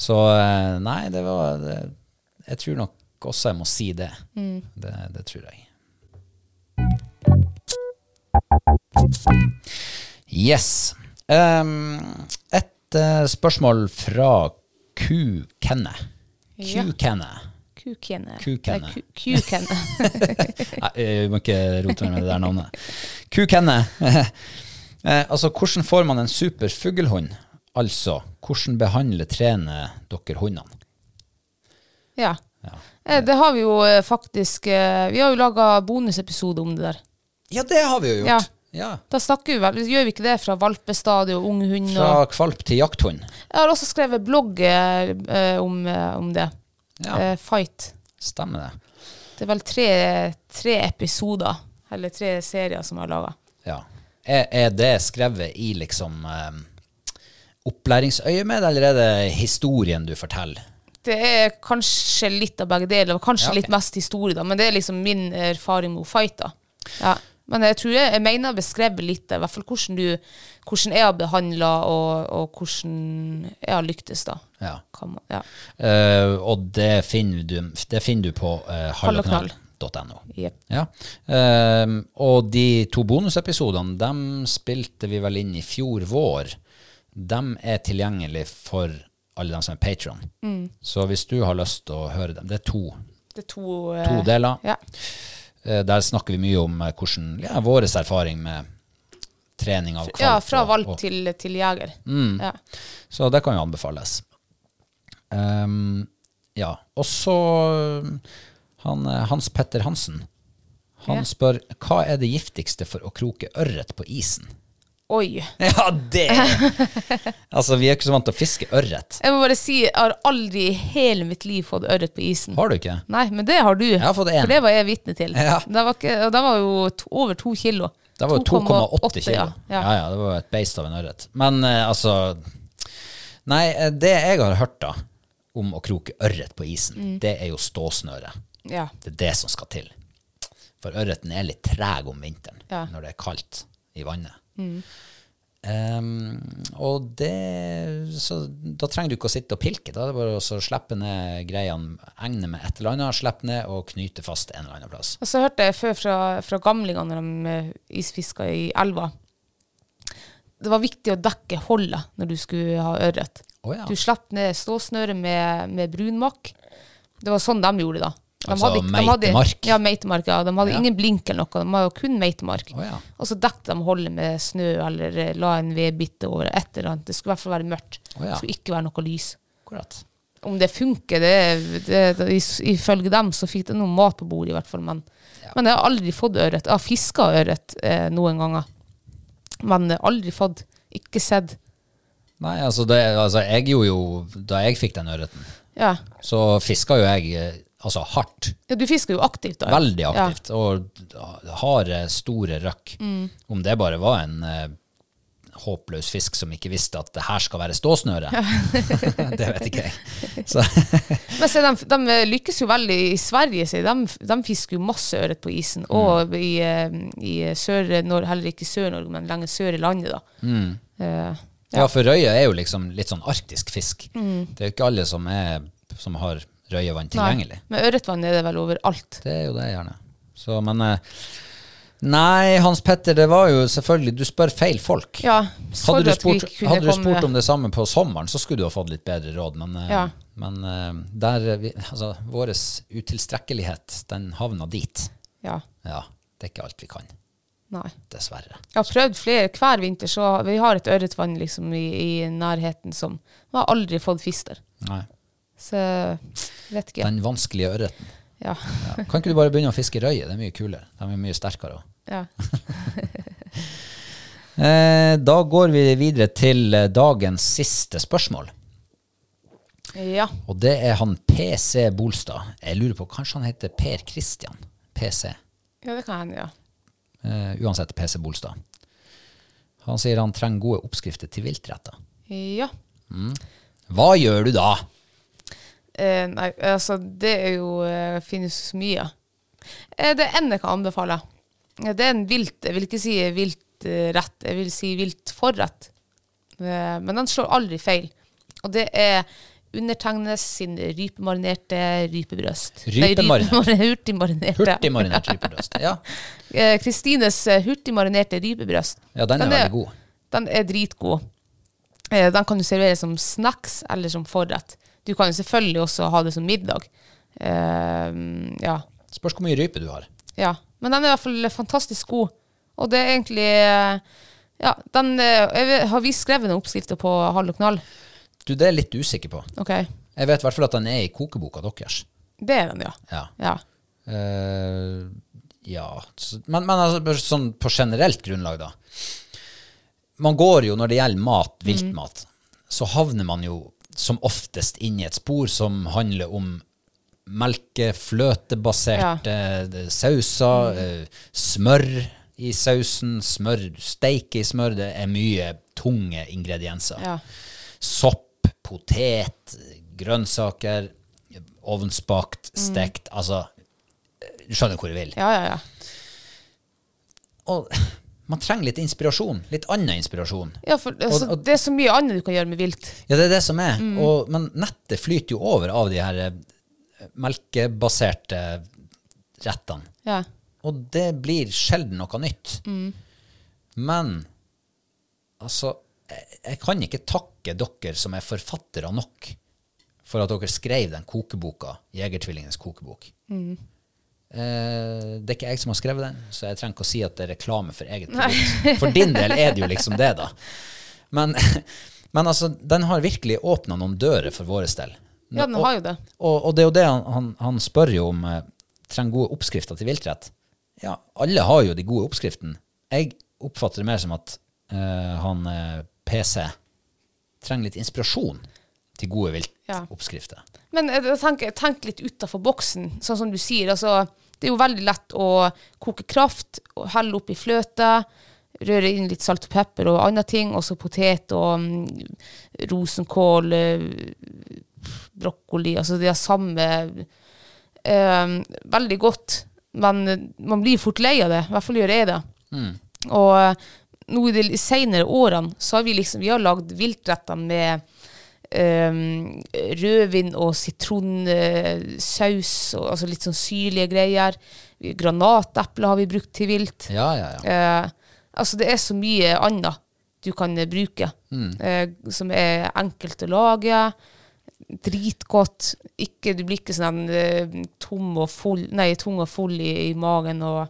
S1: så eh, nei, det var det, Jeg tror nok også jeg må si det. Det, det tror jeg. Yes. Em, et eh, spørsmål fra Q. Kenne. Q.
S2: Ja.
S1: Kenne.
S2: Kukene.
S1: Kukene.
S2: Nei, ku- Kukene.
S1: Nei, jeg må ikke rote meg med det der navnet. Q. Kenne. Eh, altså, hvordan får man en super fuglehund? Altså, hvordan behandler, trener dere hundene?
S2: ja.
S1: Ja.
S2: Eh, Det har vi jo eh, faktisk eh, Vi har jo laga bonusepisode om det der.
S1: Ja, det har vi jo gjort. Ja.
S2: Ja. Da snakker vi vel, gjør vi ikke det fra valpestadiet og ung hund? Og,
S1: Fra kvalp til jakthund.
S2: jeg har også skrevet blogg eh, eh, om, eh, om det.
S1: Ja.
S2: Eh, fight.
S1: Stemmer det.
S2: Det er vel tre, tre episoder, eller tre serier, som jeg har laga.
S1: Ja. Er, er det skrevet i liksom eh, opplæringsøyemed, eller er det historien du forteller?
S2: Det er kanskje litt av begge deler, og kanskje
S1: Ja, ok.
S2: litt mest historie, da. Men det er liksom min erfaring med å fighte. Ja. Men jeg tror jeg, jeg mener jeg beskrevet litt, i hvert fall hvordan, du, hvordan jeg har behandla, og, og hvordan jeg har lyktes, da.
S1: Ja.
S2: Kan man, ja.
S1: Eh, og det finner du, det finner du på uh, halloknall.no.
S2: Jep.
S1: Ja. Eh, og de to bonusepisodene, dem spilte vi vel inn i fjor vår. Dem er tilgjengelig for alle dem som er patron.
S2: Mm.
S1: Så hvis du har lyst til å høre dem Det er to,
S2: Det er to, eh,
S1: to deler.
S2: Ja.
S1: Eh, Der snakker vi mye om eh, hvordan ja, vår erfaring med trening av kvalp.
S2: ja, fra
S1: og-
S2: valp
S1: og- Mm.
S2: til, til jeger. Ja.
S1: Så det kan jo anbefales. Ehm, ja. Og så eh, han, eh, Hans Petter Hansen. Han
S2: Ja.
S1: spør hva er det giftigste for å kroke ørret på isen?
S2: Oi.
S1: Ja, det Altså, vi er ikke så vant til å fiske ørret.
S2: Jeg må bare si, jeg har aldri i hele mitt liv fått ørret på isen.
S1: Har du ikke?
S2: Nei, men det har du.
S1: Jeg har fått en.
S2: For det var jeg vitne til.
S1: Ja.
S2: Det var, ikke, og det var jo to, over to kilo.
S1: Det var jo 2,8
S2: 2,8,
S1: kilo. Ja.
S2: Ja.
S1: Ja. det var jo et beist av en ørret. Men eh, altså Nei, eh, det jeg har hørt da om å kroke ørret på isen,
S2: Mm.
S1: det er jo ståsnøre.
S2: Ja.
S1: Det er det som skal til. For ørreten er litt treg om vinteren
S2: Ja. Mm.
S1: når det er kaldt. i vannet. Ehm, og det Så da trenger du ikke å sitte og pilke. Da er det bare å så slippe ned greiene, egne med et eller annet, slippe ned og knyte fast en eller annen plass.
S2: Og så hørte jeg før fra, fra gamlingene når de eh, isfiska i elva. Det var viktig å dekke holdet når du skulle ha ørret.
S1: Å ja.
S2: Du slapp ned ståsnøret med, med brunmakk. Det var sånn de gjorde det da. De
S1: Altså
S2: hadde ikke- de hadde-
S1: meitemark?
S2: Ja, meitemark. Ja. De hadde
S1: Ja.
S2: ingen blink eller noe. De hadde kun meitemark.
S1: Å ja.
S2: Og så dekket de holdet med snø eller eh, la en vedbitte over et eller annet. Det skulle i hvert fall være mørkt.
S1: Å ja.
S2: Det skulle ikke være noe lys.
S1: Akkurat.
S2: Om det funker, det, det, det is- Ifølge dem så fikk de noe mat på bordet, i hvert fall. Men, men jeg har aldri fått ørret. Jeg har fiska ørret eh, noen ganger, men eh, aldri fått. Ikke sett.
S1: Nei, altså, det, altså jeg gjorde jo Da jeg fikk den ørreten,
S2: Ja.
S1: så fiska jo jeg eh, altså hardt.
S2: ja, du fisker jo aktivt, da.
S1: Veldig
S2: Ja.
S1: aktivt. Og harde, store røkk.
S2: Mm.
S1: Om det bare var en eh, håpløs fisk som ikke visste at det her skal være ståsnøre, det vet ikke jeg. Så,
S2: Men se, de, de lykkes jo veldig i Sverige. sier De, de fisker jo masse ørret på isen.
S1: Mm.
S2: Og i, eh, i Sør-Norge, heller ikke i Sør-Norge, men lenger sør i landet, da. Eh,
S1: Mm. ja, for røye er jo liksom litt sånn arktisk fisk. Det er jo ikke alle som, er, som har røyevann tilgjengelig.
S2: Mm. Nei, Men ørretvann er det vel overalt.
S1: Det er jo det, gjerne. Så, men eh, Nei, Hans Petter, det var jo selvfølgelig Du spør feil folk.
S2: Ja,
S1: Hadde
S2: sorry
S1: du,
S2: at vi
S1: spurt,
S2: kunne
S1: hadde du
S2: komme-
S1: spurt om det samme på sommeren, så skulle du ha fått litt bedre råd, men, eh,
S2: Ja.
S1: men eh, der eh, vi, altså, vår utilstrekkelighet, den havna dit.
S2: Ja,
S1: Ja, det er ikke alt vi kan,
S2: nei.
S1: dessverre.
S2: Jeg har prøvd flere hver vinter, så vi har et ørretvann liksom i, i nærheten som Vi har aldri fått fisk der.
S1: Nei.
S2: Så jeg vet ikke.
S1: Den vanskelige ørreten.
S2: Ja.
S1: Ja. Kan ikke du bare begynne å fiske røye? Det er mye kulere. De er mye sterkere òg.
S2: ja.
S1: Eh, da går vi videre til eh, dagens siste spørsmål.
S2: ja.
S1: Og det er han PC Bolstad. Jeg lurer på, kanskje han heter Per Christian? PC.
S2: Ja, det kan hende, ja.
S1: Eh, uansett PC Bolstad. Han sier han trenger gode oppskrifter til viltretter.
S2: Ja.
S1: Hva gjør du da?
S2: Eh, nei, altså, det er jo eh, finnes så mye. Eh, det ene jeg kan anbefale. Eh, Det er en vilt Jeg vil ikke si viltrett, jeg vil si viltforrett. Eh, men den slår aldri feil. Og det er undertegnes sin rypemarinerte rypebrøst. Nei,
S1: Rypemarinert.
S2: rypemarinerte- Hurtigmarinerte.
S1: Hurtigmarinert rypebrøst. Ja.
S2: Eh, Kristines eh, hurtigmarinerte rypebrøst.
S1: ja, den er veldig god.
S2: Den er dritgod. Eh, Den kan du servere som snacks eller som forrett. Du kan jo selvfølgelig også ha det som middag. Eh, ja.
S1: Spørs hvor mye rype du har.
S2: ja. Men den er i hvert fall fantastisk god. Og det er egentlig eh, Ja, den eh, jeg vet- Har vi skrevet noen oppskrifter på halv og knall?
S1: Du, det er jeg litt usikker på.
S2: Ok.
S1: Jeg vet i hvert fall at den er i kokeboka deres.
S2: Det er den, ja.
S1: Ja.
S2: Ja.
S1: Eh, ja. så- Men, men altså, bare sånn på generelt grunnlag, da. Man går jo, når det gjelder mat, viltmat, så havner man jo som oftest inn i et spor som handler om melke, fløtebaserte eh, sauser, eh, smør i sausen, smør, steik i smør. Det er mye tunge ingredienser
S2: ja.
S1: sopp, potet, grønnsaker, ovnsbakt, stekt, altså Du skjønner hvor jeg vil.
S2: Ja, ja, ja.
S1: Og man trenger litt inspirasjon. Litt annen inspirasjon.
S2: ja for, altså,
S1: og-
S2: det er så mye annet du kan gjøre med vilt.
S1: Ja, det er det som er. Og, men nettet flyter jo over av de her eh, melkebaserte rettene.
S2: Ja.
S1: Og det blir sjelden noe nytt. Men altså jeg, jeg kan ikke takke dere som er forfattere nok for at dere skrev den kokeboka, Jegertvillingenes kokebok. Eh, det er ikke jeg som har skrevet den, så jeg trenger ikke å si at det er reklame for eget produkt. For din del er det jo liksom det, da. Men, men altså, den har virkelig åpna noen dører for vår del.
S2: ja, den
S1: Og-
S2: har jo det.
S1: og, og det er jo det han, han, han spør jo om eh, trenger gode oppskrifter til viltrett. Ja, alle har jo de gode oppskriftene. Jeg oppfatter det mer som at eh, han eh, PC trenger litt inspirasjon til gode
S2: Ja.
S1: viltoppskrifter.
S2: Men eh, jeg tenker, tenk litt utafor boksen, sånn som du sier. Altså, det er jo veldig lett å koke kraft, og helle oppi fløte, røre inn litt salt og pepper og andre ting, og så potet og mm, rosenkål, eh, brokkoli, altså det er samme eh, Veldig godt, men eh, man blir fort lei av det. I hvert fall gjør jeg det. Og eh, nå i de senere årene så har vi liksom vi har lagd viltretter med um, rødvin og sitronsaus, og, altså litt sånn syrlige greier. Vi- Granatepler har vi brukt til vilt.
S1: Ja, ja, ja.
S2: Eh, altså det er så mye annet du kan eh, bruke, eh, som er enkelt å lage, dritgodt. Ikke, du blir ikke sånn eh, tom og full, nei, tung og full i, i magen. og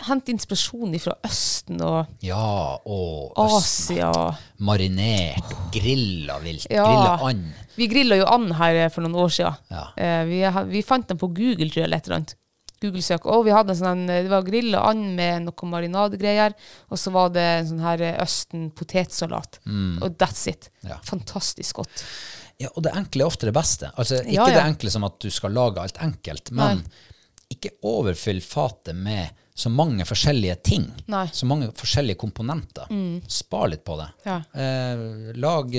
S2: Hent inspirasjon fra Østen og
S1: Ja, og øst,
S2: Asia.
S1: marinert, grilla vilt,
S2: Ja.
S1: grilla and.
S2: Vi grilla jo and her eh, for noen år siden.
S1: Ja.
S2: Eh, vi, ha- vi fant den på Google, tror jeg, eller et eller annet. Google-søk. Og vi hadde en sånn, eh, det var grilla and med noe marinadegreier, og så var det en sånn her eh, Østen potetsalat. Og that's it.
S1: Mm. Ja.
S2: Fantastisk godt.
S1: Ja, og det enkle er ofte det beste. Altså, ikke
S2: Ja, ja.
S1: det enkle som at du skal lage alt enkelt, men ikke overfyll fatet med så mange forskjellige ting.
S2: Nei. Mm.
S1: Så mange forskjellige komponenter. Spar litt på det.
S2: Ja.
S1: Eh, lag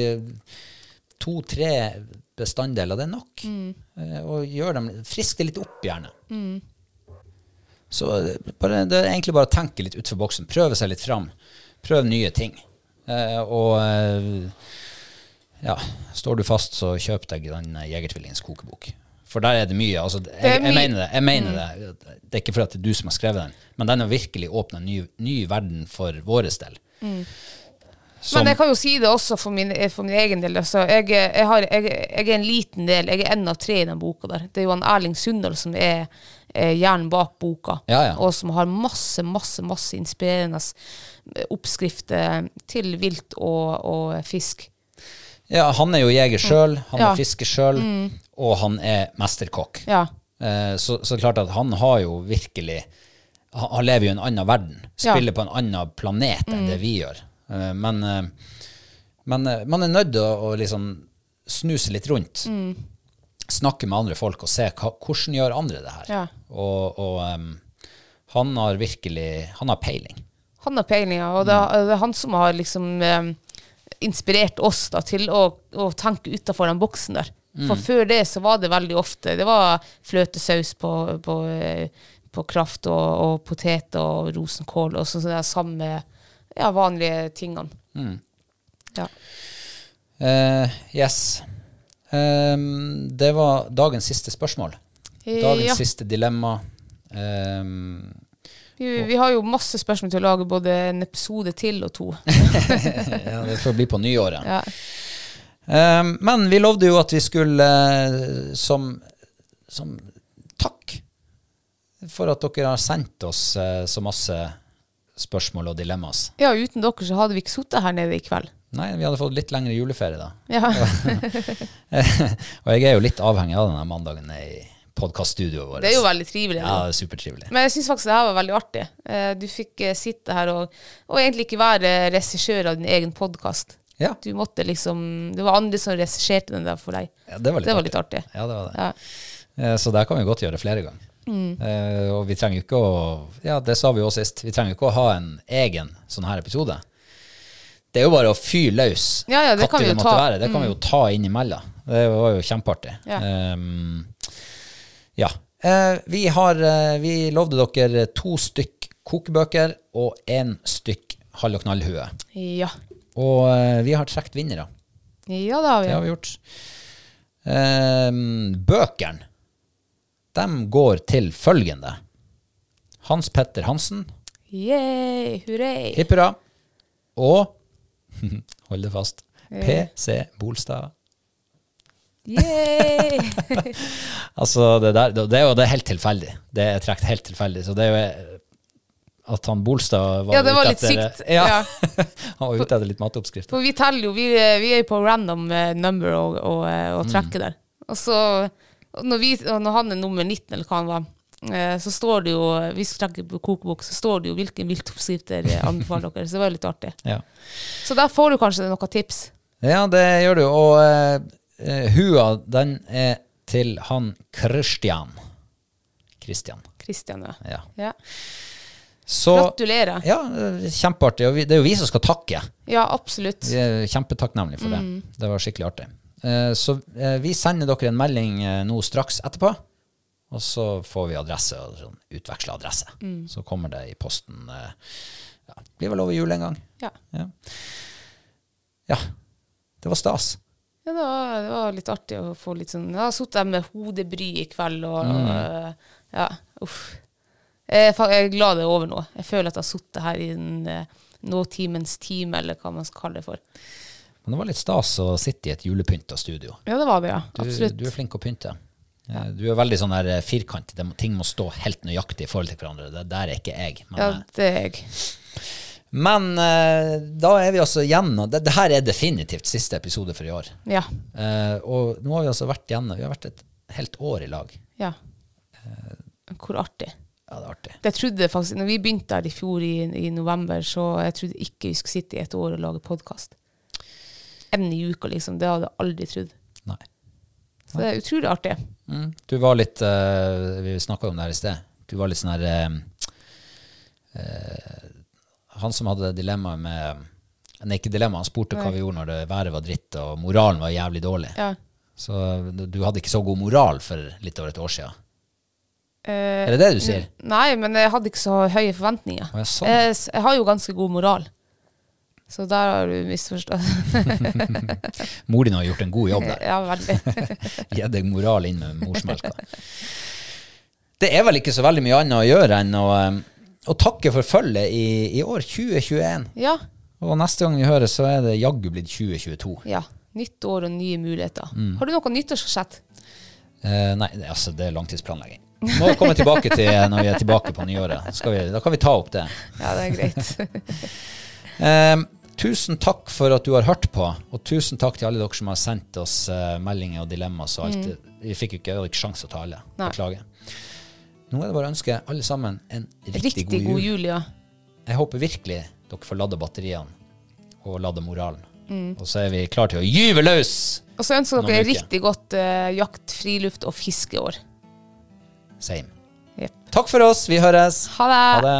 S1: to-tre bestanddeler, det er nok.
S2: Mm.
S1: Eh, og gjør dem, frisk det litt opp gjerne. Så eh, bare, det er egentlig bare å tenke litt utenfor boksen. Prøve seg litt fram. Prøv nye ting. Eh, og eh, ja, står du fast, så kjøp deg den eh, Jegertvillingens kokebok. For der er det mye. Altså, jeg, jeg
S2: er mye- Mm.
S1: mener det. jeg mener Det Det er ikke fordi at det er du som har skrevet den, men den har virkelig åpna en ny, ny verden for vår del. Som-
S2: Mm. Men jeg kan jo si det også for min, for min egen del. Altså, jeg, jeg, har, jeg, jeg er en liten del. Jeg er en av tre i den boka der. Det er jo han Erling Sundal som er eh, hjernen bak boka,
S1: Ja, ja.
S2: og som har masse, masse masse inspirerende eh, oppskrifter til vilt og, og fisk.
S1: Ja, han er jo jeger sjøl, han
S2: Ja. Mm.
S1: er fisker sjøl, og han er mesterkokk.
S2: Ja.
S1: Eh, Så, så klart at han har jo virkelig Han han lever jo i en annen verden.
S2: Ja. Mm.
S1: Spiller på en annen planet enn det vi gjør. Eh, Men, eh, men eh, man er nødt til å, å liksom snuse litt rundt.
S2: Mm.
S1: Snakke med andre folk og se hva, hvordan gjør andre det her.
S2: Ja.
S1: Og, og em, han har virkelig Han har peiling.
S2: Han har peilinga, og det, er- det er han som har liksom eh, inspirert oss da, til å, å tenke utafor den boksen der. For før det så var det veldig ofte Det var fløtesaus på, på, eh, på kraft og, og potet og rosenkål og sånn, sånne samme ja, vanlige tingene. Ja.
S1: Eh, yes. Ehm, det var dagens siste spørsmål. Dagens
S2: Ja.
S1: siste dilemma. Ehm,
S2: Vi, vi har jo masse spørsmål til å lage både en episode til og to.
S1: ja, det får bli på nyåret.
S2: Ja.
S1: Ehm, men vi lovde jo at vi skulle eh, som, som takk for at dere har sendt oss eh, så masse spørsmål og dilemmas.
S2: ja, uten dere så hadde vi ikke sittet her nede i kveld.
S1: Nei, vi hadde fått litt lengre juleferie da.
S2: Ja.
S1: og jeg er jo litt avhengig av denne mandagen i podkaststudioet vårt.
S2: Det er jo veldig trivelig.
S1: Ja, det er supertrivelig.
S2: Men jeg syns faktisk det her var veldig artig. Eh, Du fikk eh, sitte her og, og egentlig ikke være regissør av din egen podkast.
S1: Ja.
S2: Du måtte liksom Det var andre som regisserte den der for deg.
S1: Ja, det var litt,
S2: Det var litt artig.
S1: Ja, det var det.
S2: Ja.
S1: Eh, Så der kan vi godt gjøre flere ganger.
S2: Mm.
S1: Eh, og vi trenger jo ikke å Ja, det sa vi jo sist. Vi trenger jo ikke å ha en egen sånn her episode. Det er jo bare å fyre løs.
S2: Ja, ja, det kan vi jo
S1: måtte
S2: ta. Mm.
S1: Være. Det kan vi jo ta innimellom. Det var jo kjempeartig.
S2: Ja.
S1: Ehm, ja. Eh, vi har eh, Vi lovde dere to stykk kokebøker og én stykk hall- og knallhue.
S2: Ja.
S1: Og eh, vi har trukket vinnere.
S2: ja, det har vi.
S1: Det har vi gjort. Ehm, bøkene, de går til følgende. Hans Petter Hansen,
S2: Yay, hurra.
S1: hipp hurra, og hold det fast, PC Bolstad.
S2: Yay.
S1: Altså, det der, det er jo det er helt tilfeldig. Det er trukket helt tilfeldig, så det er jo eh, at han Bolstad var,
S2: Ja, det var
S1: ute
S2: litt
S1: etter,
S2: sykt.
S1: Ja,
S2: Ja.
S1: han var ute etter litt matoppskrifter.
S2: For vi teller jo, vi, eh, vi er jo på random eh, number og, og, eh,
S1: Mm.
S2: og trekker der. Og så, og når, vi, og når han er nummer 19, eller hva han var, eh, så står det jo, hvis vi trekker på kokebok, så står det jo hvilken viltoppskrift dere anbefaler dere. Så det var jo litt artig.
S1: Ja.
S2: Så der får du kanskje noen tips.
S1: Ja, det gjør du. Og eh, eh, hua, den er til han Kristian. Kristian,
S2: Kristian, ja.
S1: ja.
S2: ja.
S1: Så,
S2: Gratulerer.
S1: Ja, eh, kjempeartig. Og vi, det er jo vi som skal takke.
S2: Ja, absolutt.
S1: Vi er kjempetakknemlige for det. Det var skikkelig artig. Eh, så eh, vi sender dere en melding eh, nå straks etterpå. Og så får vi adresse og sånn utveksla adresse. Så kommer det i posten eh, ja, blir vel over jul en gang.
S2: Ja.
S1: Ja. ja. Det var stas.
S2: Ja, det var, det var litt artig å få litt sånn Jeg har sittet der med hodebry i kveld og
S1: Mm.
S2: øh, Ja, uff. Jeg er, fa- jeg er glad det er over nå. Jeg føler at jeg har sittet her i en eh, nåtimens time, eller hva man skal kalle det for.
S1: Men det var litt stas å sitte i et julepynta studio.
S2: Ja, det var det, ja.
S1: Du,
S2: Absolutt.
S1: du er flink å pynte. Eh, Du er veldig sånn der eh, firkantet. Det må- Ting må stå helt nøyaktig i forhold til hverandre. Det der er ikke jeg. Men,
S2: ja,
S1: eh,
S2: det er jeg.
S1: men eh, da er vi altså gjennom det, det her er definitivt siste episode for i år.
S2: Ja.
S1: Eh, og nå har vi altså vært gjennom Vi har vært et helt år i lag.
S2: ja.
S1: Eh.
S2: Hvor artig.
S1: Ja, det er artig.
S2: Det trodde jeg faktisk, når vi begynte her i fjor i, i november, så jeg trodde ikke vi skulle sitte i et år og lage podkast. Én i uka, liksom. Det hadde jeg aldri trodd.
S1: Nei.
S2: Så det er utrolig artig.
S1: Mm. Du var litt eh, Vi snakka om det her i sted. Du var litt sånn her eh, eh, Han som hadde dilemmaet med Nei, ikke dilemma. Han spurte hva vi gjorde når det været var dritt og moralen var jævlig dårlig.
S2: Ja.
S1: Så du- du hadde ikke så god moral for litt over et år siden.
S2: Eh,
S1: Er det det du sier?
S2: Nei, men jeg hadde ikke så høye forventninger.
S1: Å, ja, sånn.
S2: jeg, s- jeg har jo ganske god moral, så der har du misforstått.
S1: Mor din har gjort en god jobb der.
S2: ja, veldig.
S1: Gi deg moral inn med morsmelka. Det er vel ikke så veldig mye annet å gjøre enn å, eh, å takke for følget i, i år 2021.
S2: Ja,
S1: Og neste gang vi høres, så er det jaggu blitt 2022.
S2: ja. Nytt år og nye muligheter. Har du noe nyttårsforsett?
S1: Eh, nei, det, altså, det er langtidsplanlegging. Vi må komme tilbake til eh, når vi er tilbake på nyåret. Skal vi, da kan vi ta opp det.
S2: Ja, det er greit.
S1: Eh, tusen takk for at du har hørt på, og tusen takk til alle dere som har sendt oss eh, meldinger og dilemmaer. og alt. Vi fikk jo ikke, jeg hadde ikke sjanse å ta alle.
S2: Mm. Nei.
S1: Beklager. Nå er det bare å ønske alle sammen en riktig,
S2: Riktig god jul, ja.
S1: Jeg håper virkelig dere får lada batteriene og lada moralen.
S2: Mm.
S1: Og så er vi klare til å gyve løs!
S2: Og så ønsker
S1: Noen
S2: dere
S1: uker.
S2: riktig godt eh, jakt, friluft og fiskeår.
S1: Same.
S2: Jep.
S1: Takk for oss. Vi høres.
S2: Ha det!
S1: Ha det.